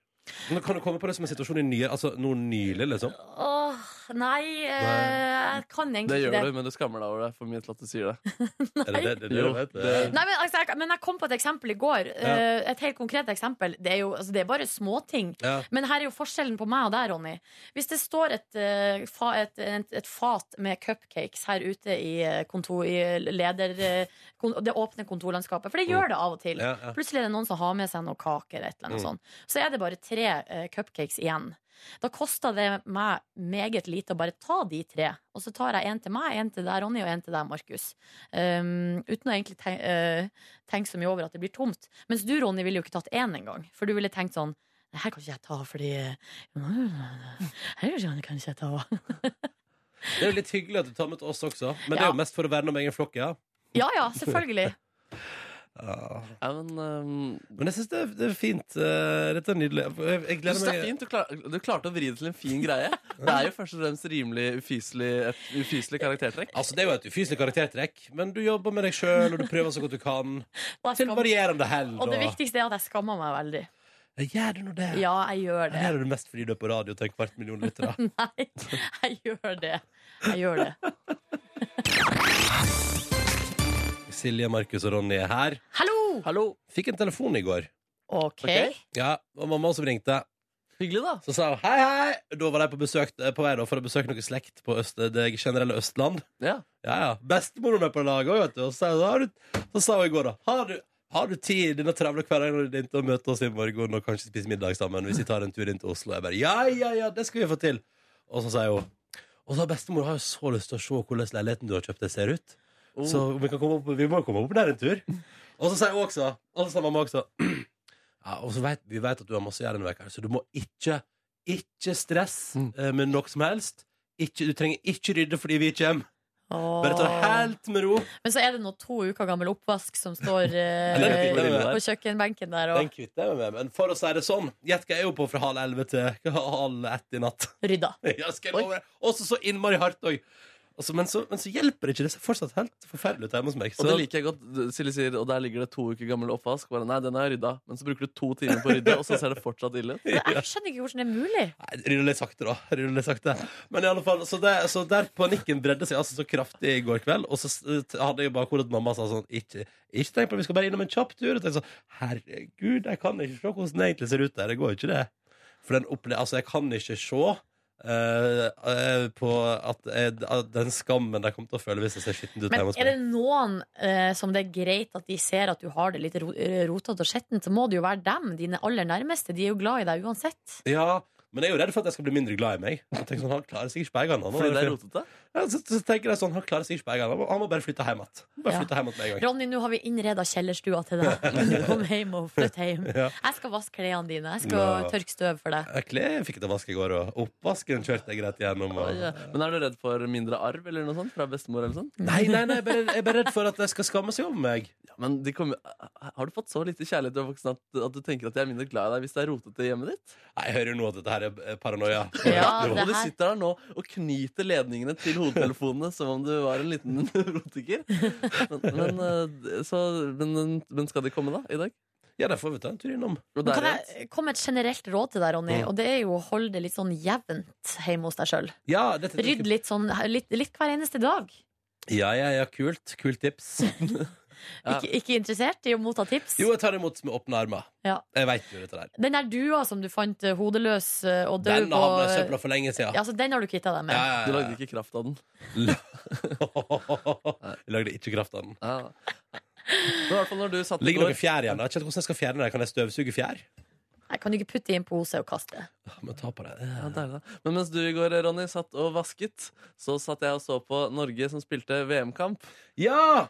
Speaker 1: Nå kan du komme på det som en situasjon i nye, altså, noe nylig, liksom.
Speaker 2: Åh, Nei, eh,
Speaker 1: Nei.
Speaker 2: jeg kan
Speaker 3: Det
Speaker 2: egentlig ikke
Speaker 3: gjør
Speaker 2: det.
Speaker 3: du, men du skammer deg over det for mye til at du sier det.
Speaker 1: Er det det, det, er det
Speaker 3: Jo,
Speaker 1: du vet?
Speaker 3: det-
Speaker 2: Nei, men, altså, jeg, men jeg kom på et eksempel i går. eh, et helt konkret eksempel. Det er jo altså, det er bare småting.
Speaker 1: Ja.
Speaker 2: Men her er jo forskjellen på meg og deg, Ronny. Hvis det står et, eh, fa, et, et, et fat med cupcakes her ute i, eh, kontor, i leder, eh, kon, det åpne kontorlandskapet, for det gjør det av og til
Speaker 1: Mm. Ja, ja.
Speaker 2: Plutselig er det noen som har med seg noen kaker eller et eller annet
Speaker 1: Mm.
Speaker 2: sånt. Så er det bare tre eh, cupcakes igjen. Da koster det meg meget lite å bare ta de tre. Og så tar jeg en til meg, en til deg, Ronny, og en til deg, Markus. Um, uten å egentlig ten eh, tenke så mye over at det blir tomt. Mens du, Ronny, ville jo ikke tatt én engang. For du ville tenkt sånn Det her kan ikke jeg ta fordi eh, Her kan ikke jeg ta
Speaker 1: Det er jo litt hyggelig at du tar med til oss også, men det er
Speaker 2: Ja.
Speaker 1: jo mest for å verne om egen flokk, ja.
Speaker 2: Ja ja, selvfølgelig.
Speaker 3: Ja, men ehm,
Speaker 1: Men jeg syns det, er- det er fint. eh, Dette er nydelig. Jeg, jeg
Speaker 3: Jeg
Speaker 1: gleder
Speaker 3: synes det er
Speaker 1: meg
Speaker 3: fint, du, klar, du klarte å vri det til en fin greie. Det er jo først og fremst rimelig ufyselig, et ufyselig karaktertrekk.
Speaker 1: Altså, Det er jo et ufyselig karaktertrekk, men du jobber med deg sjøl, og du prøver så godt du kan.
Speaker 2: Og, jeg
Speaker 1: Til
Speaker 2: skam,
Speaker 1: varierende hell.
Speaker 2: og det viktigste er at jeg skammer meg veldig.
Speaker 1: Ja, Gjør du nå det?
Speaker 2: Ja, jeg gjør det.
Speaker 1: Her er du mest fordi du er på radio til en kvart million lyttere.
Speaker 2: Nei, jeg gjør det. Jeg gjør det.
Speaker 1: Silje, Markus og Ronny er her.
Speaker 2: Hallo!
Speaker 3: Hallo.
Speaker 1: Fikk en telefon i går.
Speaker 2: OK.
Speaker 3: Ok.
Speaker 1: Ja, og mamma som ringte.
Speaker 3: Hyggelig, da.
Speaker 1: Så sa hun hei, hei. Da var de på, besøk, eh, på vei da, for å besøke noe slekt på øst, eh, det generelle Østland.
Speaker 3: Ja.
Speaker 1: Ja, ja. Bestemor er med på laget òg, vet du. Og så, sa hun, har du, så sa hun i går, da. Har du, har du tid i denne travle hverdagen din til å møte oss i morgen og kanskje spise middag sammen hvis vi tar en tur inn til Oslo? Jeg bare ja, ja, ja, det skal vi få til. Og så sier hun Og så har bestemor har jo så lyst til å se hvordan leiligheten du har kjøpt, det ser ut. Så om vi, kan komme opp, vi må komme opp der en tur. Og så sier hun også Og så sa mamma også ja, og så vet, Vi vet at du har masse å gjøre denne veka, så du må ikke Ikke stress
Speaker 3: Mm.
Speaker 1: eh, med noe som helst. Ikke, du trenger ikke rydde fordi vi kommer.
Speaker 2: Åh.
Speaker 1: Bare ta det helt med ro.
Speaker 2: Men så er det nå to uker gammel oppvask som står eh,
Speaker 1: Den er fin, den
Speaker 3: er.
Speaker 2: på kjøkkenbenken der,
Speaker 1: Den
Speaker 2: og
Speaker 1: kvitter jeg meg med. Men for å si det sånn, gjett hva jeg er jo på fra halv elleve til halv ett i natt.
Speaker 2: rydda.
Speaker 1: Ja, skal jeg love deg. Også så innmari hardt òg. Altså, men, så, men så hjelper det ikke. Det ser fortsatt helt forferdelig ut hjemme hos meg.
Speaker 3: Og
Speaker 1: Så,
Speaker 3: det liker jeg godt. Silje sier og der ligger det to uker gammel oppvask. Bare, nei, den har jeg rydda. Men så bruker du to timer på å rydde, og så ser det fortsatt ille ut.
Speaker 2: Jeg skjønner ikke hvordan det er mulig.
Speaker 1: Nei, Rydd litt sakte, da. Rydd litt sakte. Men i alle fall, så, det, så der panikken bredde seg altså så kraftig i går kveld. Og så eh, hadde jeg bare at mamma sa sånn Ikke, ikke tenk på det, vi skal bare innom en kjapp tur. Og tenkte sånn Herregud, jeg kan ikke se hvordan det egentlig ser ut der. Det går jo ikke, det. For den opple Altså, jeg kan ikke se eh, eh, på at, jeg- at den skammen de kommer til å føle hvis jeg ser skitten ut
Speaker 2: Men
Speaker 1: hjemme hos
Speaker 2: er det
Speaker 1: meg.
Speaker 2: noen eh, som det er greit at de ser at du har det litt ro- eh, rotete og skjettent, så må det jo være dem, dine aller nærmeste. De er jo glad i deg uansett.
Speaker 1: Ja, men jeg er jo redd for at jeg skal bli mindre glad i meg. Jeg tenker sånn, Han klarer seg ikke på egen hånd.
Speaker 3: Fordi det er
Speaker 1: Han,
Speaker 3: rotete.
Speaker 1: Ja, så, så tenker jeg sånn, han klarer seg ikke på egen hånd. Han må bare flytte hjem igjen. Bare
Speaker 2: Ja.
Speaker 1: flytte hjem igjen med en gang.
Speaker 2: Ronny, nå har vi innreda kjellerstua til deg. Du kom hjem og flytt hjem.
Speaker 1: Ja.
Speaker 2: Jeg skal vaske klærne dine. Jeg skal
Speaker 1: Nå.
Speaker 2: tørke støv for deg.
Speaker 1: Jeg kle- fikk til vask i går, og oppvasken kjørte jeg greit gjennom.
Speaker 3: Oi,
Speaker 1: Og...
Speaker 3: ja. Men er du redd for mindre arv eller noe sånt fra bestemor? eller sånt?
Speaker 1: Nei, nei, nei, jeg er bare- jeg er bare redd for at jeg skal skamme seg over meg.
Speaker 3: Ja, men de kommer- Har du fått så lite kjærlighet til voksne at, at du tenker at de er mindre glad i deg hvis det er rotete i hjemmet ditt?
Speaker 1: Nei, Jeg hører jo nå at dette her er eh, paranoia.
Speaker 2: Ja,
Speaker 3: Og
Speaker 2: det
Speaker 3: du
Speaker 2: her-
Speaker 3: sitter der nå og knyter ledningene til hodetelefonene som om du var en liten rotiker. Men, men, eh, så, men, men- men skal de komme, da? I dag?
Speaker 1: Ja, da får vi ta en tur innom.
Speaker 3: Og
Speaker 2: Men
Speaker 3: der
Speaker 2: Kan
Speaker 3: er et-
Speaker 2: jeg komme med et generelt råd til deg, Ronny?
Speaker 1: Mm.
Speaker 2: Og det er jo å holde det litt sånn jevnt hjemme hos deg sjøl.
Speaker 1: Ja, dette,
Speaker 2: Rydd litt sånn litt, litt hver eneste dag.
Speaker 1: Ja, ja, ja, kult. Kult tips.
Speaker 3: Ja.
Speaker 2: Ikke, ikke interessert i å motta tips?
Speaker 1: Jo, jeg tar imot med åpne armer.
Speaker 2: Ja.
Speaker 1: Jeg veit jo dette der.
Speaker 2: Den der dua som du fant eh, hodeløs eh, og død
Speaker 1: Den
Speaker 2: på eh,
Speaker 1: havna i søpla for lenge siden.
Speaker 2: ja, så Den har du kvitta deg med.
Speaker 1: Ja, ja, ja.
Speaker 3: Du lagde ikke kraft av den.
Speaker 1: Jeg lagde ikke kraft av den.
Speaker 3: Ja. Men i hvert fall når du satt i
Speaker 1: Ligger
Speaker 3: går
Speaker 1: noe fjær igjen? da? Jeg vet ikke hvordan jeg skal fjerne det. Kan jeg støvsuge fjær?
Speaker 2: Jeg kan du ikke putte i en pose og kaste?
Speaker 1: Ah, Men ta på det.
Speaker 3: ja, deilig, da. Men mens du i går, Ronny, satt og vasket, så satt jeg og så på Norge som spilte VM-kamp.
Speaker 1: Ja!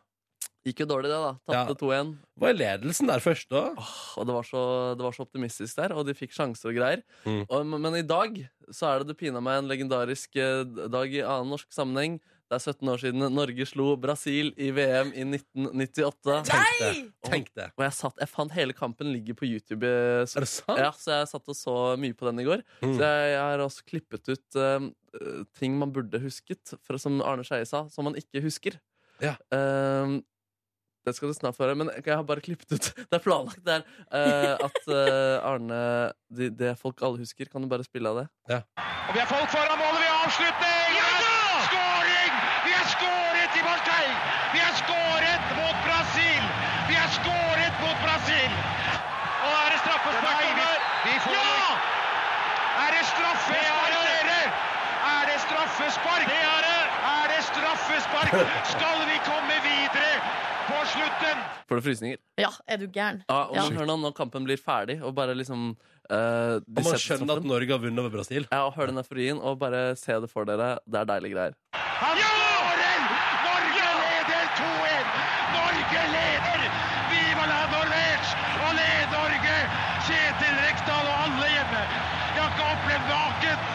Speaker 3: Gikk jo dårlig, det, da.
Speaker 1: Ja.
Speaker 3: Tapte 2-1.
Speaker 1: Var ledelsen der først, da?
Speaker 3: Åh, Og det var, så, det var så optimistisk der, og de fikk sjanser og greier.
Speaker 1: Mm.
Speaker 3: Og, men- men i dag så er det det pina meg en legendarisk eh, dag i annen norsk sammenheng. Det er 17 år siden Norge slo Brasil i VM i 1998.
Speaker 1: Tenk det. Tenk det.
Speaker 3: Og jeg, satt, jeg fant hele kampen ligger på YouTube. eh, Så,
Speaker 1: Er det sant?
Speaker 3: ja, så jeg satt og så mye på den i går.
Speaker 1: Mm.
Speaker 3: Så jeg, jeg har også klippet ut eh, eh, ting man burde husket, for, som Arne Skeie sa, som man ikke husker.
Speaker 1: Ja.
Speaker 3: Eh, det skal du snart få høre, men jeg har bare klippet ut Det er planlagt der eh, at eh, Arne de, Det folk alle husker, kan du bare spille av det?
Speaker 7: Og vi har folk foran målet, vi har! avslutning! Skåring! Vi har skåret i Marseille! Vi har skåret mot Brasil! Vi har skåret mot Brasil! Og er det straffespark over? ja! Er det straffespark, dere? Er det straffespark? Det er det! Er det straffespark? Skal vi komme videre på slutten?
Speaker 3: Får du frysninger?
Speaker 2: Ja, er du gæren?
Speaker 3: Ja, og
Speaker 2: Ja.
Speaker 3: nå, hør nå når kampen blir ferdig, og bare liksom eh, de
Speaker 1: Og man
Speaker 3: setter
Speaker 1: skjønner at
Speaker 3: stoppen.
Speaker 1: Norge har vunnet over Brasil.
Speaker 3: Ja, og hør den euforien, og bare se det for dere. Det er deilige greier.
Speaker 7: Han skårer! Norge leder 2-1! Norge leder! Viva la Norvège! Og led Norge! Kjetil Rekdal og alle hjemme. Jeg har ikke opplevd maken!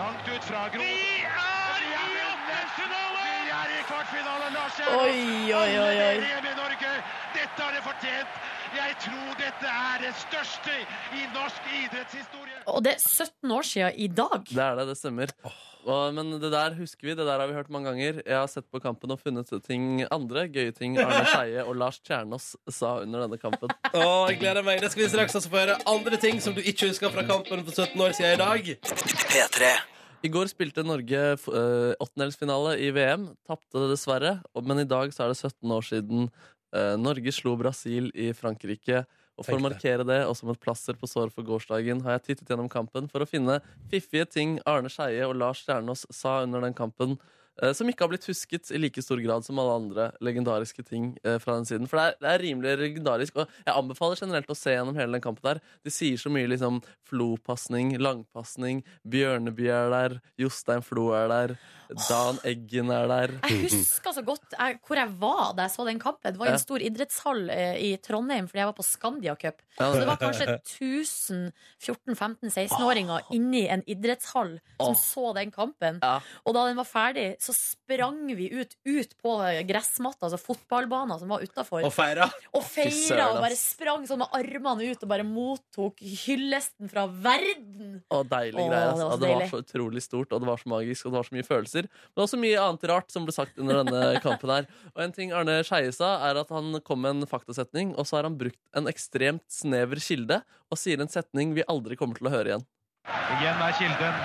Speaker 7: Langt ut fra Gro. Vi er i åttendelsfinale! Vi er i kvartfinale, Lars Jæren.
Speaker 2: Oi, oi, oi,
Speaker 7: Alle
Speaker 2: oi.
Speaker 7: dere hjemme i Norge, dette har dere fortjent. Jeg tror dette er det største i norsk idrettshistorie.
Speaker 2: Og det er 17 år siden i dag.
Speaker 3: Det er det, det stemmer. Og, men det der husker vi, det der har vi hørt mange ganger. Jeg har sett på kampen og funnet ting andre gøye ting Arne Skeie og Lars Kjernås sa under denne kampen.
Speaker 1: Å, jeg gleder meg. Det skal vi straks også få høre. Andre ting som du ikke husker fra kampen for 17 år siden i dag.
Speaker 4: P3.
Speaker 3: I går spilte Norge f- eh, åttendelsfinale i VM. Tapte dessverre. og- Men i dag så er det 17 år siden eh, Norge slo Brasil i Frankrike. Og For å
Speaker 1: Tenk
Speaker 3: markere det, og som et plaster på såret for gårsdagen, har jeg tittet gjennom kampen for å finne fiffige ting Arne Skeie og Lars Kjernås sa under den kampen, eh, som ikke har blitt husket i like stor grad som alle andre legendariske ting eh, fra den siden. For det er, det er rimelig legendarisk, og jeg anbefaler generelt å se gjennom hele den kampen der. De sier så mye liksom Flo-pasning, langpasning, Bjørneby er der, Jostein Flo er der, Dan Eggen er der.
Speaker 2: Jeg husker så godt jeg, hvor jeg var da jeg så den kampen. Det var i
Speaker 3: Ja.
Speaker 2: en stor idrettshall eh, i Trondheim fordi jeg var på Scandia Cup.
Speaker 3: Ja,
Speaker 2: Så det var kanskje 1000 14-15-16-åringer inni en idrettshall som
Speaker 3: Åh.
Speaker 2: så den kampen.
Speaker 3: Ja.
Speaker 2: Og da den var ferdig, så sprang vi ut, ut på gressmatta, altså fotballbanen som var utafor,
Speaker 1: Og feira.
Speaker 2: og
Speaker 3: fy
Speaker 2: feira
Speaker 3: søren,
Speaker 2: og bare
Speaker 3: ass.
Speaker 2: sprang sånn med armene ut og bare mottok hyllesten fra verden.
Speaker 3: Og deilig
Speaker 2: Åh,
Speaker 3: greie.
Speaker 2: det var
Speaker 3: Det,
Speaker 2: så
Speaker 3: det var
Speaker 2: deilig.
Speaker 3: så utrolig stort, og det var så magisk, og det var så mye følelser. Men også mye annet rart som ble sagt under denne kampen her. Og en ting Arne Skeie sa, er at han kom med en faktasetning, og så har han brukt en ekstremt snever kilde, og sier en setning vi aldri kommer til å høre igjen.
Speaker 7: Igjen er kilden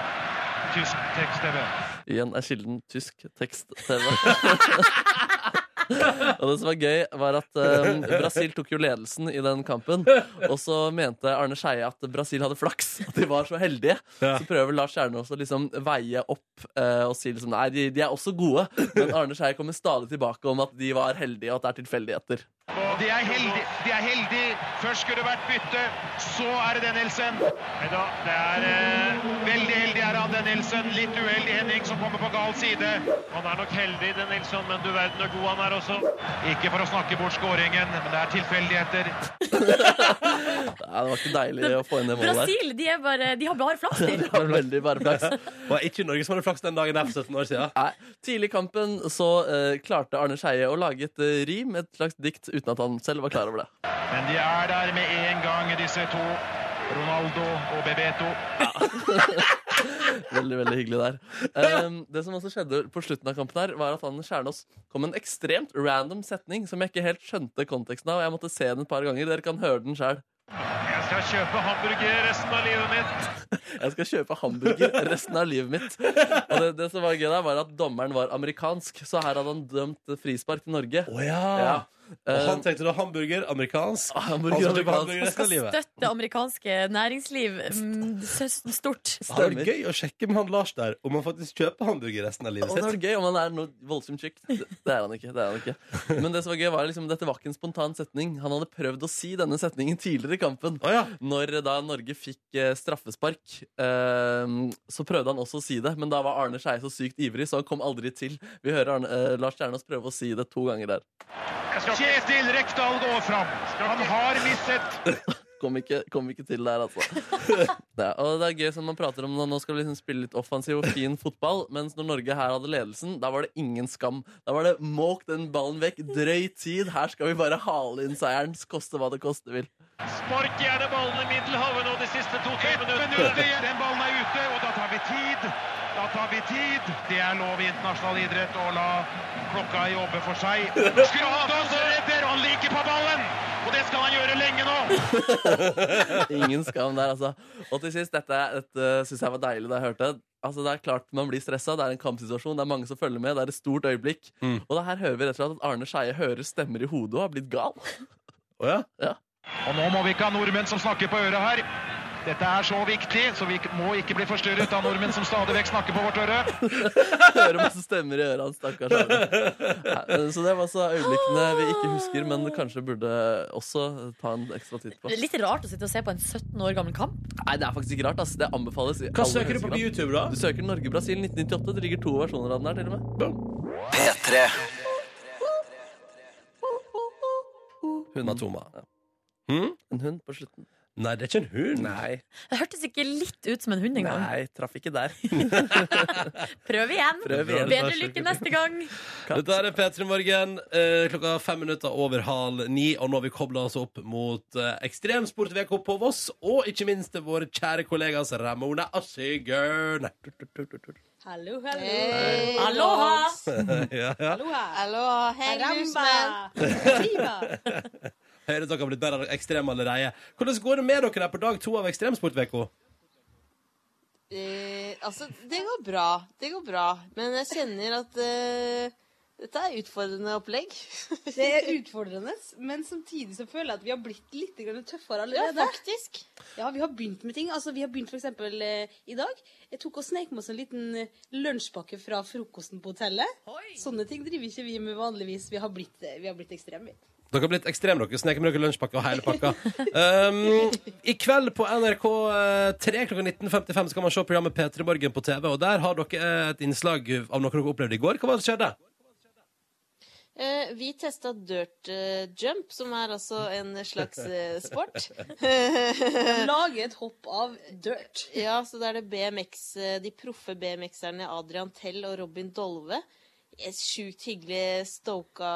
Speaker 7: tysk tekst-TV.
Speaker 3: Igjen er kilden tysk tekst-TV. Og det som var gøy, var at eh, Brasil tok jo ledelsen i den kampen. Og så mente Arne Skeie at Brasil hadde flaks. At de var så heldige.
Speaker 1: Ja.
Speaker 3: Så prøver Lars Kjernås å liksom veie opp eh, og si liksom Nei, de, de er også gode. Men Arne Skeie kommer stadig tilbake om at de var heldige, og at det er tilfeldigheter.
Speaker 7: De er heldige. De er heldige. Først skulle det vært bytte, så er det den Nielsen. Nei da, det er eh, Veldig heldig er han, den Nielsen. Litt uheldig Henning som kommer på gal side. Han er nok heldig, den Nielsen, men du verden hvor god han er også. Ikke for å snakke bort skåringen, men det er tilfeldigheter.
Speaker 3: Nei, det var ikke deilig å få inn det målet der.
Speaker 2: Brasil, de, er bare, de har bare flaks, de.
Speaker 3: Det var veldig bare flaks.
Speaker 1: Var ikke Norge som hadde flaks den dagen der for 17 år siden.
Speaker 3: Nei, Tidlig i kampen så eh, klarte Arne Skeie å lage et eh, rim, et slags dikt, uten at han selv var klar over det.
Speaker 7: Men de er der med en gang, disse to. Ronaldo og Bebeto.
Speaker 3: Veldig, veldig hyggelig der. Ehm, det som også skjedde på slutten av kampen her, var at han Kjernås kom med en ekstremt random setning som jeg ikke helt skjønte konteksten av. og Jeg måtte se den et par ganger. Dere kan høre den sjøl.
Speaker 7: Jeg skal kjøpe hamburger resten av livet mitt.
Speaker 3: Jeg skal kjøpe hamburger resten av livet mitt. Og det, det som var gøy der, var at dommeren var amerikansk, så her hadde han dømt frispark til Norge.
Speaker 1: Å ja.
Speaker 3: Ja.
Speaker 1: Og
Speaker 3: Ehm,
Speaker 1: han tenkte da hamburger, amerikansk. Han
Speaker 3: hamburger
Speaker 1: skal kjøpe
Speaker 3: amerikansk.
Speaker 1: hamburger resten av livet.
Speaker 2: Støtte amerikanske næringsliv mm, søs- stort.
Speaker 1: Det hadde vært gøy å sjekke med han Lars der om han faktisk kjøper hamburger resten av livet
Speaker 3: Og det
Speaker 1: sitt.
Speaker 3: var gøy om han er noe voldsomt tjukk. Det det er han ikke. det er han ikke Men det som var gøy var liksom, dette var ikke en spontan setning. Han hadde prøvd å si denne setningen tidligere i kampen.
Speaker 1: Å ja.
Speaker 3: Når eh, da Norge fikk eh, straffespark, eh, så prøvde han også å si det. Men da var Arne Skeie så sykt ivrig, så han kom aldri til. Vi hører Arne, eh, Lars Kjernås prøve å si det to ganger der.
Speaker 7: Kjetil Rekdal går fram. Han har mistet.
Speaker 3: Kom ikke, kom ikke til der, altså. Det, er- og det er gøy som man prater om nå, nå skal vi liksom spille litt offensiv og fin fotball. Mens når Norge her hadde ledelsen, da var det ingen skam. Da var det måk den ballen vekk, drøy tid. Her skal vi bare hale inn seieren, koste hva det koste vil.
Speaker 7: Spark gjerne ballen i Middelhavet nå de siste to-tre minuttene. Den ballen er ute, og da tar vi tid. Da tar vi tid. Det er lov i internasjonal idrett å la klokka jobbe for seg. Skrådås redder, og han liker på ballen! Og det skal han gjøre lenge nå.
Speaker 3: Ingen skam der, altså. Og til sist, dette, dette syns jeg var deilig da jeg hørte. altså Det er klart man blir stressa, det er en kampsituasjon, det er mange som følger med, det er et stort øyeblikk.
Speaker 1: Mm.
Speaker 3: Og det her hører vi rett og slett at Arne Skeie hører stemmer i hodet og har blitt gal.
Speaker 1: Å ja?
Speaker 7: Og nå må vi ikke ha nordmenn som snakker på øret her. Dette er så viktig, så vi må ikke bli forstyrret av nordmenn som stadig vekk snakker på vårt øre.
Speaker 3: Hører masse stemmer i øra hans, stakkars Arne. Nei, Så det var altså øyeblikkene vi ikke husker, men kanskje burde også ta en ekstra titt på.
Speaker 2: Det er litt rart å sitte og se på en 17 år gammel kamp.
Speaker 3: Nei, det er faktisk ikke rart. ass. Det anbefales. i
Speaker 1: Hva
Speaker 3: aller
Speaker 1: søker du
Speaker 3: høyeste
Speaker 1: på på
Speaker 3: grad.
Speaker 1: YouTube, da?
Speaker 3: Du søker Norge-Brasil 1998. Det ligger to versjoner av den her, til og med.
Speaker 4: P3
Speaker 1: Matoma.
Speaker 3: Ja.
Speaker 1: Hm?
Speaker 3: En hund på slutten.
Speaker 1: Nei, det er ikke en hund.
Speaker 3: Nei,
Speaker 2: Det hørtes ikke litt ut som en hund engang.
Speaker 3: nei, traff ikke der.
Speaker 2: Prøv igjen.
Speaker 3: Prøv igjen.
Speaker 2: Bedre lykke neste gang.
Speaker 1: Dette er P3 Morgen. Eh, klokka fem minutter over halv ni. Og nå har vi kobla oss opp mot eh, Ekstremsport-VK på Voss. Og ikke minst til våre kjære kollegas Ramona og Sigurd.
Speaker 8: Hallo, hallo.
Speaker 2: Aloha!
Speaker 1: ja, ja.
Speaker 8: Hallo, hei, Ramba.
Speaker 1: Hører dere har blitt bedre ekstreme allerede. Hvordan går det med dere her på dag to av Ekstremsport-VK?
Speaker 8: Eh, altså, det går bra. Det går bra. Men jeg kjenner at eh, dette er utfordrende opplegg.
Speaker 9: Det er utfordrende, men samtidig så føler jeg at vi har blitt litt grann
Speaker 8: Ja,
Speaker 9: tøffere allerede.
Speaker 8: faktisk.
Speaker 9: Ja, vi har begynt med ting. Altså, vi har begynt for eksempel eh, i dag. Jeg tok og snek med oss en liten eh, lunsjpakke fra frokosten på hotellet. Sånne ting driver ikke vi med vanligvis. Vi har blitt, eh, vi har blitt ekstreme. vi.
Speaker 1: Dere har blitt ekstreme, dere. Sneker med dere lunsjpakke og hele pakka. Um, I kveld på eh, NRK3 klokka 19.55 skal man se programmet P3 Morgen på TV. Og der har dere eh, et innslag av noe dere opplevde i går. Hva var det som skjedde?
Speaker 8: Eh, vi testa dirt eh, jump, som er altså en slags eh, sport.
Speaker 9: Vi lager et hopp av dirt.
Speaker 8: Ja, så da er det BMX, eh, de proffe BMX-erne Adrian Tell og Robin Dolve. Eh, Sjukt hyggelig, stoka,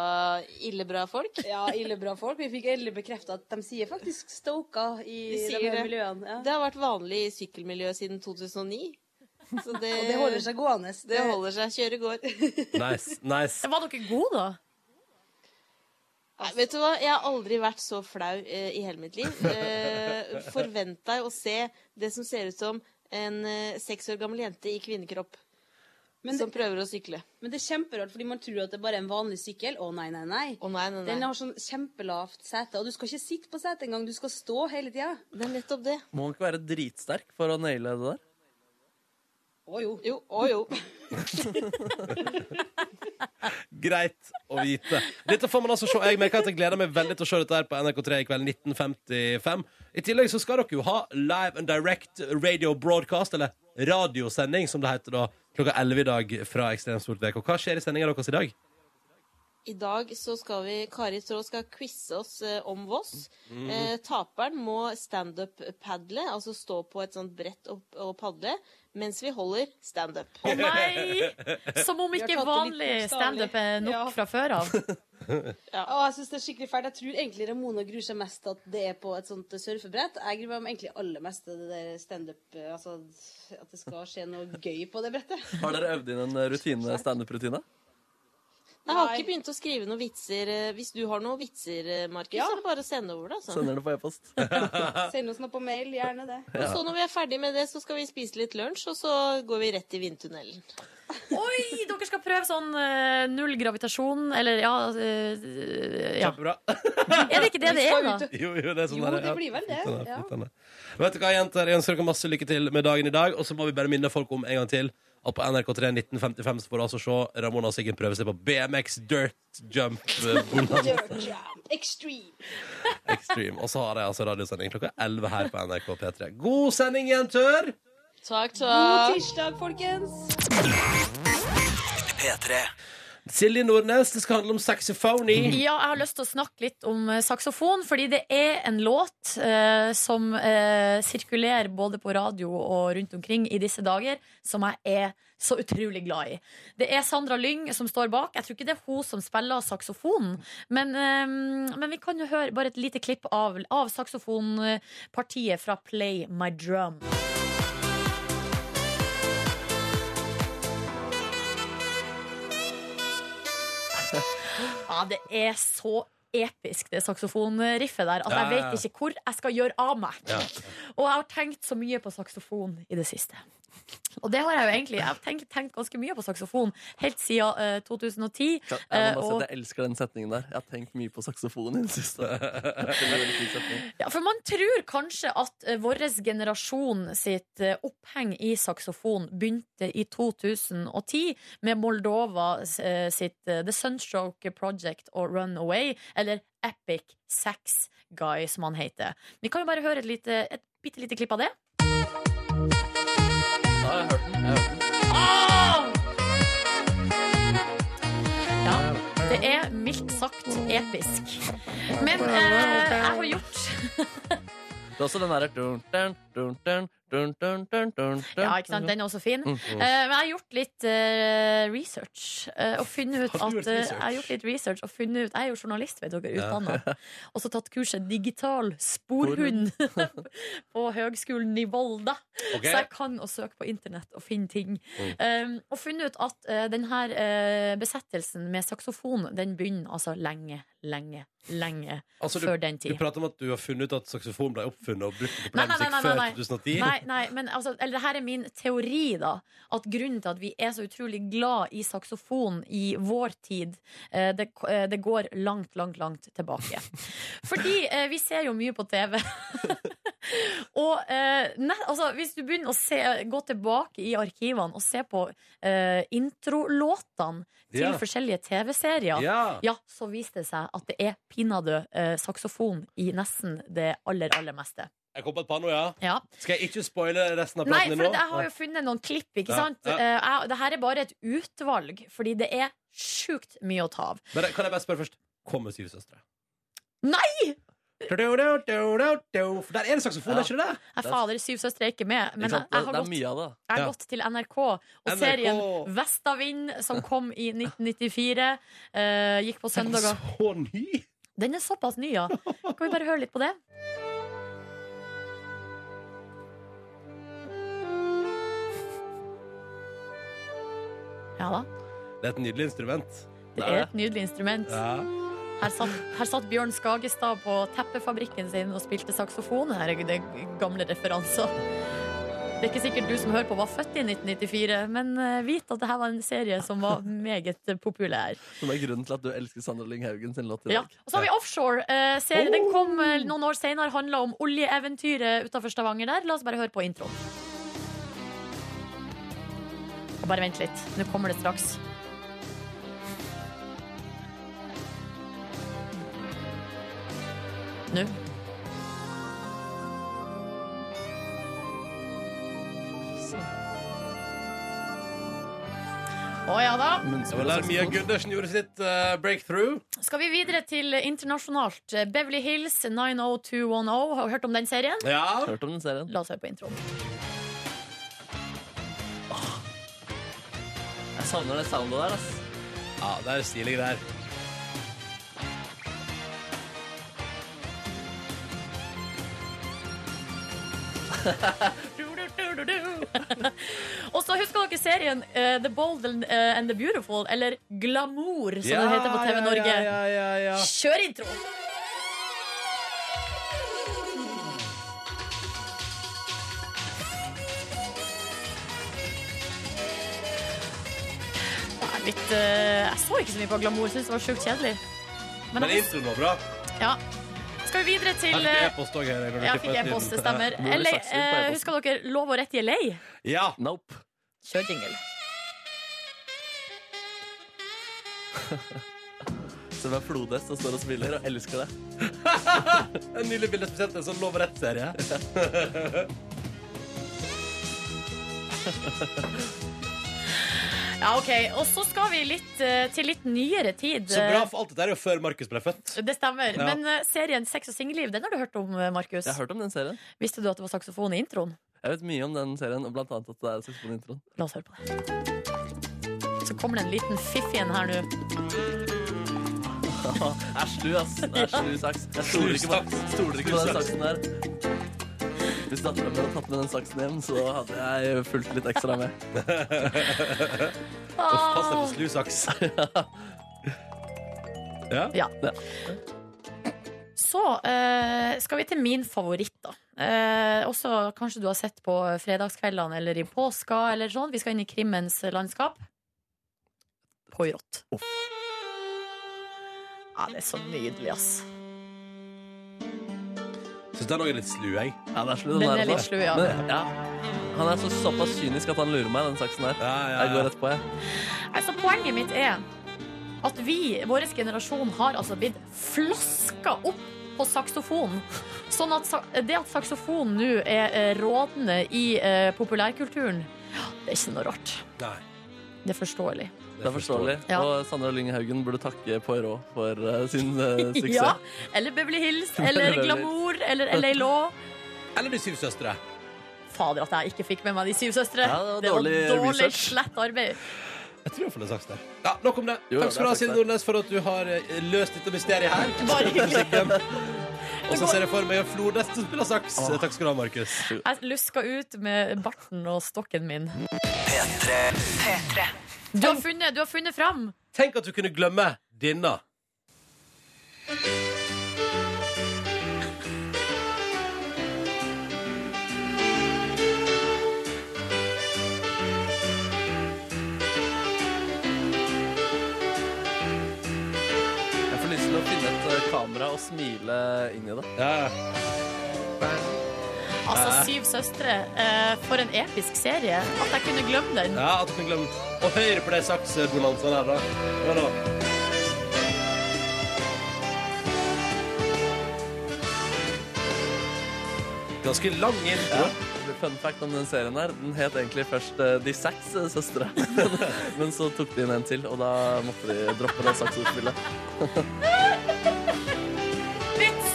Speaker 8: illebra folk.
Speaker 9: Ja, illebra folk. Vi fikk endelig bekrefta at de sier faktisk stoka i
Speaker 8: De
Speaker 9: de,
Speaker 8: sier
Speaker 9: her
Speaker 8: det.
Speaker 9: miljøene. Ja.
Speaker 8: Det har vært vanlig i sykkelmiljøet siden 2009. Så det,
Speaker 9: Og det holder seg gående.
Speaker 8: Det holder seg. Kjøre går.
Speaker 1: Nice, nice.
Speaker 2: Var dere gode, da?
Speaker 8: Nei,
Speaker 9: Altså-
Speaker 8: vet du hva? Jeg har aldri vært så flau eh, i hele mitt liv. Eh, forvent deg å se det som ser ut som en eh, seks år gammel jente i kvinnekropp
Speaker 9: Men
Speaker 8: som
Speaker 9: det,
Speaker 8: prøver å sykle.
Speaker 9: men det er kjemperart, fordi man tror at det bare er en vanlig sykkel. Å nei, nei, nei.
Speaker 8: Å nei, nei,
Speaker 9: Den
Speaker 8: nei.
Speaker 9: har sånn kjempelavt sete, og du skal ikke sitte på setet engang. Du skal stå hele tida.
Speaker 8: Det er nettopp det.
Speaker 3: Må man ikke være dritsterk for å naile det der?
Speaker 9: Å jo.
Speaker 8: Jo, å jo.
Speaker 1: Greit å vite. Dette får man altså se. Jeg merker at jeg gleder meg veldig til å se dette her på NRK3 i kveld 1955. I tillegg så skal dere jo ha live and direct radio broadcast, eller radiosending, som det heter da, klokka 11 i dag fra Ekstremsport VK. Hva skjer i sendinga deres i dag?
Speaker 8: I dag så skal vi, Kari Trå skal quize oss eh, om Voss. Eh, taperen må standup-padle, altså stå på et sånt brett og, og padle, mens vi holder standup.
Speaker 2: Å nei! Som om
Speaker 9: Vi har
Speaker 2: ikke
Speaker 9: tatt det litt
Speaker 2: vanlig standup er nok
Speaker 9: Ja.
Speaker 2: fra før av.
Speaker 9: Å, jeg synes det er skikkelig fælt. Jeg tror egentlig Ramona gruer seg mest til at det er på et sånt surfebrett. Jeg gruer meg egentlig aller mest til det der standup, eh, altså at det skal skje noe gøy på det brettet.
Speaker 3: Har dere øvd inn en rutine, standup-rutine?
Speaker 8: Jeg har
Speaker 9: Nei.
Speaker 8: ikke begynt å skrive noen vitser. eh, Hvis du har noen vitser, eh, Markus,
Speaker 9: Ja.
Speaker 8: så er det bare å sende over
Speaker 1: Sånn.
Speaker 8: det. Altså.
Speaker 3: Sender det på e-post.
Speaker 9: Send oss noe på mail, gjerne det.
Speaker 8: Og så når vi er ferdig med det, så skal vi spise litt lunsj, og så går vi rett i vindtunnelen.
Speaker 2: Oi, dere skal prøve sånn eh, null gravitasjon, eller ja, eh, ja.
Speaker 1: Kjempebra.
Speaker 2: Er det ikke det det er, da?
Speaker 1: Jo, jo, det er sånn
Speaker 9: Jo,
Speaker 1: der,
Speaker 9: det
Speaker 1: ja.
Speaker 9: blir vel det.
Speaker 1: Flyttende,
Speaker 9: Ja.
Speaker 1: flyttende. Vet du hva, jenter, jeg ønsker dere masse lykke til med dagen i dag. Og så må vi bare minne folk om en gang til at på NRK3 1955 så får du altså se Ramona og Siggen prøve seg på BMX Dirt Jump eh, Bonanza
Speaker 9: Dirt jump, extreme.
Speaker 1: Extreme. Og så har de altså radiosending klokka 11 her på NRK P3. God sending, jenter!
Speaker 8: Takk,
Speaker 9: God
Speaker 8: takk.
Speaker 9: tirsdag, folkens.
Speaker 4: P3
Speaker 1: Silje Nordnes, det skal handle om saxophony.
Speaker 2: Ja, jeg har lyst til å snakke litt om eh, saksofon, fordi det er en låt eh, som eh, sirkulerer både på radio og rundt omkring i disse dager, som jeg er så utrolig glad i. Det er Sandra Lyng som står bak. Jeg tror ikke det er hun som spiller saksofonen, men, eh, men vi kan jo høre bare et lite klipp av, av saksofonpartiet fra Play My Drum. Ja, det er så episk, det saksofonriffet der. Altså,
Speaker 1: Ja, ja,
Speaker 2: jeg
Speaker 1: ja.
Speaker 2: vet ikke hvor jeg skal gjøre av meg.
Speaker 1: Ja.
Speaker 2: Og jeg har tenkt så mye på saksofon i det siste. Og det har jeg jo egentlig Jeg har tenkt, tenkt ganske mye på saksofon helt siden eh, 2010.
Speaker 3: Jeg, jeg, må bare
Speaker 2: og-
Speaker 3: si at altså, jeg elsker den setningen der. Jeg har tenkt mye på saksofonen i det siste. Det er en veldig fin setning.
Speaker 2: Ja, for man tror kanskje at uh, vår generasjon sitt eh, oppheng i saksofon begynte i 2010 med Moldova eh, sitt eh, The Sunstroke Project og Runaway, eller Epic Sax Guy, som han heter. Vi kan jo bare høre et, lite, et bitte lite klipp av det.
Speaker 3: Ja, jeg har hørt den. Jeg har hørt den.
Speaker 2: Ja, det er mildt sagt episk. Men eh, jeg har gjort
Speaker 3: Det er også den derre dun, dun, dun, dun, dun, dun, dun, dun, dun.
Speaker 2: Ja, ikke sant? Den er også fin.
Speaker 3: Mm.
Speaker 2: Eh, men jeg har gjort litt eh, research eh, og funnet ut
Speaker 1: Har
Speaker 2: at
Speaker 1: du gjort
Speaker 2: eh,
Speaker 1: research?
Speaker 2: Jeg har gjort litt research og funnet ut Jeg er jo journalist, vet dere, utdanna. Og så tatt kurset digital sporhund på Høgskolen i Volda.
Speaker 1: Ok.
Speaker 2: Så jeg kan å søke på internett og finne ting.
Speaker 1: Mm.
Speaker 2: Eh, og funnet ut at eh, den her eh, besettelsen med saksofon, den begynner altså lenge, lenge, lenge
Speaker 1: Altså, du,
Speaker 2: før den
Speaker 1: du
Speaker 2: tid.
Speaker 1: prater om at du har funnet ut at saksofon ble oppfunnet og brukt på
Speaker 2: Nei, nei,
Speaker 1: populærmusikk
Speaker 2: nei, nei,
Speaker 1: før
Speaker 2: nei.
Speaker 1: 2010.
Speaker 2: Nei, nei, men altså, eller det her er min teori, da. At grunnen til at vi er så utrolig glad i saksofon i vår tid, eh, det, eh, det går langt, langt, langt tilbake. Fordi eh, vi ser jo mye på TV. og eh, nei, altså, hvis du begynner å se, gå tilbake i arkivene og se på eh, introlåtene til
Speaker 1: Ja.
Speaker 2: forskjellige TV-serier, ja.
Speaker 1: Ja.
Speaker 2: så viser det seg at det er pinadø eh, saksofon i nesten det aller, aller meste.
Speaker 1: Jeg kom på et par nå, ja.
Speaker 2: Ja.
Speaker 1: Skal jeg ikke spoile resten av
Speaker 2: Nei,
Speaker 1: praten din
Speaker 2: for
Speaker 1: nå?
Speaker 2: at jeg har jo funnet noen klipp, ikke
Speaker 1: Ja,
Speaker 2: sant?
Speaker 1: ja.
Speaker 2: Eh, jeg- det her er bare et utvalg, fordi det er sjukt mye å ta av.
Speaker 1: Men kan jeg bare spørre først? Kommer Syv søstre?
Speaker 2: Nei!
Speaker 1: Du, du, du, du, du. For der er det saksofon,
Speaker 3: Ja.
Speaker 1: er ikke det?
Speaker 2: Jeg
Speaker 3: Det er-
Speaker 2: fader, syv søstre er ikke med, men
Speaker 3: Ikke
Speaker 2: jeg, jeg
Speaker 3: sant? Det,
Speaker 2: har
Speaker 3: det er
Speaker 2: gått, jeg
Speaker 3: mye av det.
Speaker 2: har
Speaker 1: Ja.
Speaker 2: gått til NRK og
Speaker 1: NRK.
Speaker 2: serien Vestavind, som kom i 1994, eh, gikk på
Speaker 1: Den er
Speaker 2: søndager.
Speaker 1: Så ny!
Speaker 2: Den er såpass ny, ja. Kan vi bare høre litt på det? Ja da.
Speaker 1: Det er et nydelig instrument.
Speaker 2: Det er et nydelig instrument.
Speaker 1: Ja.
Speaker 2: Her satt, her satt Bjørn Skagestad på teppefabrikken sin og spilte saksofon. Her er det gamle referanser. Det er ikke sikkert du som hører på var født i 1994, men eh, vit at dette var en serie som var meget eh, populær.
Speaker 3: Som er grunnen til at du elsker Sandra Lyng Haugen sin låt i
Speaker 2: Ja.
Speaker 3: dag. Oh.
Speaker 2: Og så har vi offshore. eh, serie. Den kom eh, noen år senere, handla om oljeeventyret utafor Stavanger der. La oss bare høre på introen. Og Bare vent litt. Nå kommer det straks. Nå. Å ja da.
Speaker 1: Det var der Mia Gundersen gjorde sitt eh, breakthrough.
Speaker 2: Skal vi videre til internasjonalt. Beverly Hills 90210. Har du hørt om den serien?
Speaker 1: Ja.
Speaker 3: Hørt om den serien?
Speaker 2: La oss høre på introen.
Speaker 3: Jeg savner det soundet der, ass.
Speaker 1: ja, det er stilige greier.
Speaker 2: Og så husker dere serien eh, The Bold and, eh, and the Beautiful, eller Glamour, som
Speaker 1: Ja,
Speaker 2: det heter på TV Norge.
Speaker 1: Ja, ja, ja, ja, ja.
Speaker 2: Kjør intro! Det er litt eh, Jeg så ikke så mye på Glamour, syntes det var sjukt kjedelig. Men
Speaker 1: Men
Speaker 2: jeg-
Speaker 1: introen var bra.
Speaker 2: ja. Skal vi videre
Speaker 1: Jeg
Speaker 2: til
Speaker 1: fikk
Speaker 2: eh,
Speaker 1: e-post også her, når du
Speaker 2: ja,
Speaker 1: klipper
Speaker 2: fikk
Speaker 1: ut lyden.
Speaker 2: e-post, det stemmer.
Speaker 3: Hvor er
Speaker 2: LA,
Speaker 3: saksen på
Speaker 2: eh,
Speaker 3: e-posten?
Speaker 2: husker dere Lov og rett i LA?
Speaker 1: Ja.
Speaker 3: Nope.
Speaker 2: Kjør jingle.
Speaker 3: Som er flodhest og står og spiller og elsker det.
Speaker 1: En nydelig bilde spesielt en sånn lov og rett-serie.
Speaker 2: Ja, ok. Og så skal vi litt, eh, til litt nyere tid.
Speaker 1: Så bra, for alt dette er jo før Markus ble født.
Speaker 2: Det stemmer.
Speaker 1: Ja.
Speaker 2: Men eh, serien Sex og singelliv, den har du hørt om, eh, Markus?
Speaker 3: Jeg har hørt om den serien.
Speaker 2: Visste du at det var saksofon i introen?
Speaker 3: Jeg vet mye om den serien, og blant annet at det er saksofonintroen.
Speaker 2: La oss høre på det. Så kommer det en liten fiff igjen her nå.
Speaker 3: Jeg er slu, ass. Jeg er slu saks. Jeg stoler ikke på,
Speaker 1: Slusaks.
Speaker 3: stoler ikke på den saksen der. Hvis dattera mi hadde tatt med den saksen hjem, så hadde jeg fulgt litt ekstra med.
Speaker 1: Pass deg
Speaker 2: Ah!
Speaker 1: for slusaks. Ja.
Speaker 2: Så eh, skal vi til min favoritt, da. Eh, også kanskje du har sett på fredagskveldene eller i påska eller sånn. Vi skal inn i krimmens landskap. Poirot. Ja, det er så nydelig, ass.
Speaker 1: Syns den òg er litt slu, jeg.
Speaker 3: Ja, det er slu, den,
Speaker 2: Den
Speaker 3: der,
Speaker 2: er
Speaker 3: altså.
Speaker 2: litt slu, ja.
Speaker 3: Men, ja. Han er så, såpass kynisk at han lurer meg, den saksen her.
Speaker 1: Ja, ja,
Speaker 3: Jeg går
Speaker 1: ja.
Speaker 3: rett på, jeg.
Speaker 2: Altså, poenget mitt er at vi, vår generasjon, har altså blitt flaska opp på saksofonen. Sånn at sa- det at saksofonen nå er eh, rådende i eh, populærkulturen, det er ikke noe rart.
Speaker 1: Nei,
Speaker 2: Det er forståelig.
Speaker 3: Det er forståelig.
Speaker 2: Ja.
Speaker 3: Og Sandra Lyng Haugen burde takke Poirot for eh, sin eh, suksess.
Speaker 2: Ja, eller Beverly Hills, eller
Speaker 3: Beverly Hills.
Speaker 2: Glamour, eller LA Law.
Speaker 1: Eller De syv søstre.
Speaker 2: Fader at jeg ikke fikk med meg De syv søstre.
Speaker 3: Ja, det var dårlig research.
Speaker 2: slett arbeid.
Speaker 1: Jeg tror iallfall det er saks der. Ja, Nok om det.
Speaker 3: Jo,
Speaker 1: Takk skal du ha,
Speaker 3: det er saks
Speaker 1: Silje
Speaker 3: der.
Speaker 1: Nordnes, for at du har eh, løst dette mysteriet her.
Speaker 2: Bare hyggelig.
Speaker 1: Og så ser jeg for meg en flodhest som spiller saks. Eh,
Speaker 3: Åh.
Speaker 1: Takk skal du ha, Markus.
Speaker 2: Jeg luska ut med barten og stokken min. Du har funnet, du har funnet fram.
Speaker 1: Tenk at du kunne glemme denne.
Speaker 3: Jeg får lyst til å finne et eh, kamera og smile inn i det.
Speaker 1: Ja.
Speaker 2: Altså Syv søstre. eh, for en episk serie. At jeg kunne glemme den.
Speaker 1: Ja, at du kunne glemme Og høyre på de saksbonanzaene her, da. Hør nå. Ganske lang intro.
Speaker 3: Fun fact om den serien her, den het egentlig først eh, De seks eh, søstre. Men så tok de inn en til, og da måtte de droppe det saksordspillet.
Speaker 2: Vits!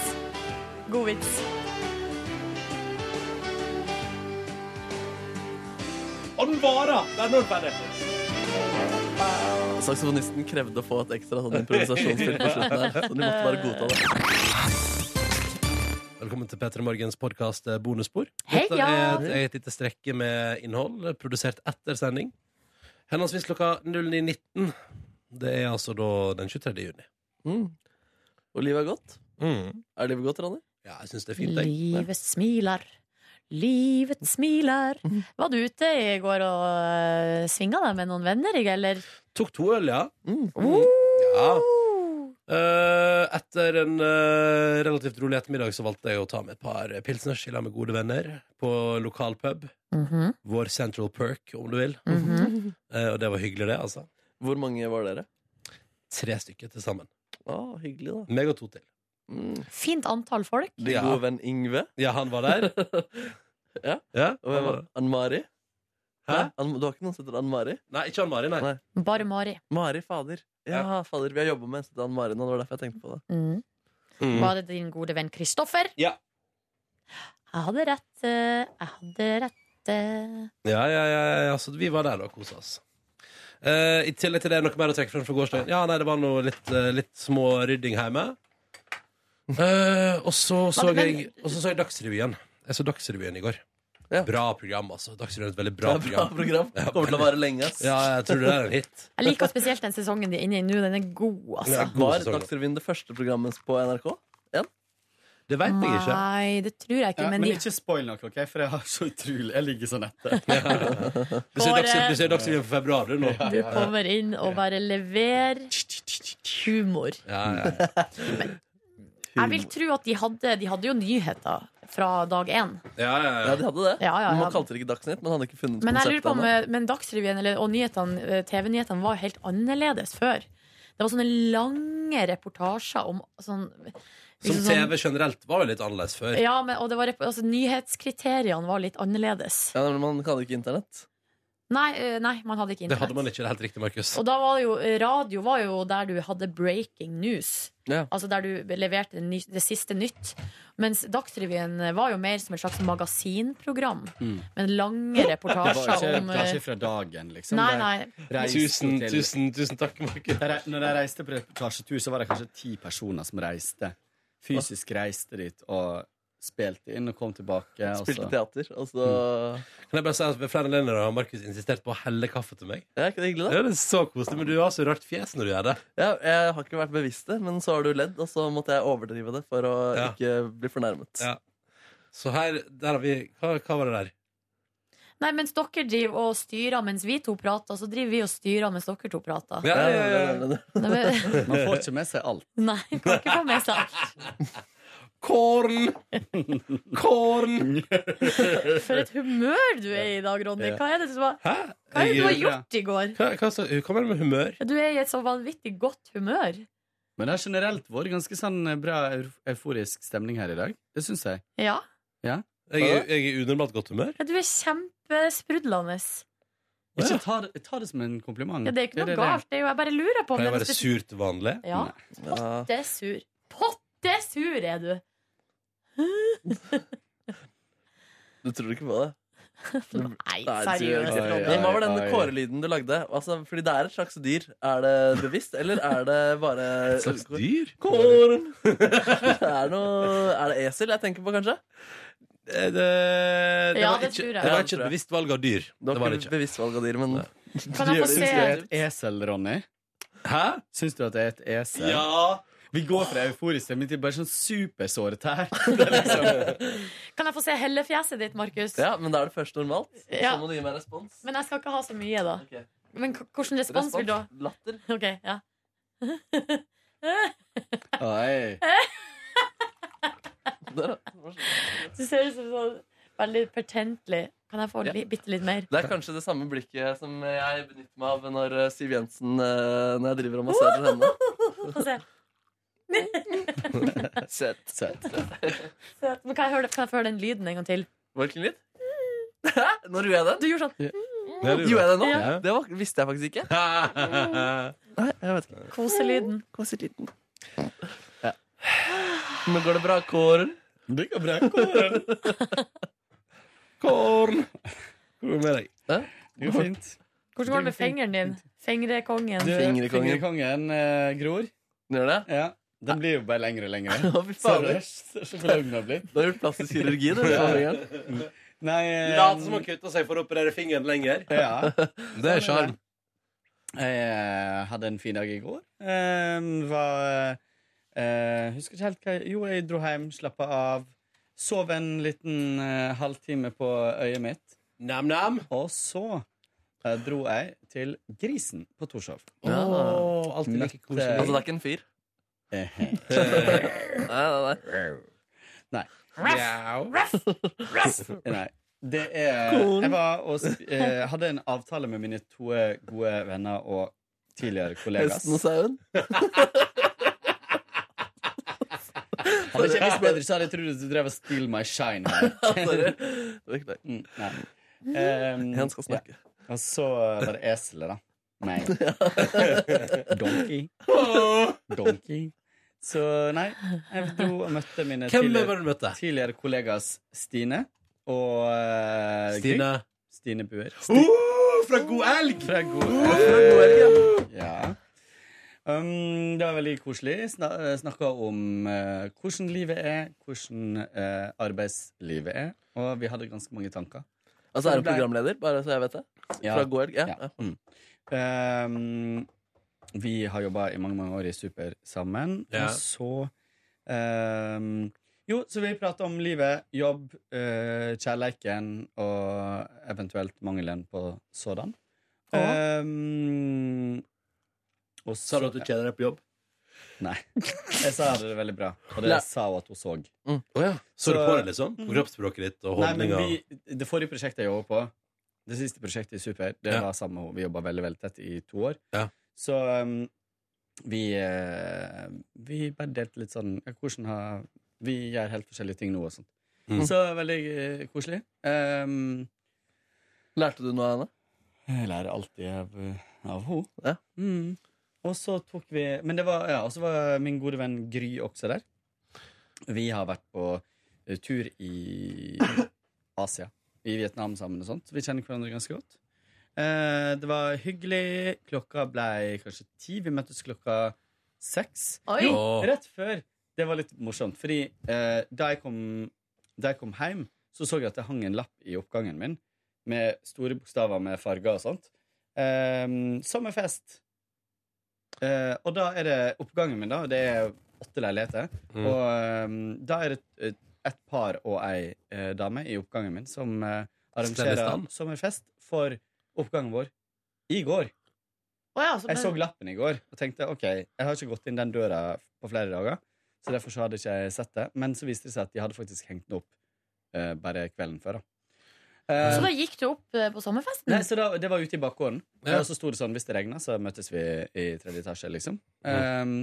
Speaker 2: God vits.
Speaker 1: Og den varer! Det er når den ferdig.
Speaker 3: Saksofonisten krevde å få et ekstra sånn improvisasjonsspill på slutten her, så de måtte bare godta det.
Speaker 1: Velkommen til P3 Morgens podkast Bonusspor.
Speaker 2: Hei,
Speaker 1: Dette
Speaker 2: ja.
Speaker 1: er et, et lite strekke med innhold eh, produsert etter sending. Henholdsvis klokka 09.19. Det er altså da den 23. juni.
Speaker 3: Mm. Og livet er godt. Er livet godt, Ronny?
Speaker 1: Ja, jeg syns det er fint, jeg.
Speaker 2: Livet smiler. Livet smiler. Var du ute i går og eh, svinga deg med noen venner, ikke, eller?
Speaker 1: Tok to øl, ja.
Speaker 3: Mm.
Speaker 1: ja. Eh, etter en eh, relativt rolig ettermiddag så valgte jeg å ta med et par pilsners i lag med gode venner på lokal pub.
Speaker 2: Mhm,
Speaker 1: Vår Central Perk, om du vil.
Speaker 3: Mm.
Speaker 2: mhm.
Speaker 1: Eh, og det var hyggelig, det, altså.
Speaker 3: Hvor mange var dere?
Speaker 1: Tre stykker til sammen.
Speaker 3: Å, hyggelig, da.
Speaker 1: Meg og to til.
Speaker 3: Mm.
Speaker 2: Fint antall folk.
Speaker 3: Din
Speaker 1: Ja.
Speaker 3: gode venn Yngve.
Speaker 1: Ja, han var der.
Speaker 3: Ja.
Speaker 1: ja
Speaker 3: Og hvem var det? Ann-Mari?
Speaker 1: Hæ?
Speaker 3: Hæ? Ann- Du har ikke noen som heter Ann-Mari?
Speaker 1: Nei, ikke han Mari, nei.
Speaker 3: Nei.
Speaker 2: Bare Mari.
Speaker 3: Mari fader. Ja, fader. Vi har jobba med en som heter Ann-Mari nå, det var derfor jeg tenkte på det.
Speaker 2: Mm. Var det din gode venn Kristoffer?
Speaker 1: Ja.
Speaker 2: Jeg hadde rett, eh, jeg hadde rett eh.
Speaker 1: Ja, ja, ja, ja, ja. Så vi var der da og kosa oss. Eh, I tillegg til det, noe mer å trekke frem fra gårsdagen? Ja, nei, det var noe litt, eh, litt små rydding hjemme. Eh, og så så
Speaker 2: Men- men-
Speaker 1: jeg Og så så jeg Dagsrevyen. Jeg så Dagsrevyen i går.
Speaker 3: Ja.
Speaker 1: Bra program, altså. Dagsrevyen er et veldig
Speaker 3: Det
Speaker 1: bra
Speaker 3: er bra
Speaker 1: program.
Speaker 3: program. Kommer til å vare lenge. ass.
Speaker 1: Ja, jeg tror det er en hit.
Speaker 2: Jeg liker spesielt den sesongen de er inne i nå. Den er god, altså.
Speaker 1: Ja, god
Speaker 3: Var
Speaker 1: sesong.
Speaker 3: Dagsrevyen det første programmet på NRK?
Speaker 1: Det veit jeg
Speaker 3: Ah,
Speaker 1: ikke.
Speaker 2: Nei, det tror jeg ikke.
Speaker 10: Ja,
Speaker 2: Men
Speaker 10: men
Speaker 2: de,
Speaker 10: ikke spoil noe, ok? for jeg har så utrolig Jeg ligger sånn etter.
Speaker 1: Du ser,
Speaker 2: Bare-
Speaker 1: Dagsrevyen, du ser Dagsrevyen for februar, du, nå.
Speaker 2: du kommer inn og bare leverer humor.
Speaker 1: Ja, ja, ja.
Speaker 2: Jeg vil tro at de hadde, de hadde jo nyheter fra dag én.
Speaker 1: ja, ja,
Speaker 3: Ja,
Speaker 1: ja.
Speaker 3: de hadde det.
Speaker 2: Ja, ja,
Speaker 3: Men
Speaker 2: ja.
Speaker 3: Man kalte det ikke Dagsnytt, men hadde ikke funnet
Speaker 2: Men jeg lurer
Speaker 3: konseptet
Speaker 2: på om
Speaker 3: ennå.
Speaker 2: eh, men Dagsrevyen eller, og nyhetene, eh, TV-nyhetene var helt annerledes før. Det var sånne lange reportasjer om sånn
Speaker 1: Som
Speaker 2: liksom sånn-
Speaker 1: TV generelt var jo litt annerledes før.
Speaker 2: Ja, men, og det var, rep- altså, nyhetskriteriene var litt annerledes.
Speaker 3: Ja, men Man hadde ikke internett.
Speaker 2: Nei, eh, nei, man hadde ikke
Speaker 1: Det
Speaker 2: internett.
Speaker 1: hadde man ikke. Det er helt riktig, Markus.
Speaker 2: Og da var det jo, eh, radio var jo der du hadde breaking news.
Speaker 3: Ja.
Speaker 2: Altså der du leverte ny, det siste nytt. Mens Dagsrevyen eh, var jo mer som et slags magasinprogram. Med lange
Speaker 10: Det
Speaker 2: reportasjer
Speaker 10: var ikke
Speaker 2: om eh,
Speaker 10: reportasje fra dagen, liksom.
Speaker 2: Nei,
Speaker 10: De
Speaker 2: nei.
Speaker 10: reiste
Speaker 1: Tusen,
Speaker 10: til-
Speaker 1: tusen, tusen takk, Markus.
Speaker 10: De re- Når de reiste på reportasjetur, så var det kanskje ti personer som reiste. Fysisk reiste dit og spilte inn og kom tilbake. og
Speaker 3: Spilte
Speaker 10: så-
Speaker 3: teater. Altså
Speaker 1: Kan jeg bare si at ved flere anledninger har Markus insistert på å helle kaffe til meg.
Speaker 3: Ja, Er ikke det hyggelig, da?
Speaker 1: Ja, det er så koselig, men du har så rart fjes når du gjør det.
Speaker 3: Ja, jeg har ikke vært bevisst det, men så har du ledd, og så måtte jeg overdrive det for å
Speaker 1: Ja.
Speaker 3: ikke bli fornærmet.
Speaker 1: Ja.
Speaker 11: Så her, der har vi Hva, hva var det der?
Speaker 2: Nei, mens dere driver og styrer mens vi to prater, så driver vi og styrer mens dere to prater.
Speaker 1: Ja, ja, ja, ja.
Speaker 2: Nei, men-
Speaker 1: Man får ikke med seg alt.
Speaker 2: Nei, kan ikke få med seg alt.
Speaker 11: Korn! Korn!
Speaker 2: For et humør du er i i dag, Ronny. Hva er det du har,
Speaker 11: Hæ?
Speaker 2: hva er det du har
Speaker 11: Jeg-
Speaker 2: gjort i går?
Speaker 11: Hva, hva, sa- hva mener du med humør?
Speaker 2: Du er i et så vanvittig godt humør.
Speaker 1: Men det har generelt vært ganske sånn bra eu- euforisk stemning her i dag. Det syns jeg.
Speaker 2: Ja.
Speaker 1: Ja.
Speaker 11: Jeg er, jeg er i unormalt godt humør.
Speaker 2: Du er kjempesprudlende.
Speaker 1: Ikke ta, det- ta det som en kompliment.
Speaker 2: Ja, det er ikke noe galt. Det er jo, jeg bare lurer på om
Speaker 11: Kan jeg
Speaker 2: det er
Speaker 11: være
Speaker 2: noe
Speaker 11: sur til vanlig?
Speaker 2: Ja. Potte sur. Potte sur er du!
Speaker 3: Du tror ikke på det?
Speaker 2: Nei,
Speaker 3: du gjør
Speaker 2: seriøst,
Speaker 3: ikke det.
Speaker 2: Ronny.
Speaker 3: Men hva var den
Speaker 1: Oi, oi.
Speaker 3: kårelyden du lagde? Altså, fordi det er et slags dyr. Er det bevisst, eller er det bare
Speaker 11: Et slags dyr?
Speaker 3: Korn! er, noe, er det esel jeg tenker på, kanskje?
Speaker 11: Det, det, det
Speaker 2: Ja,
Speaker 11: var
Speaker 2: det
Speaker 11: ikke, det
Speaker 2: tror jeg.
Speaker 3: Ja,
Speaker 11: var ikke
Speaker 3: det tror
Speaker 11: et
Speaker 3: jeg.
Speaker 11: bevisst valg av dyr.
Speaker 3: Det
Speaker 11: Det var
Speaker 3: var
Speaker 11: det
Speaker 3: ikke
Speaker 11: ikke.
Speaker 3: bevisst valg av dyr, men
Speaker 2: Kan jeg få
Speaker 1: Syns du
Speaker 2: se?
Speaker 1: jeg er et esel, Ronny?
Speaker 11: Hæ?
Speaker 1: Syns du at jeg er et esel?
Speaker 11: Ja!
Speaker 1: Vi går fra euforisk stemning til bare sånn supersåret her.
Speaker 2: Kan jeg få se hellefjeset ditt, Markus?
Speaker 3: Ja, men da er det først normalt.
Speaker 2: Ja.
Speaker 3: Så må du gi meg respons.
Speaker 2: Men jeg skal ikke ha så mye, da.
Speaker 3: Ok.
Speaker 2: Men k- hvordan respons vil du ha?
Speaker 3: Latter.
Speaker 2: Ok, ja.
Speaker 1: Oi.
Speaker 3: Der, ja.
Speaker 2: Du ser ut som sånn veldig pertentlig. Kan jeg få
Speaker 3: Ja.
Speaker 2: li, bitte litt mer?
Speaker 3: Det er kanskje det samme blikket som jeg benytter meg av når eh, Siv Jensen eh, Når jeg driver og masserer henne.
Speaker 2: Få se.
Speaker 3: Søt.
Speaker 1: Søt.
Speaker 2: Så- Men kan jeg, høre, det- kan jeg få høre den lyden en gang til?
Speaker 3: Hvilken lyd? Hæ? Når gjorde jeg den?
Speaker 2: Du gjorde sånn.
Speaker 11: Det er
Speaker 3: Gjorde jeg det nå?
Speaker 11: Ja.
Speaker 3: Det var, visste jeg faktisk ikke. Nei, jeg vet ikke.
Speaker 2: Koselyden.
Speaker 3: liten. Men går det bra, Kåren?
Speaker 1: Det går bra. Kåren.
Speaker 11: Korn! Hvor er det med deg?
Speaker 1: Det går fint.
Speaker 2: Hvordan går det med fingeren din? Fingrekongen.
Speaker 1: Du,
Speaker 3: Fingrekongen.
Speaker 1: Fingrekongen eh, gror.
Speaker 3: Gjør det?
Speaker 1: Ja. Den blir jo bare lengre og lengre.
Speaker 3: Å, fy
Speaker 1: Ser du
Speaker 3: fader.
Speaker 1: ser du hvor lang den har blitt?
Speaker 3: Du har gjort plastisk kirurgi, du. Fingeren.
Speaker 1: Nei eh,
Speaker 11: Lat som han kutta seg for å operere fingeren lenger.
Speaker 1: ja.
Speaker 11: Det er sjarm.
Speaker 1: Jeg eh, hadde en fin dag i går. Eh, var eh, Husker ikke helt hva jeg- Jo, jeg dro hjem, slappa av. Sov en liten eh, halvtime på øyet mitt.
Speaker 11: Nam-nam.
Speaker 1: Og så eh, dro jeg til Grisen på Torshov.
Speaker 3: Ja.
Speaker 11: Åh, alltid like
Speaker 1: Mitt, eh,
Speaker 11: koselig.
Speaker 3: Altså, det er ikke en fyr?
Speaker 1: Eh,
Speaker 3: Nei, nei, nei.
Speaker 11: Mjau.
Speaker 1: Nei. Det er Jeg var og sp- eh, hadde en avtale med mine to eh, gode venner og tidligere kollegas.
Speaker 3: Hesten og sauen?
Speaker 1: Hadde ikke jeg visst bedre, så hadde jeg trodd at du drev og steal my shine her.
Speaker 3: Sorry. Det var ikke deg.
Speaker 1: Mm, Nei. Ehm,
Speaker 3: Han skal snakke.
Speaker 1: ja. Og så var det eselet, da. Nei. Donkey. Donkey. Så nei, jeg dro og møtte mine
Speaker 11: Hvem var
Speaker 1: tidligere,
Speaker 11: det du møtte?
Speaker 1: tidligere kollegas Stine og eh,
Speaker 11: Stine.
Speaker 1: Gry. Stine Buer.
Speaker 11: Oh, fra God elg!
Speaker 1: Fra god, ja. um, Det var veldig koselig. Sna Snakka om eh, hvordan livet er, hvordan eh, arbeidslivet er. Og vi hadde ganske mange tanker.
Speaker 3: Altså, er du programleder, bare så jeg vet det? Fra Goelg? Ja.
Speaker 1: Ja.
Speaker 3: ja.
Speaker 1: Mm. Um, vi har jobba i mange, mange år i Super sammen.
Speaker 11: Ja.
Speaker 1: Og så um, Jo, så vi prata om livet, jobb, eh, kjærleiken og eventuelt mangelen på sådan.
Speaker 10: eh,
Speaker 1: Um, og
Speaker 11: Sa du at du kjeder deg på jobb?
Speaker 1: Nei. Jeg sa det veldig bra, og det
Speaker 3: Ja.
Speaker 1: sa hun at hun så.
Speaker 3: Mm.
Speaker 11: Så du
Speaker 1: Så-
Speaker 11: på det, liksom? På kroppsspråket ditt og
Speaker 1: Nei, men
Speaker 11: holdninga?
Speaker 1: vi, det forrige prosjektet jeg jobba på, det siste prosjektet i Super, det
Speaker 11: Ja.
Speaker 1: var sammen med henne. Vi jobba veldig veldig tett i to år.
Speaker 11: Ja.
Speaker 1: Så um, vi, eh, vi bare delte litt sånn ja, hvordan har, Vi gjør helt forskjellige ting nå og sånt.
Speaker 11: Mm.
Speaker 1: Så veldig eh, koselig. Um,
Speaker 3: Lærte du noe av henne?
Speaker 1: jeg lærer alltid av, av henne.
Speaker 3: Ja.
Speaker 1: Mm. Og så tok vi Men det var, ja, og så var min gode venn Gry også der. Vi har vært på eh, tur i Asia, i Vietnam sammen og sånt. Vi kjenner hverandre ganske godt. Eh, det var hyggelig. Klokka ble kanskje ti. Vi møttes klokka seks.
Speaker 2: Oi.
Speaker 1: Jo,
Speaker 11: Åh.
Speaker 1: rett før. Det var litt morsomt, fordi eh, da, jeg kom, da jeg kom hjem, så så jeg at det hang en lapp i oppgangen min med store bokstaver med farger og sånt. Eh, sommerfest. Eh, og da er det oppgangen min, da. og Det er åtte leiligheter.
Speaker 11: Mm.
Speaker 1: Og eh, da er det eh,
Speaker 10: et par og ei eh, dame i oppgangen min som eh,
Speaker 11: Stemmer
Speaker 10: arrangerer
Speaker 11: stand.
Speaker 10: sommerfest for oppgangen vår i går.
Speaker 2: ja, så-
Speaker 10: Jeg så lappen i går og tenkte ok, jeg har ikke gått inn den døra på flere dager. Så derfor så hadde ikke jeg sett det. Men så viste det seg at de hadde faktisk hengt den opp eh, bare kvelden før. da. Eh,
Speaker 2: Så da gikk du opp eh, på sommerfesten?
Speaker 10: Nei, så da, Det var ute i bakgården.
Speaker 11: Ja.
Speaker 10: Og så sto det sånn hvis det regna, så møtes vi i tredje etasje, liksom. Um,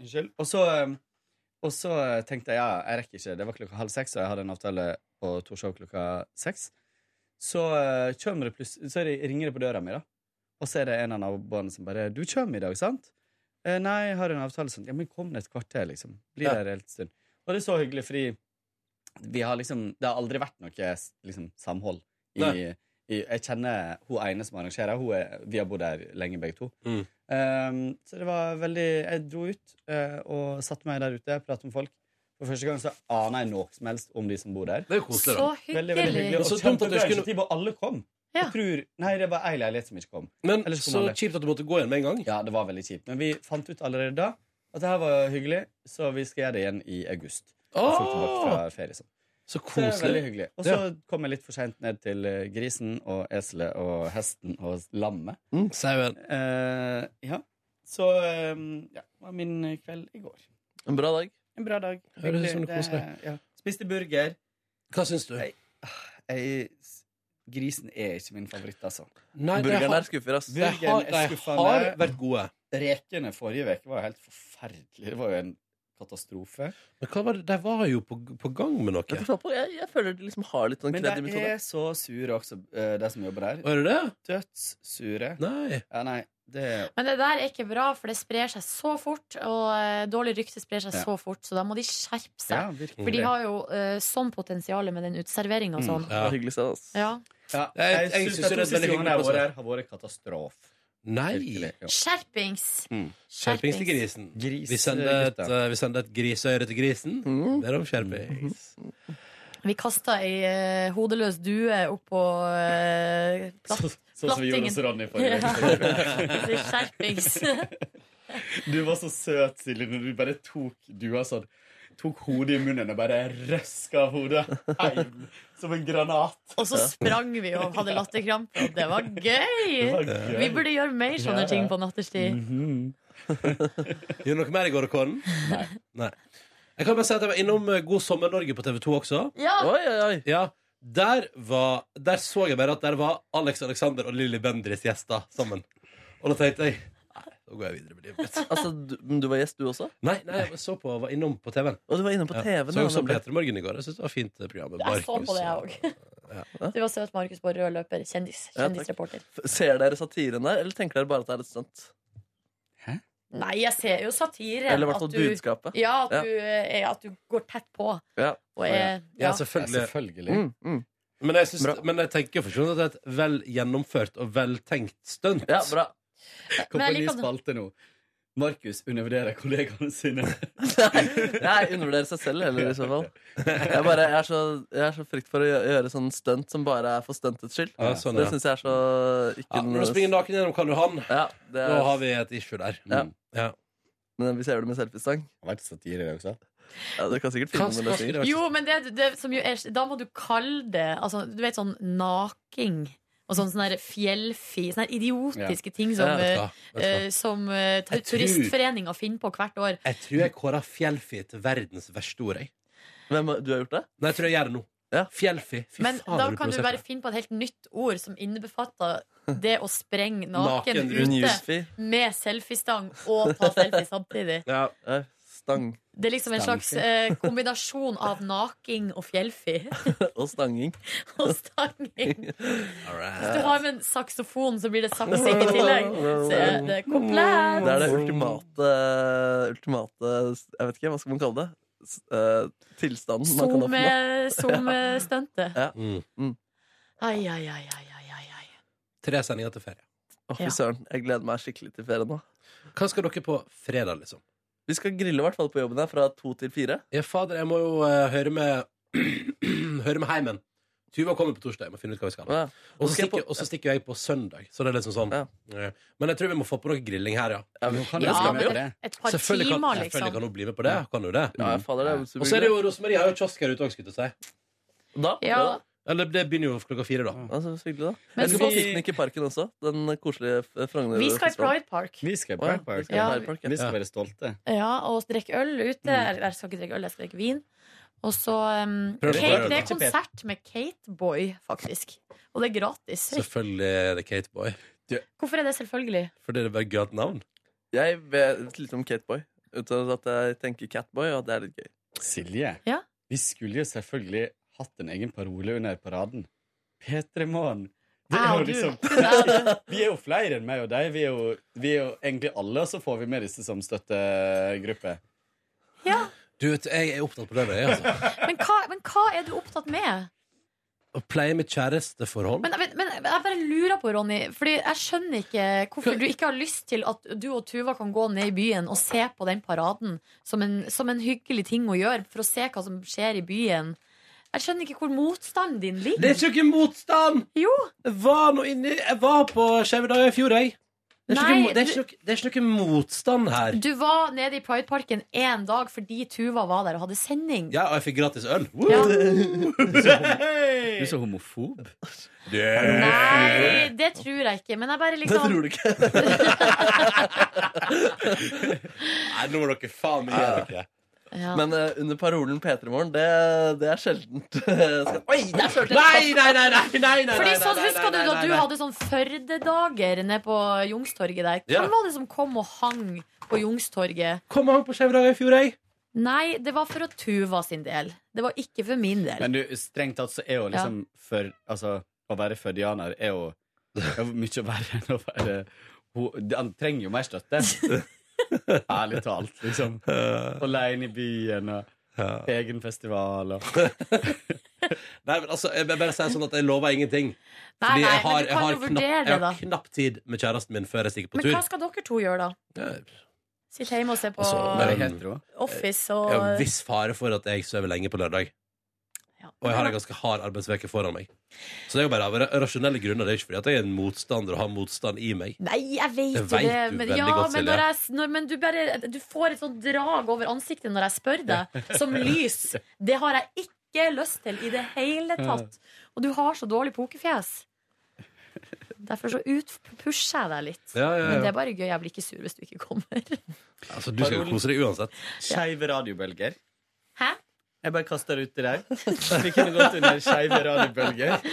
Speaker 10: Unnskyld. Og så, um, og så tenkte jeg ja, jeg rekker ikke. Det var klokka halv seks, og jeg hadde en avtale på to show klokka seks. Så, uh, kommer det pluss- så er det, ringer det på døra mi, da. Og så er det en av naboene som bare 'Du kommer i dag, sant?' «Eh, 'Nei, jeg har en avtale.' Sånn. 'Ja, men kom ned et kvarter, liksom. Bli
Speaker 11: Ja.
Speaker 10: der en liten stund.' Og det er så hyggelig, fordi vi har liksom, det har aldri vært noe liksom, samhold. I,
Speaker 11: Nei.
Speaker 10: i, jeg kjenner hun ene som arrangerer. Hun er, vi har bodd her lenge, begge to.
Speaker 11: Mm.
Speaker 10: Ehm, så det var veldig Jeg dro ut eh, og satte meg der ute, pratet med folk. For første gang så aner jeg noe som helst om de som bor der.
Speaker 11: Det er jo koselig, da.
Speaker 2: Så
Speaker 10: Veldig, veldig hyggelig.
Speaker 2: hyggelig.
Speaker 10: Og
Speaker 11: Så dumt at du
Speaker 10: kjempebra
Speaker 11: skulle-
Speaker 10: initiativ, og alle kom.
Speaker 2: Ja.
Speaker 10: Jeg tror, nei, det var ei leilighet som ikke kom.
Speaker 11: Men
Speaker 10: Ellers får
Speaker 11: så
Speaker 10: man det.
Speaker 11: kjipt at du måtte gå igjen med en gang.
Speaker 10: Ja, det var veldig kjipt. Men vi fant ut allerede da at det her var hyggelig, så vi skal gjøre det igjen i august. Når folk er tilbake
Speaker 11: Åh,
Speaker 10: fra ferie, sånn.
Speaker 11: så
Speaker 10: Så det er veldig
Speaker 11: koselig.
Speaker 10: hyggelig. Og så kom jeg litt for seint ned til eh, grisen og eselet og hesten og lammet.
Speaker 11: Mm, Sauen.
Speaker 10: Eh, ja. Så eh, ja, det var min eh, kveld i går.
Speaker 3: En bra dag.
Speaker 10: En bra dag.
Speaker 11: Høres ut som du
Speaker 10: Hyggelig.
Speaker 11: sånn koser deg.
Speaker 10: Det- Ja. Spiste burger.
Speaker 11: Hva syns du?
Speaker 10: Nei. Ah, Jeg, grisen er ikke min favoritt, altså.
Speaker 11: Nei, de
Speaker 3: Burgeren
Speaker 11: har,
Speaker 3: der skuffer, ass.
Speaker 11: de har,
Speaker 10: Burgeren er
Speaker 11: de har
Speaker 10: skuffende.
Speaker 11: vært gode.
Speaker 10: Rekene forrige uke var helt forferdelige. Det var jo en katastrofe.
Speaker 11: Men hva var det? De var jo på, på gang med
Speaker 3: Jeg,
Speaker 11: noe.
Speaker 3: forstår på, jeg, jeg føler det liksom har litt sånn
Speaker 10: Men
Speaker 3: kredd i
Speaker 10: de
Speaker 3: mitt hode.
Speaker 10: er så sure også, eh, de som jobber der.
Speaker 11: Var det det?
Speaker 10: Dødssure.
Speaker 11: Nei.
Speaker 10: Ja, nei, det
Speaker 2: Men det der er ikke bra, for det sprer seg så fort. Og eh, dårlig rykte sprer seg
Speaker 10: Ja.
Speaker 2: så fort, så da må de skjerpe
Speaker 10: Ja,
Speaker 2: seg.
Speaker 10: virkelig.
Speaker 2: For de har jo eh, sånn potensial med den utserveringa og sånn.
Speaker 3: Det var hyggelig sted, ass.
Speaker 2: Ja.
Speaker 10: Mm. Ja,
Speaker 11: Jeg- jeg
Speaker 10: jeg
Speaker 11: synes det
Speaker 10: syns
Speaker 11: er
Speaker 10: de to
Speaker 11: veldig
Speaker 10: siste
Speaker 11: hyggelig
Speaker 10: gangene jeg har vært
Speaker 11: også.
Speaker 10: her, har vært katastrofe.
Speaker 11: Nei.
Speaker 10: Virkelig, ja.
Speaker 2: Skjerpings!
Speaker 10: Mm.
Speaker 11: Skjerpings til grisen.
Speaker 10: Gris,
Speaker 11: Vi sender et,
Speaker 10: gutta.
Speaker 11: eh, vi sender et griseøre til grisen.
Speaker 3: Mm.
Speaker 11: Ber om skjerpings.
Speaker 2: Vi kasta ei eh, hodeløs due oppå uh, platt.
Speaker 10: Sånn som vi gjorde hos Ronny forrige
Speaker 2: Ja.
Speaker 10: uke.
Speaker 2: Det er skjerpings.
Speaker 10: Du var så søt, Silje, når du bare tok Du var sånn Tok hodet i munnen og bare røska av hodet heim som en granat.
Speaker 2: Og så sprang vi og hadde latterkrampe, og det var
Speaker 10: Det
Speaker 2: gøy!
Speaker 10: var gøy.
Speaker 2: Vi burde gjøre mer sånne
Speaker 10: Ja, ja.
Speaker 2: ting på natterstid.
Speaker 10: Mhm.
Speaker 11: Gjorde noe mer i går, Kåren?
Speaker 10: Nei.
Speaker 11: Nei. Jeg kan bare si at jeg var innom eh, God sommer Norge på TV 2 også.
Speaker 2: Ja,
Speaker 3: Oi, oi, oi.
Speaker 11: Ja, der, var, der så jeg bare at der var Alex Alexander og Lilly Bendris gjester sammen. Og da tenkte jeg Nei, da går jeg videre med livet mitt.
Speaker 3: Altså, du, men du var gjest, du også?
Speaker 11: Nei, nei, jeg så på, var innom på TV-en.
Speaker 3: Og du var inne på
Speaker 11: Ja.
Speaker 3: TV-en.
Speaker 11: Så jeg
Speaker 3: ja,
Speaker 11: også
Speaker 3: nemlig.
Speaker 11: Peter Morgen i går. Jeg synes det var fint eh, program. med
Speaker 2: jeg så
Speaker 11: Markus
Speaker 2: på det, jeg
Speaker 11: og-
Speaker 2: òg. Du var søt, Markus, på rød løper. Kjendis.
Speaker 3: Ja, takk.
Speaker 2: Kjendisreporter.
Speaker 3: F- Ser dere satiren der, eller tenker dere bare at det er et stunt?
Speaker 2: Nei, jeg ser jo satire.
Speaker 3: Eller i hvert fall
Speaker 2: at du-
Speaker 3: budskapet?
Speaker 2: Ja, at,
Speaker 3: Ja.
Speaker 2: Du, eh, at du går tett på.
Speaker 3: Ja.
Speaker 2: Og er,
Speaker 11: Ja,
Speaker 2: ja.
Speaker 10: Ja,
Speaker 11: selvfølgelig.
Speaker 10: selvfølgelig.
Speaker 3: Mm, mm.
Speaker 11: Men jeg, synes,
Speaker 3: Bra.
Speaker 11: men jeg tenker for sånn at det er et vel gjennomført og veltenkt stunt.
Speaker 3: ja, bra.
Speaker 10: Kom
Speaker 2: Men
Speaker 10: på
Speaker 2: jeg
Speaker 10: ny
Speaker 2: liker at-
Speaker 10: spalte nå. Markus undervurderer kollegaene sine.
Speaker 3: Jeg undervurderer seg selv heller, i så fall. Jeg, bare, jeg, er så, jeg er så frykt for å gjø- gjøre sånn stunt som bare er for stuntets skyld.
Speaker 11: Ja, sånn,
Speaker 3: Det
Speaker 11: ja.
Speaker 3: syns jeg er så ikke
Speaker 11: Ja, når du springer naken gjennom Karl Johan,
Speaker 3: Ja, det
Speaker 11: da har
Speaker 3: er,
Speaker 11: vi et issue der. Mm.
Speaker 3: Ja.
Speaker 11: Ja.
Speaker 3: men vi ser det med selfiestang.
Speaker 10: Har vært satire, det også.
Speaker 3: Ja, du kan sikkert
Speaker 11: Hva hva
Speaker 3: finne noen
Speaker 11: skulle
Speaker 3: løsninger.
Speaker 11: det vært?
Speaker 2: Jo, men det, det som jo er Da må du kalle det altså, Du vet sånn naking. Og sånn sånn der fjellfi. Sånne her idiotiske ting som,
Speaker 3: Ja,
Speaker 11: Vet du hva? Vet du hva?
Speaker 2: eh, som eh,
Speaker 11: Jeg tror-
Speaker 2: Turistforeninga finner på hvert år.
Speaker 11: Jeg tror jeg kåra fjellfi til verdens verste ord. Jeg.
Speaker 3: Hvem, har- du har gjort det?
Speaker 11: Nei, jeg tror jeg gjør det nå.
Speaker 3: Ja.
Speaker 11: Fjellfi. Fy
Speaker 2: Men
Speaker 11: faen,
Speaker 2: da
Speaker 11: har
Speaker 2: kan du
Speaker 11: provosert
Speaker 2: bare
Speaker 11: meg.
Speaker 2: finne på et helt nytt ord som innebefatter det å sprenge
Speaker 11: Naken
Speaker 2: naken, ute
Speaker 3: Newsfee.
Speaker 2: med selfiestang og ta selfie samtidig.
Speaker 11: ja.
Speaker 3: Ja, Stang
Speaker 2: Det er liksom en slags eh, kombinasjon av naking og fjellfi.
Speaker 3: og stanging.
Speaker 2: Og stanging.
Speaker 11: all
Speaker 2: Hvis
Speaker 11: right.
Speaker 2: du har med en saksofon, så blir det saksing i tillegg. Så er det komplett.
Speaker 3: Det er det ultimate, ultimate Jeg vet ikke, hva skal man kalle det? S- eh, tilstanden man kan oppnå.
Speaker 2: Zoom- eh, Zoom-stuntet.
Speaker 11: Mm.
Speaker 2: Ai, ai, ai, ai, ai, ai, ai.
Speaker 11: Tre sendinger til ferie.
Speaker 3: Å,
Speaker 2: Ja.
Speaker 3: fy søren. Jeg gleder meg skikkelig til ferie nå.
Speaker 11: Hva skal dere på fredag, liksom?
Speaker 3: Vi skal grille i hvert fall på jobben her fra to til fire.
Speaker 11: Ja, fader, jeg må jo eh, høre med Høre med heimen. Tuva kommer på torsdag. Jeg må finne ut hva vi skal.
Speaker 3: Ja.
Speaker 11: Og så
Speaker 3: Skal jeg
Speaker 11: stikker,
Speaker 3: på-
Speaker 11: og så stikker jeg på søndag. Så det er liksom sånn ja. Men jeg tror vi må få på noe grilling her, ja.
Speaker 2: Ja, bli med men på det. et par
Speaker 11: selvfølgelig kan,
Speaker 2: timer, liksom.
Speaker 11: Selvfølgelig kan hun bli med på det. Kan hun det?
Speaker 3: Ja, fader, det er jo så
Speaker 11: og så er det jo
Speaker 3: hyggelig.
Speaker 11: Rosemarie har jo kiosk her ute òg, skulle jeg til å si.
Speaker 3: Da?
Speaker 2: Ja.
Speaker 11: Eller det begynner jo klokka fire, da.
Speaker 3: Ja, så hyggelig, da.
Speaker 2: Men
Speaker 3: Jeg skal på
Speaker 2: vi-
Speaker 3: piknik i parken også. Den koselige eh, Frogner
Speaker 2: Vi skal i
Speaker 3: festivalen.
Speaker 2: Pride Park.
Speaker 1: Vi skal i
Speaker 3: Å, ja,
Speaker 1: Pride Park.
Speaker 3: vi skal i
Speaker 2: Ja.
Speaker 3: Pride Park, ja.
Speaker 1: Vi skal være stolte.
Speaker 2: Ja, og drikke øl ute. Eller, Jeg skal ikke drikke øl, jeg skal drikke vin. Og så um,
Speaker 11: Prøv å
Speaker 2: Kate,
Speaker 11: prøve
Speaker 2: Det
Speaker 11: det.
Speaker 2: er konsert med Kateboy, faktisk. Og det er gratis.
Speaker 11: Selvfølgelig er det Kateboy.
Speaker 2: Hvorfor er det selvfølgelig?
Speaker 11: Fordi det er bare gøyalt navn.
Speaker 3: Jeg vet litt om Catboy. Utover at jeg tenker Catboy, og at det er litt gøy.
Speaker 1: Silje,
Speaker 2: Ja.
Speaker 1: vi skulle jo selvfølgelig hatt en egen parole under paraden. P3 Morgen. Det er jo
Speaker 2: Jeg og Ah, du.
Speaker 1: liksom Vi er jo flere enn meg og deg. Vi er jo, vi er jo egentlig alle, og så får vi med disse som støttegruppe.
Speaker 11: Du vet, jeg er opptatt på det, jeg, altså.
Speaker 2: Men hva, men hva er du opptatt med?
Speaker 11: Å pleie mitt kjæresteforhold.
Speaker 2: Men, men, men jeg bare lurer på, Ronny, Fordi jeg skjønner ikke hvorfor du ikke har lyst til at du og Tuva kan gå ned i byen og se på den paraden som en, som en hyggelig ting å gjøre, for å se hva som skjer i byen. Jeg skjønner ikke hvor motstanden din
Speaker 11: Det
Speaker 2: ligger.
Speaker 11: er ikke motstand!
Speaker 2: Jo,
Speaker 11: Jeg var, nå inni, jeg var på Skeive dager i fjor, jeg. Det er, ikke,
Speaker 2: Nei,
Speaker 11: noe- det, er ikke, noe- det er ikke noe motstand her.
Speaker 2: Du var nede i Prideparken én dag fordi Tuva var der og hadde sending.
Speaker 11: Ja, og jeg fikk gratis øl. Woo!
Speaker 2: Ja.
Speaker 1: Du er så homofob.
Speaker 11: Det-
Speaker 2: Nei, det tror jeg ikke. Men jeg bare
Speaker 3: Det
Speaker 2: liksom
Speaker 3: tror du ikke.
Speaker 11: Nei, nå må dere faen meg gjøre dere.
Speaker 2: ja.
Speaker 3: Men eh, under parolen P3 Morgen, det, det er sjeldent. Oi, der skjørte jeg!
Speaker 11: Nei, nei, nei, nei, nei, nei,
Speaker 2: Fordi
Speaker 11: nei,
Speaker 2: sånn
Speaker 11: nei,
Speaker 2: Husker du
Speaker 11: nei,
Speaker 2: da
Speaker 11: nei,
Speaker 2: du
Speaker 11: nei.
Speaker 2: hadde sånn Førdedager nede på Youngstorget der?
Speaker 11: Ja.
Speaker 2: Hvem var det som kom og hang på Youngstorget?
Speaker 11: Kom han på Skeive dager i fjor, jeg.
Speaker 2: Nei, det var for å Tuva sin del. Det var ikke for min del.
Speaker 1: Men du, strengt tatt så er jo liksom for, altså, Å være fødianer er jo er jo mye verre enn å være ho- Han trenger jo mer støtte. Ærlig talt, liksom. Alene i byen og egen festival og
Speaker 11: Nei, men altså, jeg bare sier sånn at jeg lover ingenting.
Speaker 2: Nei,
Speaker 11: Fordi
Speaker 2: nei,
Speaker 11: jeg har,
Speaker 2: men
Speaker 11: jeg
Speaker 2: du kan
Speaker 11: har,
Speaker 2: jo
Speaker 11: knapt,
Speaker 2: vurdere
Speaker 11: jeg
Speaker 2: det, da.
Speaker 11: har knapt tid med kjæresten min før jeg stikker på
Speaker 2: Men hva
Speaker 11: tur.
Speaker 2: skal dere to gjøre, da?
Speaker 11: Ja,
Speaker 2: Sitte hjemme og se på
Speaker 11: Altså,
Speaker 1: Være hetero.
Speaker 2: Office
Speaker 11: Jeg har en
Speaker 2: og
Speaker 11: viss fare for at jeg sover lenge på lørdag.
Speaker 2: Ja.
Speaker 11: Og jeg har en ganske hard arbeidsveke foran meg. Så det er jo bare av ra- rasjonelle grunner. Det er ikke fordi at jeg er en motstander og har motstand i meg.
Speaker 2: Nei, jeg vet
Speaker 11: Det
Speaker 2: jo
Speaker 11: vet
Speaker 2: det.
Speaker 11: du
Speaker 2: Men,
Speaker 11: veldig
Speaker 2: ja,
Speaker 11: godt,
Speaker 2: men,
Speaker 11: Silje.
Speaker 2: når jeg, s- når, men du, bare, du får et sånt drag over ansiktet når jeg spør deg, som lys. Det har jeg ikke lyst til i det hele tatt. Og du har så dårlig pokerfjes. Derfor så utpusher jeg deg litt.
Speaker 11: Ja, ja,
Speaker 2: Men det
Speaker 11: ja.
Speaker 2: er bare gøy. Jeg blir ikke sur hvis du ikke kommer.
Speaker 11: Altså, du skal jo kose deg uansett.
Speaker 1: Skeive radiobølger.
Speaker 2: Hæ?
Speaker 1: Jeg bare kaster det ut til deg. Vi kunne gått under skeive radiobølger.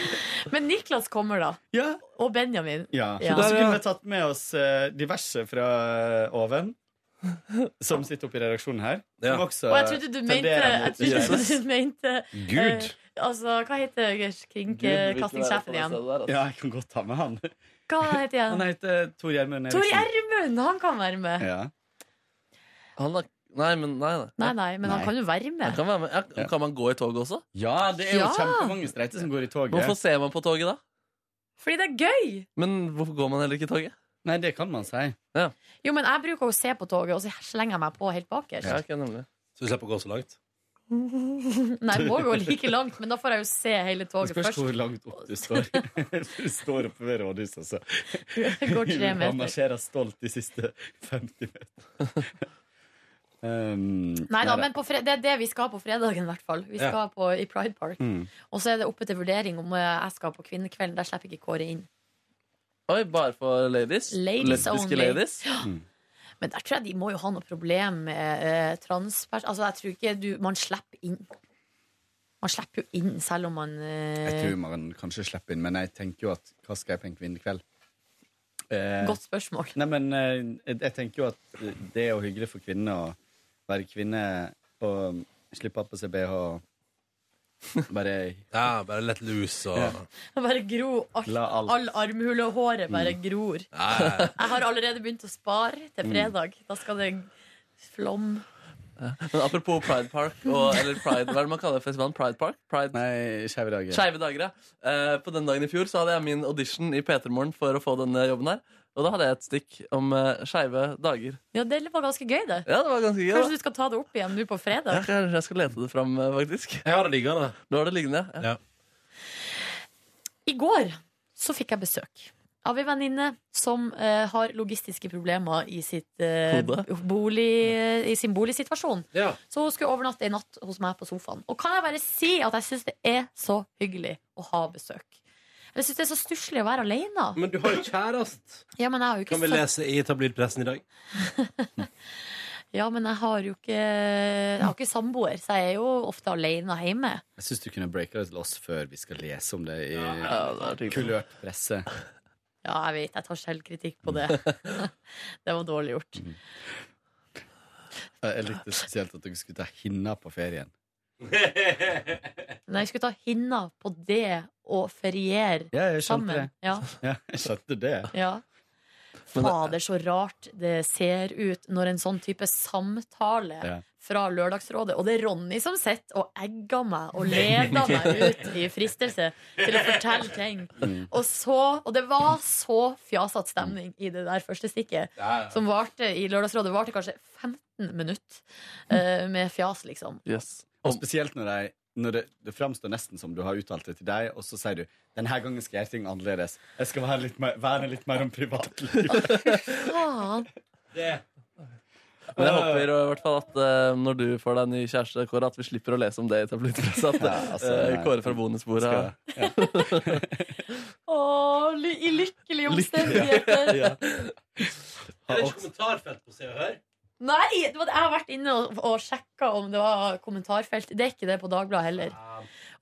Speaker 2: Men Niklas kommer, da.
Speaker 1: Ja.
Speaker 2: Og Benjamin.
Speaker 1: Ja.
Speaker 2: Ja.
Speaker 1: Og så kunne vi tatt med oss eh, diverse fra eh, oven, som sitter oppe i redaksjonen her.
Speaker 11: Ja.
Speaker 1: Som også
Speaker 2: Og jeg trodde du mente,
Speaker 1: tenderer
Speaker 2: jeg
Speaker 1: mot
Speaker 2: trodde
Speaker 1: skeive.
Speaker 2: du mente
Speaker 11: Gud!
Speaker 2: eh, Altså, hva heter kringkastingssjefen eh, igjen?
Speaker 3: altså.
Speaker 1: Ja, jeg kan godt ta med han.
Speaker 2: Hva heter
Speaker 1: Han
Speaker 2: igjen?
Speaker 1: heter Tor Gjermund
Speaker 2: Tor
Speaker 1: Eriksen.
Speaker 2: Gjermund! Han kan være med.
Speaker 1: Ja.
Speaker 3: Han er, nei, men nei, nei.
Speaker 2: Nei, nei, men
Speaker 1: Nei.
Speaker 2: han kan jo være
Speaker 3: Han
Speaker 2: med.
Speaker 3: kan, være med. Ja, kan man gå i toget også?
Speaker 1: ja, det er jo
Speaker 2: Ja.
Speaker 1: kjempemange streite som går i
Speaker 3: Hvorfor
Speaker 1: toget.
Speaker 3: ser man på toget da?
Speaker 2: Fordi det er gøy!
Speaker 3: Men hvorfor går man heller ikke i toget?
Speaker 1: Nei, det kan man si.
Speaker 2: Jo, men jeg bruker å se på toget, og så slenger jeg meg på helt bakerst.
Speaker 3: Ja, ikke nemlig.
Speaker 11: Så vi slipper å gå så langt.
Speaker 2: Nei, jeg må gå like langt, men da får jeg jo se hele
Speaker 1: Det
Speaker 2: toget
Speaker 1: spørs
Speaker 2: først.
Speaker 1: hvor langt opp du står. du står oppe ved rådhuset, altså.
Speaker 2: Det går tre
Speaker 1: Vi bare
Speaker 2: meter.
Speaker 1: marsjerer stolt de siste 50 meter. Um,
Speaker 2: Nei
Speaker 1: neida.
Speaker 2: da, men på fre det er det vi skal på fredagen, i hvert fall. Vi skal på, i Pride Park.
Speaker 1: Mm.
Speaker 2: Og så er det oppe til vurdering om eh, jeg skal på Kvinnekvelden. Der slipper ikke Kåre inn.
Speaker 3: Oi, bare for ladies?
Speaker 2: Ladies
Speaker 3: Lesbiske
Speaker 2: only.
Speaker 3: ladies?
Speaker 2: Men der tror jeg de må jo ha noe problem med eh, transpers... Altså, jeg tror ikke du Man slipper inn. Man slipper jo inn selv om man eh,
Speaker 1: Jeg tror man kanskje slipper inn, men jeg tenker jo at hva skal jeg på en kvinnekveld? Eh,
Speaker 2: Godt spørsmål.
Speaker 1: Nei, men eh, jeg tenker jo at det er jo hyggelig for kvinner å være kvinne og um, slippe av på seg BH og bare
Speaker 11: Ja, bare lett lus og
Speaker 1: Ja.
Speaker 2: Bare gro alt.
Speaker 1: La alt- Mm.
Speaker 2: All armhulehåret bare gror.
Speaker 11: Nei,
Speaker 2: Jeg har allerede begynt å spare
Speaker 1: Mm.
Speaker 2: til fredag. Da skal det flom.
Speaker 3: Men apropos Pride Park, og, eller Pride, hva er det man kaller festivalen? Pride Park? Pride
Speaker 1: Nei, skeive dager.
Speaker 3: Skeive dager, ja. Eh, på den dagen i fjor så hadde jeg min audition i P3 Morgen for å få denne jobben her. Og da hadde jeg et stikk om uh, skeive dager.
Speaker 2: Ja, det var ganske gøy, det.
Speaker 3: Ja, det var ganske gøy.
Speaker 2: Kanskje
Speaker 3: da.
Speaker 2: du skal ta det opp igjen nå på
Speaker 3: Ja,
Speaker 2: fredag?
Speaker 3: kanskje jeg skal lete det fram, eh, faktisk.
Speaker 11: Jeg har det liggende.
Speaker 3: Nå er det liggende, ja.
Speaker 11: Ja.
Speaker 2: I går så fikk jeg besøk av ei venninne som eh, har logistiske problemer i, sitt, eh,
Speaker 3: Hode?
Speaker 2: bolig, i sin boligsituasjon.
Speaker 1: Ja.
Speaker 2: Så hun skulle overnatte en natt hos meg på sofaen. Og kan jeg bare si at jeg syns det er så hyggelig å ha besøk. Jeg syns det er så stusslig å være alene.
Speaker 1: Men du har jo kjærest.
Speaker 2: Ja, men jeg har jo ikke
Speaker 1: Kan vi
Speaker 2: født-
Speaker 1: lese i tabloidpressen i dag?
Speaker 2: Ja, men jeg har jo ikke Jeg har ikke samboer, så jeg er jo ofte alene hjemme.
Speaker 10: Jeg syns du kunne breaka det til oss før vi skal lese om det i
Speaker 3: Ja, det er hyggelig.
Speaker 10: kulørt presse.
Speaker 2: Ja, jeg vet, jeg tar selvkritikk på det. det var dårlig gjort.
Speaker 10: Jeg likte spesielt at dere skulle ta hinna på ferien.
Speaker 2: Nei, jeg skulle ta hinna på det og feriere
Speaker 10: Ja, jeg skjønte
Speaker 2: sammen.
Speaker 10: det.
Speaker 2: Ja,
Speaker 10: Ja, jeg skjønte det.
Speaker 2: ja. Fader, så rart det ser ut når en sånn type samtale
Speaker 10: Ja.
Speaker 2: fra Lørdagsrådet Og det er Ronny som sitter og egger meg og leder meg ut i fristelse til å fortelle ting. Og, så, og det var så fjasete stemning i det der første stikket. Som varte i Lørdagsrådet varte kanskje 15 minutter eh, med fjas, liksom.
Speaker 3: Yes.
Speaker 10: Og spesielt når, de, når det, det framstår nesten som du har uttalt det til deg, og så sier du denne gangen skal jeg gjøre ting annerledes. Jeg skal være litt mer, verne litt mer om privatlivet.
Speaker 2: Faen.
Speaker 3: Men jeg håper i hvert fall at eh, når du får deg ny kjæreste, Kåre, at vi slipper å lese om det i tabloidpressa. At
Speaker 10: Ja, altså,
Speaker 3: eh,
Speaker 10: nei.
Speaker 3: Kåre fra bonusbordet
Speaker 10: Skal-
Speaker 2: Å, ly i lykkelige omstendigheter.
Speaker 1: Er det ikke kommentarfelt på Se og Hør?
Speaker 2: Nei! Det var, jeg har vært inne og, og sjekka om det var kommentarfelt. Det er ikke det på Dagbladet heller.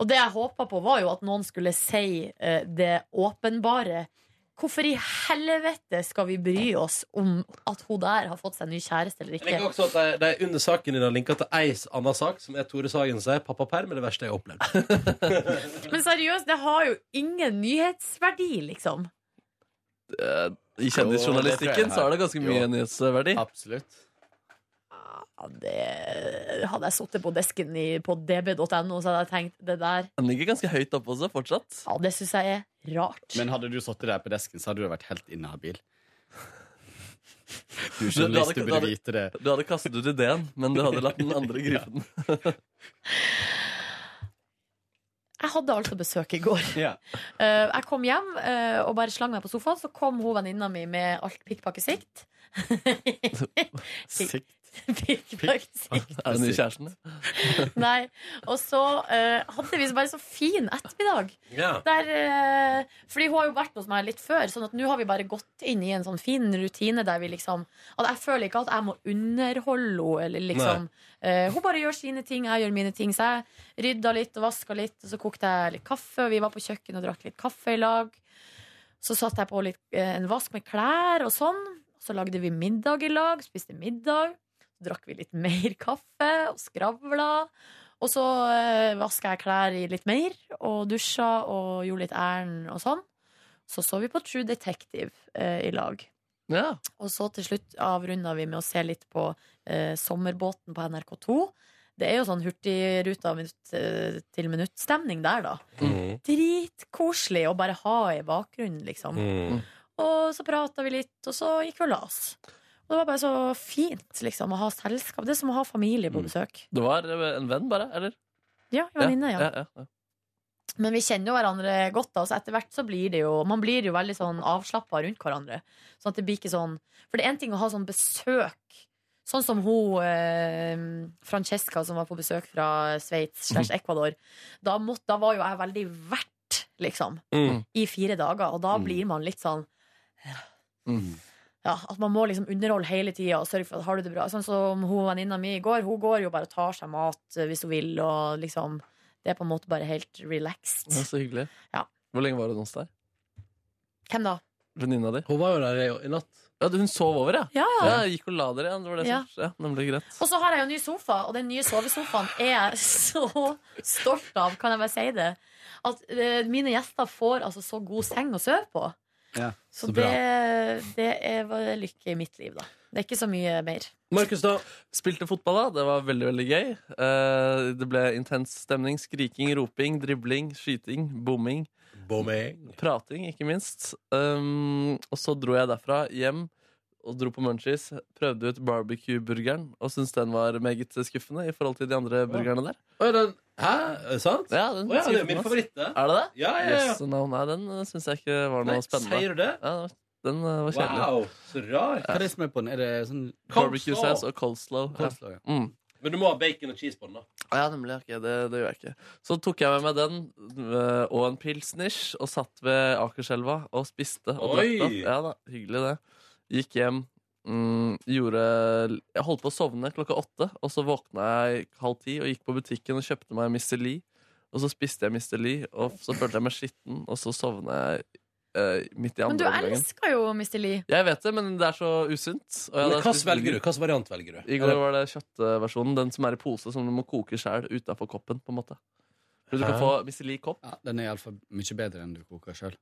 Speaker 2: Og det jeg håpa på, var jo at noen skulle si eh, det åpenbare. Hvorfor i helvete skal vi bry oss om at hun der har fått seg ny kjæreste eller
Speaker 1: Jeg liker
Speaker 2: ikke?
Speaker 1: også at de, de under saken din har linka til ei annen sak, som er Tore Sagen sier 'Pappaperm er det verste jeg har opplevd'.
Speaker 2: Men seriøst, det har jo ingen nyhetsverdi, liksom.
Speaker 3: Eh, I kjendisjournalistikken så er det ganske mye
Speaker 10: Jo.
Speaker 3: nyhetsverdi.
Speaker 10: Absolutt.
Speaker 2: Ja, det hadde jeg sittet på desken i, på db.no, så hadde jeg tenkt det der
Speaker 3: Den ligger ganske høyt oppe også, fortsatt.
Speaker 2: Ja, det syns jeg er rart.
Speaker 10: Men hadde du sittet der på desken, så hadde du vært helt inhabil.
Speaker 3: Du- du
Speaker 10: Du
Speaker 3: hadde-
Speaker 10: journalist, du
Speaker 3: du hadde-
Speaker 10: burde vite det.
Speaker 3: Du hadde kastet ut ideen, men du hadde latt den andre gripe den.
Speaker 2: Jeg hadde altså besøk i går.
Speaker 10: Ja.
Speaker 2: Eh, jeg kom hjem eh, og bare slang meg på sofaen, så kom hun venninna mi med alt pikkpakkesikt.
Speaker 10: Sikt.
Speaker 2: pikkpakkesikt.
Speaker 3: Er det nye kjæresten?
Speaker 2: Nei. Og så eh, hadde vi så bare så fin ettermiddag.
Speaker 1: Ja.
Speaker 2: Der, eh, fordi hun har jo vært hos meg litt før, sånn at nå har vi bare gått inn i en sånn fin rutine der vi liksom At jeg føler ikke at jeg må underholde henne, eller liksom eh, Hun bare gjør sine ting, jeg gjør mine ting. Så jeg rydda litt og vaska litt, og så kokte jeg litt kaffe, og vi var på kjøkkenet og drakk litt kaffe i lag. Så satte jeg på litt, eh, en vask med klær og sånn. Så lagde vi middag i lag, spiste middag. Så drakk vi litt mer kaffe og skravla. Og så eh, vaska jeg klær i litt mer og dusja og gjorde litt ærend og sånn. Så så vi på True Detective eh, i lag.
Speaker 3: Ja.
Speaker 2: Og så til slutt avrunda vi med å se litt på eh, Sommerbåten på NRK2. Det er jo sånn hurtigruta minutt eh, til minutt-stemning der, da.
Speaker 1: Mm.
Speaker 2: Dritkoselig å bare ha i bakgrunnen, liksom.
Speaker 1: Mm.
Speaker 2: Og så prata vi litt, og så gikk vi og la oss. Og det var bare så fint liksom, å ha selskap. Det er som å ha familie på
Speaker 10: Mm.
Speaker 2: besøk.
Speaker 3: Det var eh, en venn, bare? Eller?
Speaker 2: Ja, en venninne, ja.
Speaker 3: ja, ja.
Speaker 2: Men vi kjenner jo hverandre godt, da, så etter hvert så blir det jo Man blir jo veldig sånn avslappa rundt hverandre. Sånn at det blir ikke sånn For det er én ting å ha sånn besøk. Sånn som hun eh, Francesca som var på besøk fra Sveits slash Ecuador. Da, måtte, da var jo jeg veldig vert, liksom,
Speaker 1: Mm.
Speaker 2: i fire dager. Og da
Speaker 10: Mm.
Speaker 2: blir man litt sånn
Speaker 3: Mm.
Speaker 2: ja, at man må liksom underholde hele tida og sørge for at har du det bra. Sånn som hun venninna mi i går, hun går jo bare og tar seg mat eh, hvis hun vil, og liksom Det er på en måte bare helt relaxed.
Speaker 3: Ja, Så hyggelig.
Speaker 2: Ja.
Speaker 3: Hvor lenge var hun hos deg?
Speaker 2: Hvem da?
Speaker 3: Venninna di?
Speaker 1: Hun var jo der i, i natt.
Speaker 3: Ja, du- hun sov over, ja?
Speaker 2: Ja, ja.
Speaker 3: Ja, jeg gikk og la dere igjen. Det var det
Speaker 2: Ja.
Speaker 3: som skjedde. Ja, nemlig greit.
Speaker 2: Og så har jeg jo ny sofa, og den nye sovesofaen er jeg så stolt av, kan jeg bare si det. At eh, mine gjester får altså så god seng å sove på.
Speaker 10: Ja,
Speaker 2: så
Speaker 10: så bra.
Speaker 2: det, det er var lykke i mitt liv, da. Det er ikke så mye mer.
Speaker 1: Markus, da.
Speaker 3: Spilte fotball, da. Det var veldig veldig gøy. Eh, det ble intens stemning. Skriking, roping, dribling, skyting, bomming.
Speaker 1: Bomming.
Speaker 3: Eh, Prating, ikke minst. Um, og så dro jeg derfra hjem og dro på munchies, prøvde ut barbecue-burgeren og syntes den var meget skuffende i forhold til de andre burgerne der.
Speaker 11: hæ? Er det sant?
Speaker 3: Ja, den
Speaker 11: Å ja, det er
Speaker 3: skuffet
Speaker 11: min
Speaker 3: meg, ass.
Speaker 11: favoritt, det.
Speaker 3: Er det det?
Speaker 11: altså. Ja, ja, ja.
Speaker 3: Yes, no, nei, den syns jeg ikke var noe
Speaker 11: Nei,
Speaker 3: spennende.
Speaker 11: sier du det?
Speaker 3: Ja, den var- den eh, var kjedelig.
Speaker 11: Wow, så rart.
Speaker 1: Hva er det som er på den? Er det sånn
Speaker 3: Barbecue sauce og coleslaw.
Speaker 1: Coleslaw, ja.
Speaker 3: Mm.
Speaker 11: Men du må ha bacon og cheese på den, da.
Speaker 3: Ja, nemlig. ok, det, det gjør jeg ikke. Så tok jeg med meg den øh, og en pilsnish og satt ved Akerselva og spiste og
Speaker 11: Oi!
Speaker 3: drakk. da. Ja da, hyggelig det. Gikk hjem, mm, gjorde Jeg holdt på å sovne klokka åtte, og så våkna jeg halv ti og gikk på butikken og kjøpte meg Mr. Lee. Og så spiste jeg Mr. Lee, og så følte jeg meg skitten, og så sovna jeg øh, midt i
Speaker 2: Men du
Speaker 3: andre omgangen.
Speaker 2: elsker jo Mr. Lee.
Speaker 3: Jeg vet det, men det er så usunt. og jeg
Speaker 11: Men
Speaker 3: hadde
Speaker 11: hva
Speaker 3: spist-
Speaker 11: velger du? Hvilken variant velger du?
Speaker 3: i går var det kjøttversjonen. Den som er i pose, som du må koke sjøl utafor koppen. på en måte For Du kan
Speaker 1: Hæ?
Speaker 3: få Mr. Lee-kopp.
Speaker 1: Ja, den er iallfall mye bedre enn du koker sjøl.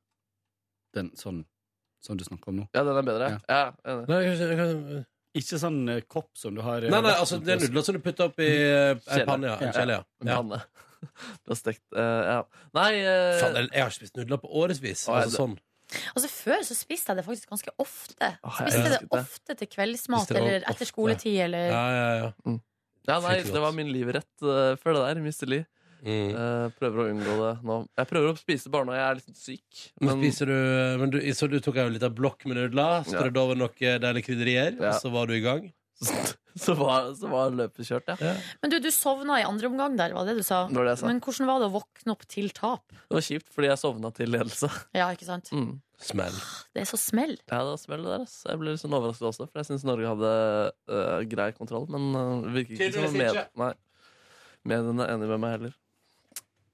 Speaker 1: Den sånn som du snakker om nå.
Speaker 3: Ja, den er bedre. Ja, ja enig.
Speaker 1: Ikke sånn eh, kopp som du har eh,
Speaker 11: Nei, nei,
Speaker 1: vatten
Speaker 11: altså det er
Speaker 1: på.
Speaker 11: nudler som du putter oppi ei
Speaker 3: Kjele.
Speaker 11: panne. Ja. En kjele, ja.
Speaker 3: En
Speaker 11: ja.
Speaker 3: panne. Du har stekt eh, Ja. Nei eh,
Speaker 11: Faen, jeg jeg har ikke spist nudler på årevis.
Speaker 3: Å, er
Speaker 11: Altså,
Speaker 3: det-
Speaker 11: sånn.
Speaker 2: Altså Før så spiste jeg det faktisk ganske ofte.
Speaker 3: Åh, jeg
Speaker 2: Spiste det
Speaker 3: elsket det.
Speaker 2: ofte til kveldsmat
Speaker 11: Spiste det
Speaker 2: eller
Speaker 11: ofte.
Speaker 2: etter skoletid eller
Speaker 11: Ja, ja, ja.
Speaker 3: ja, nei,
Speaker 11: Fryktelig
Speaker 3: det var
Speaker 11: godt.
Speaker 3: min livrett eh, før det der. Mr. Lee.
Speaker 11: Mm.
Speaker 3: Eh, prøver å unngå det nå. Jeg prøver å spise bare når jeg er litt syk.
Speaker 11: Men spiser du, men du Så du tok en liten blokk med nudler,
Speaker 3: Ja.
Speaker 11: strødde over noen deilige krydderier,
Speaker 3: Ja.
Speaker 11: og så var du i gang?
Speaker 3: så, var, så var løpet kjørt, ja.
Speaker 11: Ja.
Speaker 2: Men du, du sovna i andre omgang der, var det det du sa?
Speaker 3: Det var det jeg sa.
Speaker 2: Men hvordan var det å våkne opp til tap?
Speaker 3: Det var kjipt, fordi jeg sovna til ledelse.
Speaker 2: Ja, ikke sant?
Speaker 3: Mm.
Speaker 11: Smell.
Speaker 2: Det er så smell.
Speaker 3: Ja, det var smell det der. ass. Jeg ble litt sånn overrasket også, for jeg syns Norge hadde øh, grei kontroll. Men øh, det virker ikke
Speaker 11: Tydeligvis
Speaker 3: som med,
Speaker 11: ikke.
Speaker 3: nei, mediene er enig med meg heller.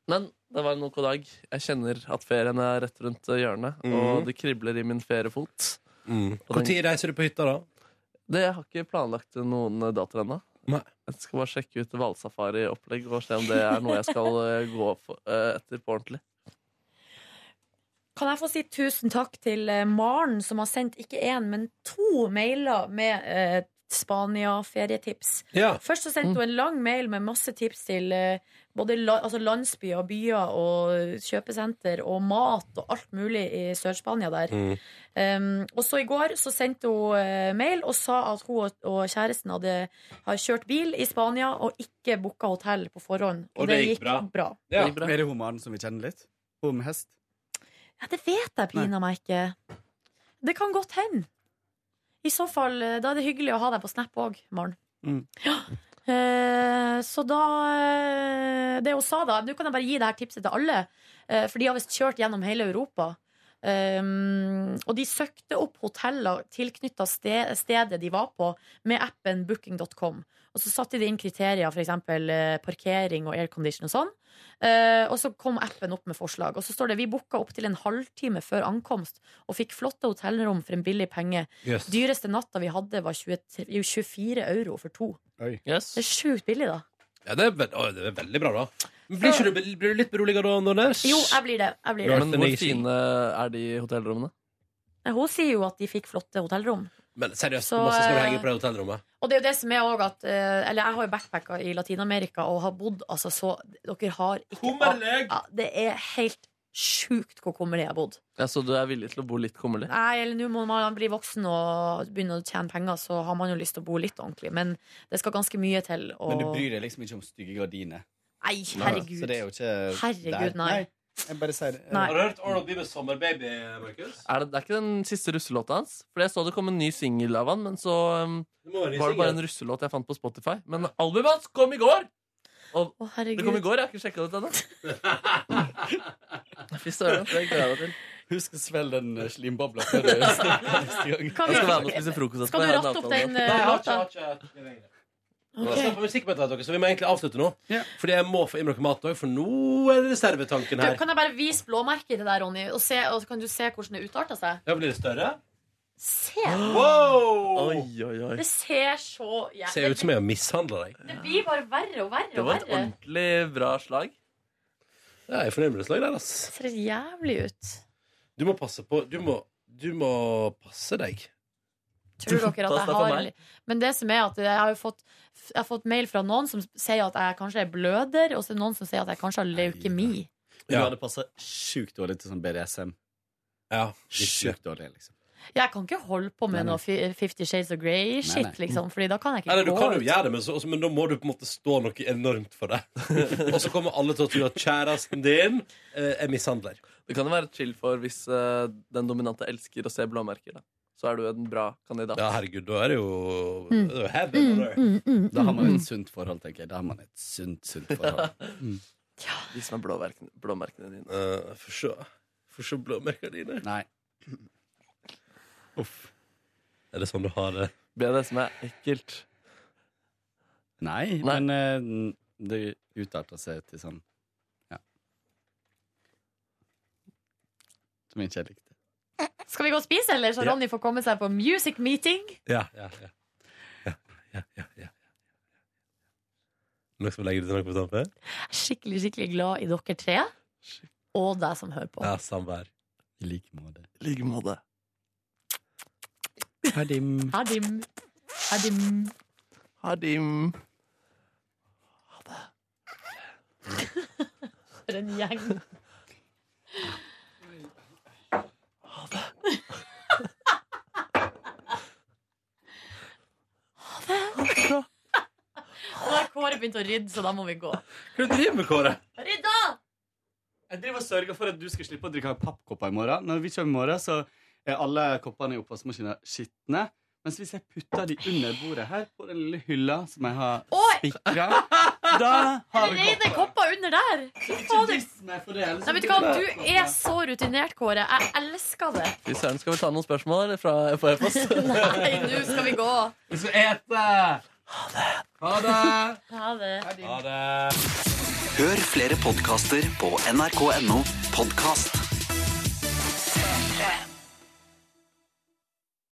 Speaker 3: Men det var en OK dag. Jeg kjenner at ferien er rett rundt øh, hjørnet,
Speaker 11: Mhm.
Speaker 3: og det kribler i min feriefot.
Speaker 11: Mm. Når reiser du på hytta, da?
Speaker 3: Det, jeg har ikke planlagt noen øh, datoer ennå.
Speaker 11: Nei.
Speaker 3: Jeg skal bare sjekke ut hvalsafari-opplegg og se om det er noe jeg skal øh, gå for, øh, etter på ordentlig.
Speaker 2: Kan jeg få si tusen takk til eh, Maren, som har sendt ikke én, men to mailer med eh, Spania-ferietips.
Speaker 11: Ja.
Speaker 2: Først så sendte hun en lang mail med masse tips til eh, både la, altså landsbyer og byer og kjøpesenter og mat og alt mulig i Sør-Spania der.
Speaker 11: Mm.
Speaker 2: Um, og så i går så sendte hun eh, mail og sa at hun og, og kjæresten hadde har kjørt bil i Spania og ikke booka hotell på forhånd. Og, det, gikk bra.
Speaker 11: Ja.
Speaker 3: Det gikk bra.
Speaker 1: Er det humaren som vi kjenner litt? Hun med hest?
Speaker 2: Ja, det vet jeg pina meg ikke. Det kan godt hende. I så fall, eh, da er det hyggelig å ha deg på Snap òg, Maren.
Speaker 1: Mm.
Speaker 2: Ja. Eh, så da eh, Det hun sa da Nå kan jeg bare gi det her tipset til alle, eh, for de har visst kjørt gjennom hele Europa. Um, og de søkte opp hoteller tilknytta ste stedet de var på, med appen booking.com. Og så satte de inn kriterier, f.eks. parkering og aircondition og sånn. Eh, og så kom appen opp med forslag. Og så står det vi booka opptil en halvtime før ankomst og fikk flotte hotellrom for en billig penge.
Speaker 11: Yes.
Speaker 2: Dyreste natta vi hadde, var 23, jo, 24 euro for to.
Speaker 3: Yes.
Speaker 2: Det er sjukt billig, da.
Speaker 11: Ja, det, er veld, å, det er veldig bra, da. Men Blir, ikke du, blir du litt beroliga da, Nordnes?
Speaker 2: Jo, jeg blir det. Jeg blir
Speaker 11: Bra.
Speaker 2: det.
Speaker 3: Men hvor fine er de hotellrommene?
Speaker 2: Nei, Hun sier jo at de fikk flotte hotellrom.
Speaker 11: Men seriøst,
Speaker 2: Så,
Speaker 11: hvor masse skal du
Speaker 2: eh,
Speaker 11: henge på det hotellrommet?
Speaker 2: Og det er jo det som er også at eh, Eller jeg har jo backpacka i Latin-Amerika og har bodd altså så Dere har ikke ja, Det er helt sjukt hvor kummerlig jeg har bodd.
Speaker 3: Ja, så du er villig til å bo litt kummerlig?
Speaker 2: Nei, eller nå må man bli voksen og begynne å tjene penger, så har man jo lyst til å bo litt ordentlig. Men det skal ganske mye til. Og...
Speaker 1: Men du bryr deg liksom ikke om stygge gardiner.
Speaker 2: Nei, herregud.
Speaker 1: Så det er jo ikke
Speaker 2: Herregud,
Speaker 1: der.
Speaker 2: nei.
Speaker 1: Jeg bare sier eh, det.
Speaker 2: Nei.
Speaker 11: Har du hørt Oral B med Sommerbaby, Markus?
Speaker 3: Er det, det er ikke den siste russelåta hans? Fordi jeg så det kom en ny singel av han, men så um,
Speaker 11: Det må være
Speaker 3: var det bare en russelåt jeg fant på Spotify. Men albumet hans kom i går!
Speaker 2: Å,
Speaker 3: Det kom i
Speaker 2: herregud.
Speaker 3: går, jeg har ikke sjekka det ut ennå. Fy søren, det gleder jeg meg til.
Speaker 1: Husk å svelge den eh, slimbobla før du stikker neste gang.
Speaker 2: Kan
Speaker 3: Jeg skal være med
Speaker 2: vi...
Speaker 3: og spise frokost
Speaker 2: Skal du
Speaker 3: Jeg har en
Speaker 2: ratte opp
Speaker 3: avtale
Speaker 2: den
Speaker 3: med han.
Speaker 11: Nei, jeg
Speaker 2: eh,
Speaker 11: har ikke, jeg har ikke, jeg
Speaker 2: låta?
Speaker 11: har ikke. Vi skal
Speaker 2: Ok.
Speaker 11: på musikkmøte, dere, så vi må egentlig avslutte nå.
Speaker 1: Ja.
Speaker 11: Fordi jeg må få inn noe mat òg, for nå er det reservetanken
Speaker 2: Du,
Speaker 11: her.
Speaker 2: kan jeg bare vise blåmerket til deg, Ronny, og, se, og så kan du se hvordan det utarter seg?
Speaker 11: Ja, blir det større?
Speaker 2: Se!
Speaker 11: Wow!
Speaker 3: Oi, oi, oi.
Speaker 2: eh, Det ser så jævlig
Speaker 11: Ser ut som jeg har mishandla deg.
Speaker 2: Det blir bare verre og verre
Speaker 3: Det
Speaker 2: og
Speaker 3: var et
Speaker 2: verre.
Speaker 3: ordentlig bra slag.
Speaker 11: Ja, Jeg er fornøyd med det slaget der, ass.
Speaker 2: Det ser jævlig ut.
Speaker 11: Du må passe på Du må, du må passe deg.
Speaker 2: Tror dere at
Speaker 3: Pass deg
Speaker 2: jeg
Speaker 3: for
Speaker 2: har
Speaker 3: meg.
Speaker 2: Men det som er at jeg har jo fått Jeg har fått mail fra noen som sier at jeg kanskje er bløder, og så er det noen som sier at jeg kanskje har leukemi.
Speaker 1: Du
Speaker 11: Ja.
Speaker 1: hadde passa sjukt dårlig til sånn BDSM.
Speaker 11: Ja,
Speaker 1: Sjukt dårlig, liksom.
Speaker 2: Jeg kan ikke holde på med noe fi- Fifty Shades of Grey-shit,
Speaker 11: Nei, nei.
Speaker 2: liksom. Fordi da kan jeg ikke
Speaker 11: Nei, nei, du
Speaker 2: gå
Speaker 11: kan jo
Speaker 2: ut.
Speaker 11: gjøre det, men, så, men da må du på en måte stå noe enormt for det. og så kommer alle til å tro at kjæresten din eh, er mishandler.
Speaker 3: Det kan jo være chill for hvis eh, den dominante elsker å se blåmerker. Da. Så er du en bra kandidat.
Speaker 11: Ja, herregud, da er det jo
Speaker 3: Mm.
Speaker 11: det er jo heaven,
Speaker 3: Mm,
Speaker 11: det er.
Speaker 3: mm, mm,
Speaker 1: Da har man
Speaker 3: mm.
Speaker 1: et sunt forhold, tenker jeg. Da har man et sunt, sunt forhold.
Speaker 3: Vis meg blåmerkene, blåmerkene dine.
Speaker 11: Få se. Få se blåmerkene dine.
Speaker 1: Nei.
Speaker 11: Uff. Er det sånn du har det?
Speaker 3: BDSM er ekkelt.
Speaker 1: Nei, men eh, det utarta seg til sånn Ja. Som jeg ikke likte.
Speaker 2: Skal vi gå og spise, eller? Så
Speaker 1: Ja.
Speaker 2: Ronny får komme seg på music meeting.
Speaker 11: Ja, ja, ja. Noen som legger til noe på tampen?
Speaker 2: Jeg er skikkelig, skikkelig glad i dere tre. Og deg som hører på.
Speaker 11: Ja, samvær.
Speaker 1: I like måte.
Speaker 3: I like måte.
Speaker 1: Hadim.
Speaker 2: Hadim. Hadim.
Speaker 3: Hadim.
Speaker 2: For en gjeng. Ha det. Nå har Kåre begynt å rydde, så da må vi gå.
Speaker 11: Hva driver du med, Kåre?
Speaker 2: Rydda!
Speaker 1: Jeg driver og sørger for at du skal slippe å drikke pappkopper i morgen. Når vi kommer i morgen, så er alle koppene i oppvaskmaskinen skitne. Mens hvis jeg putter de under bordet her, på den lille hylla som jeg har spikra, da har vi
Speaker 2: Reine kopper under der! Fader. Nei, vet du hva, du er så rutinert, Kåre. Jeg elsker det.
Speaker 3: Fy søren, skal vi ta noen spørsmål fra på e-post?
Speaker 2: Nei, nå skal vi gå.
Speaker 1: Vi skal ete! Ha det!
Speaker 2: Ha det.
Speaker 12: Hør flere podkaster på nrk.no podkast.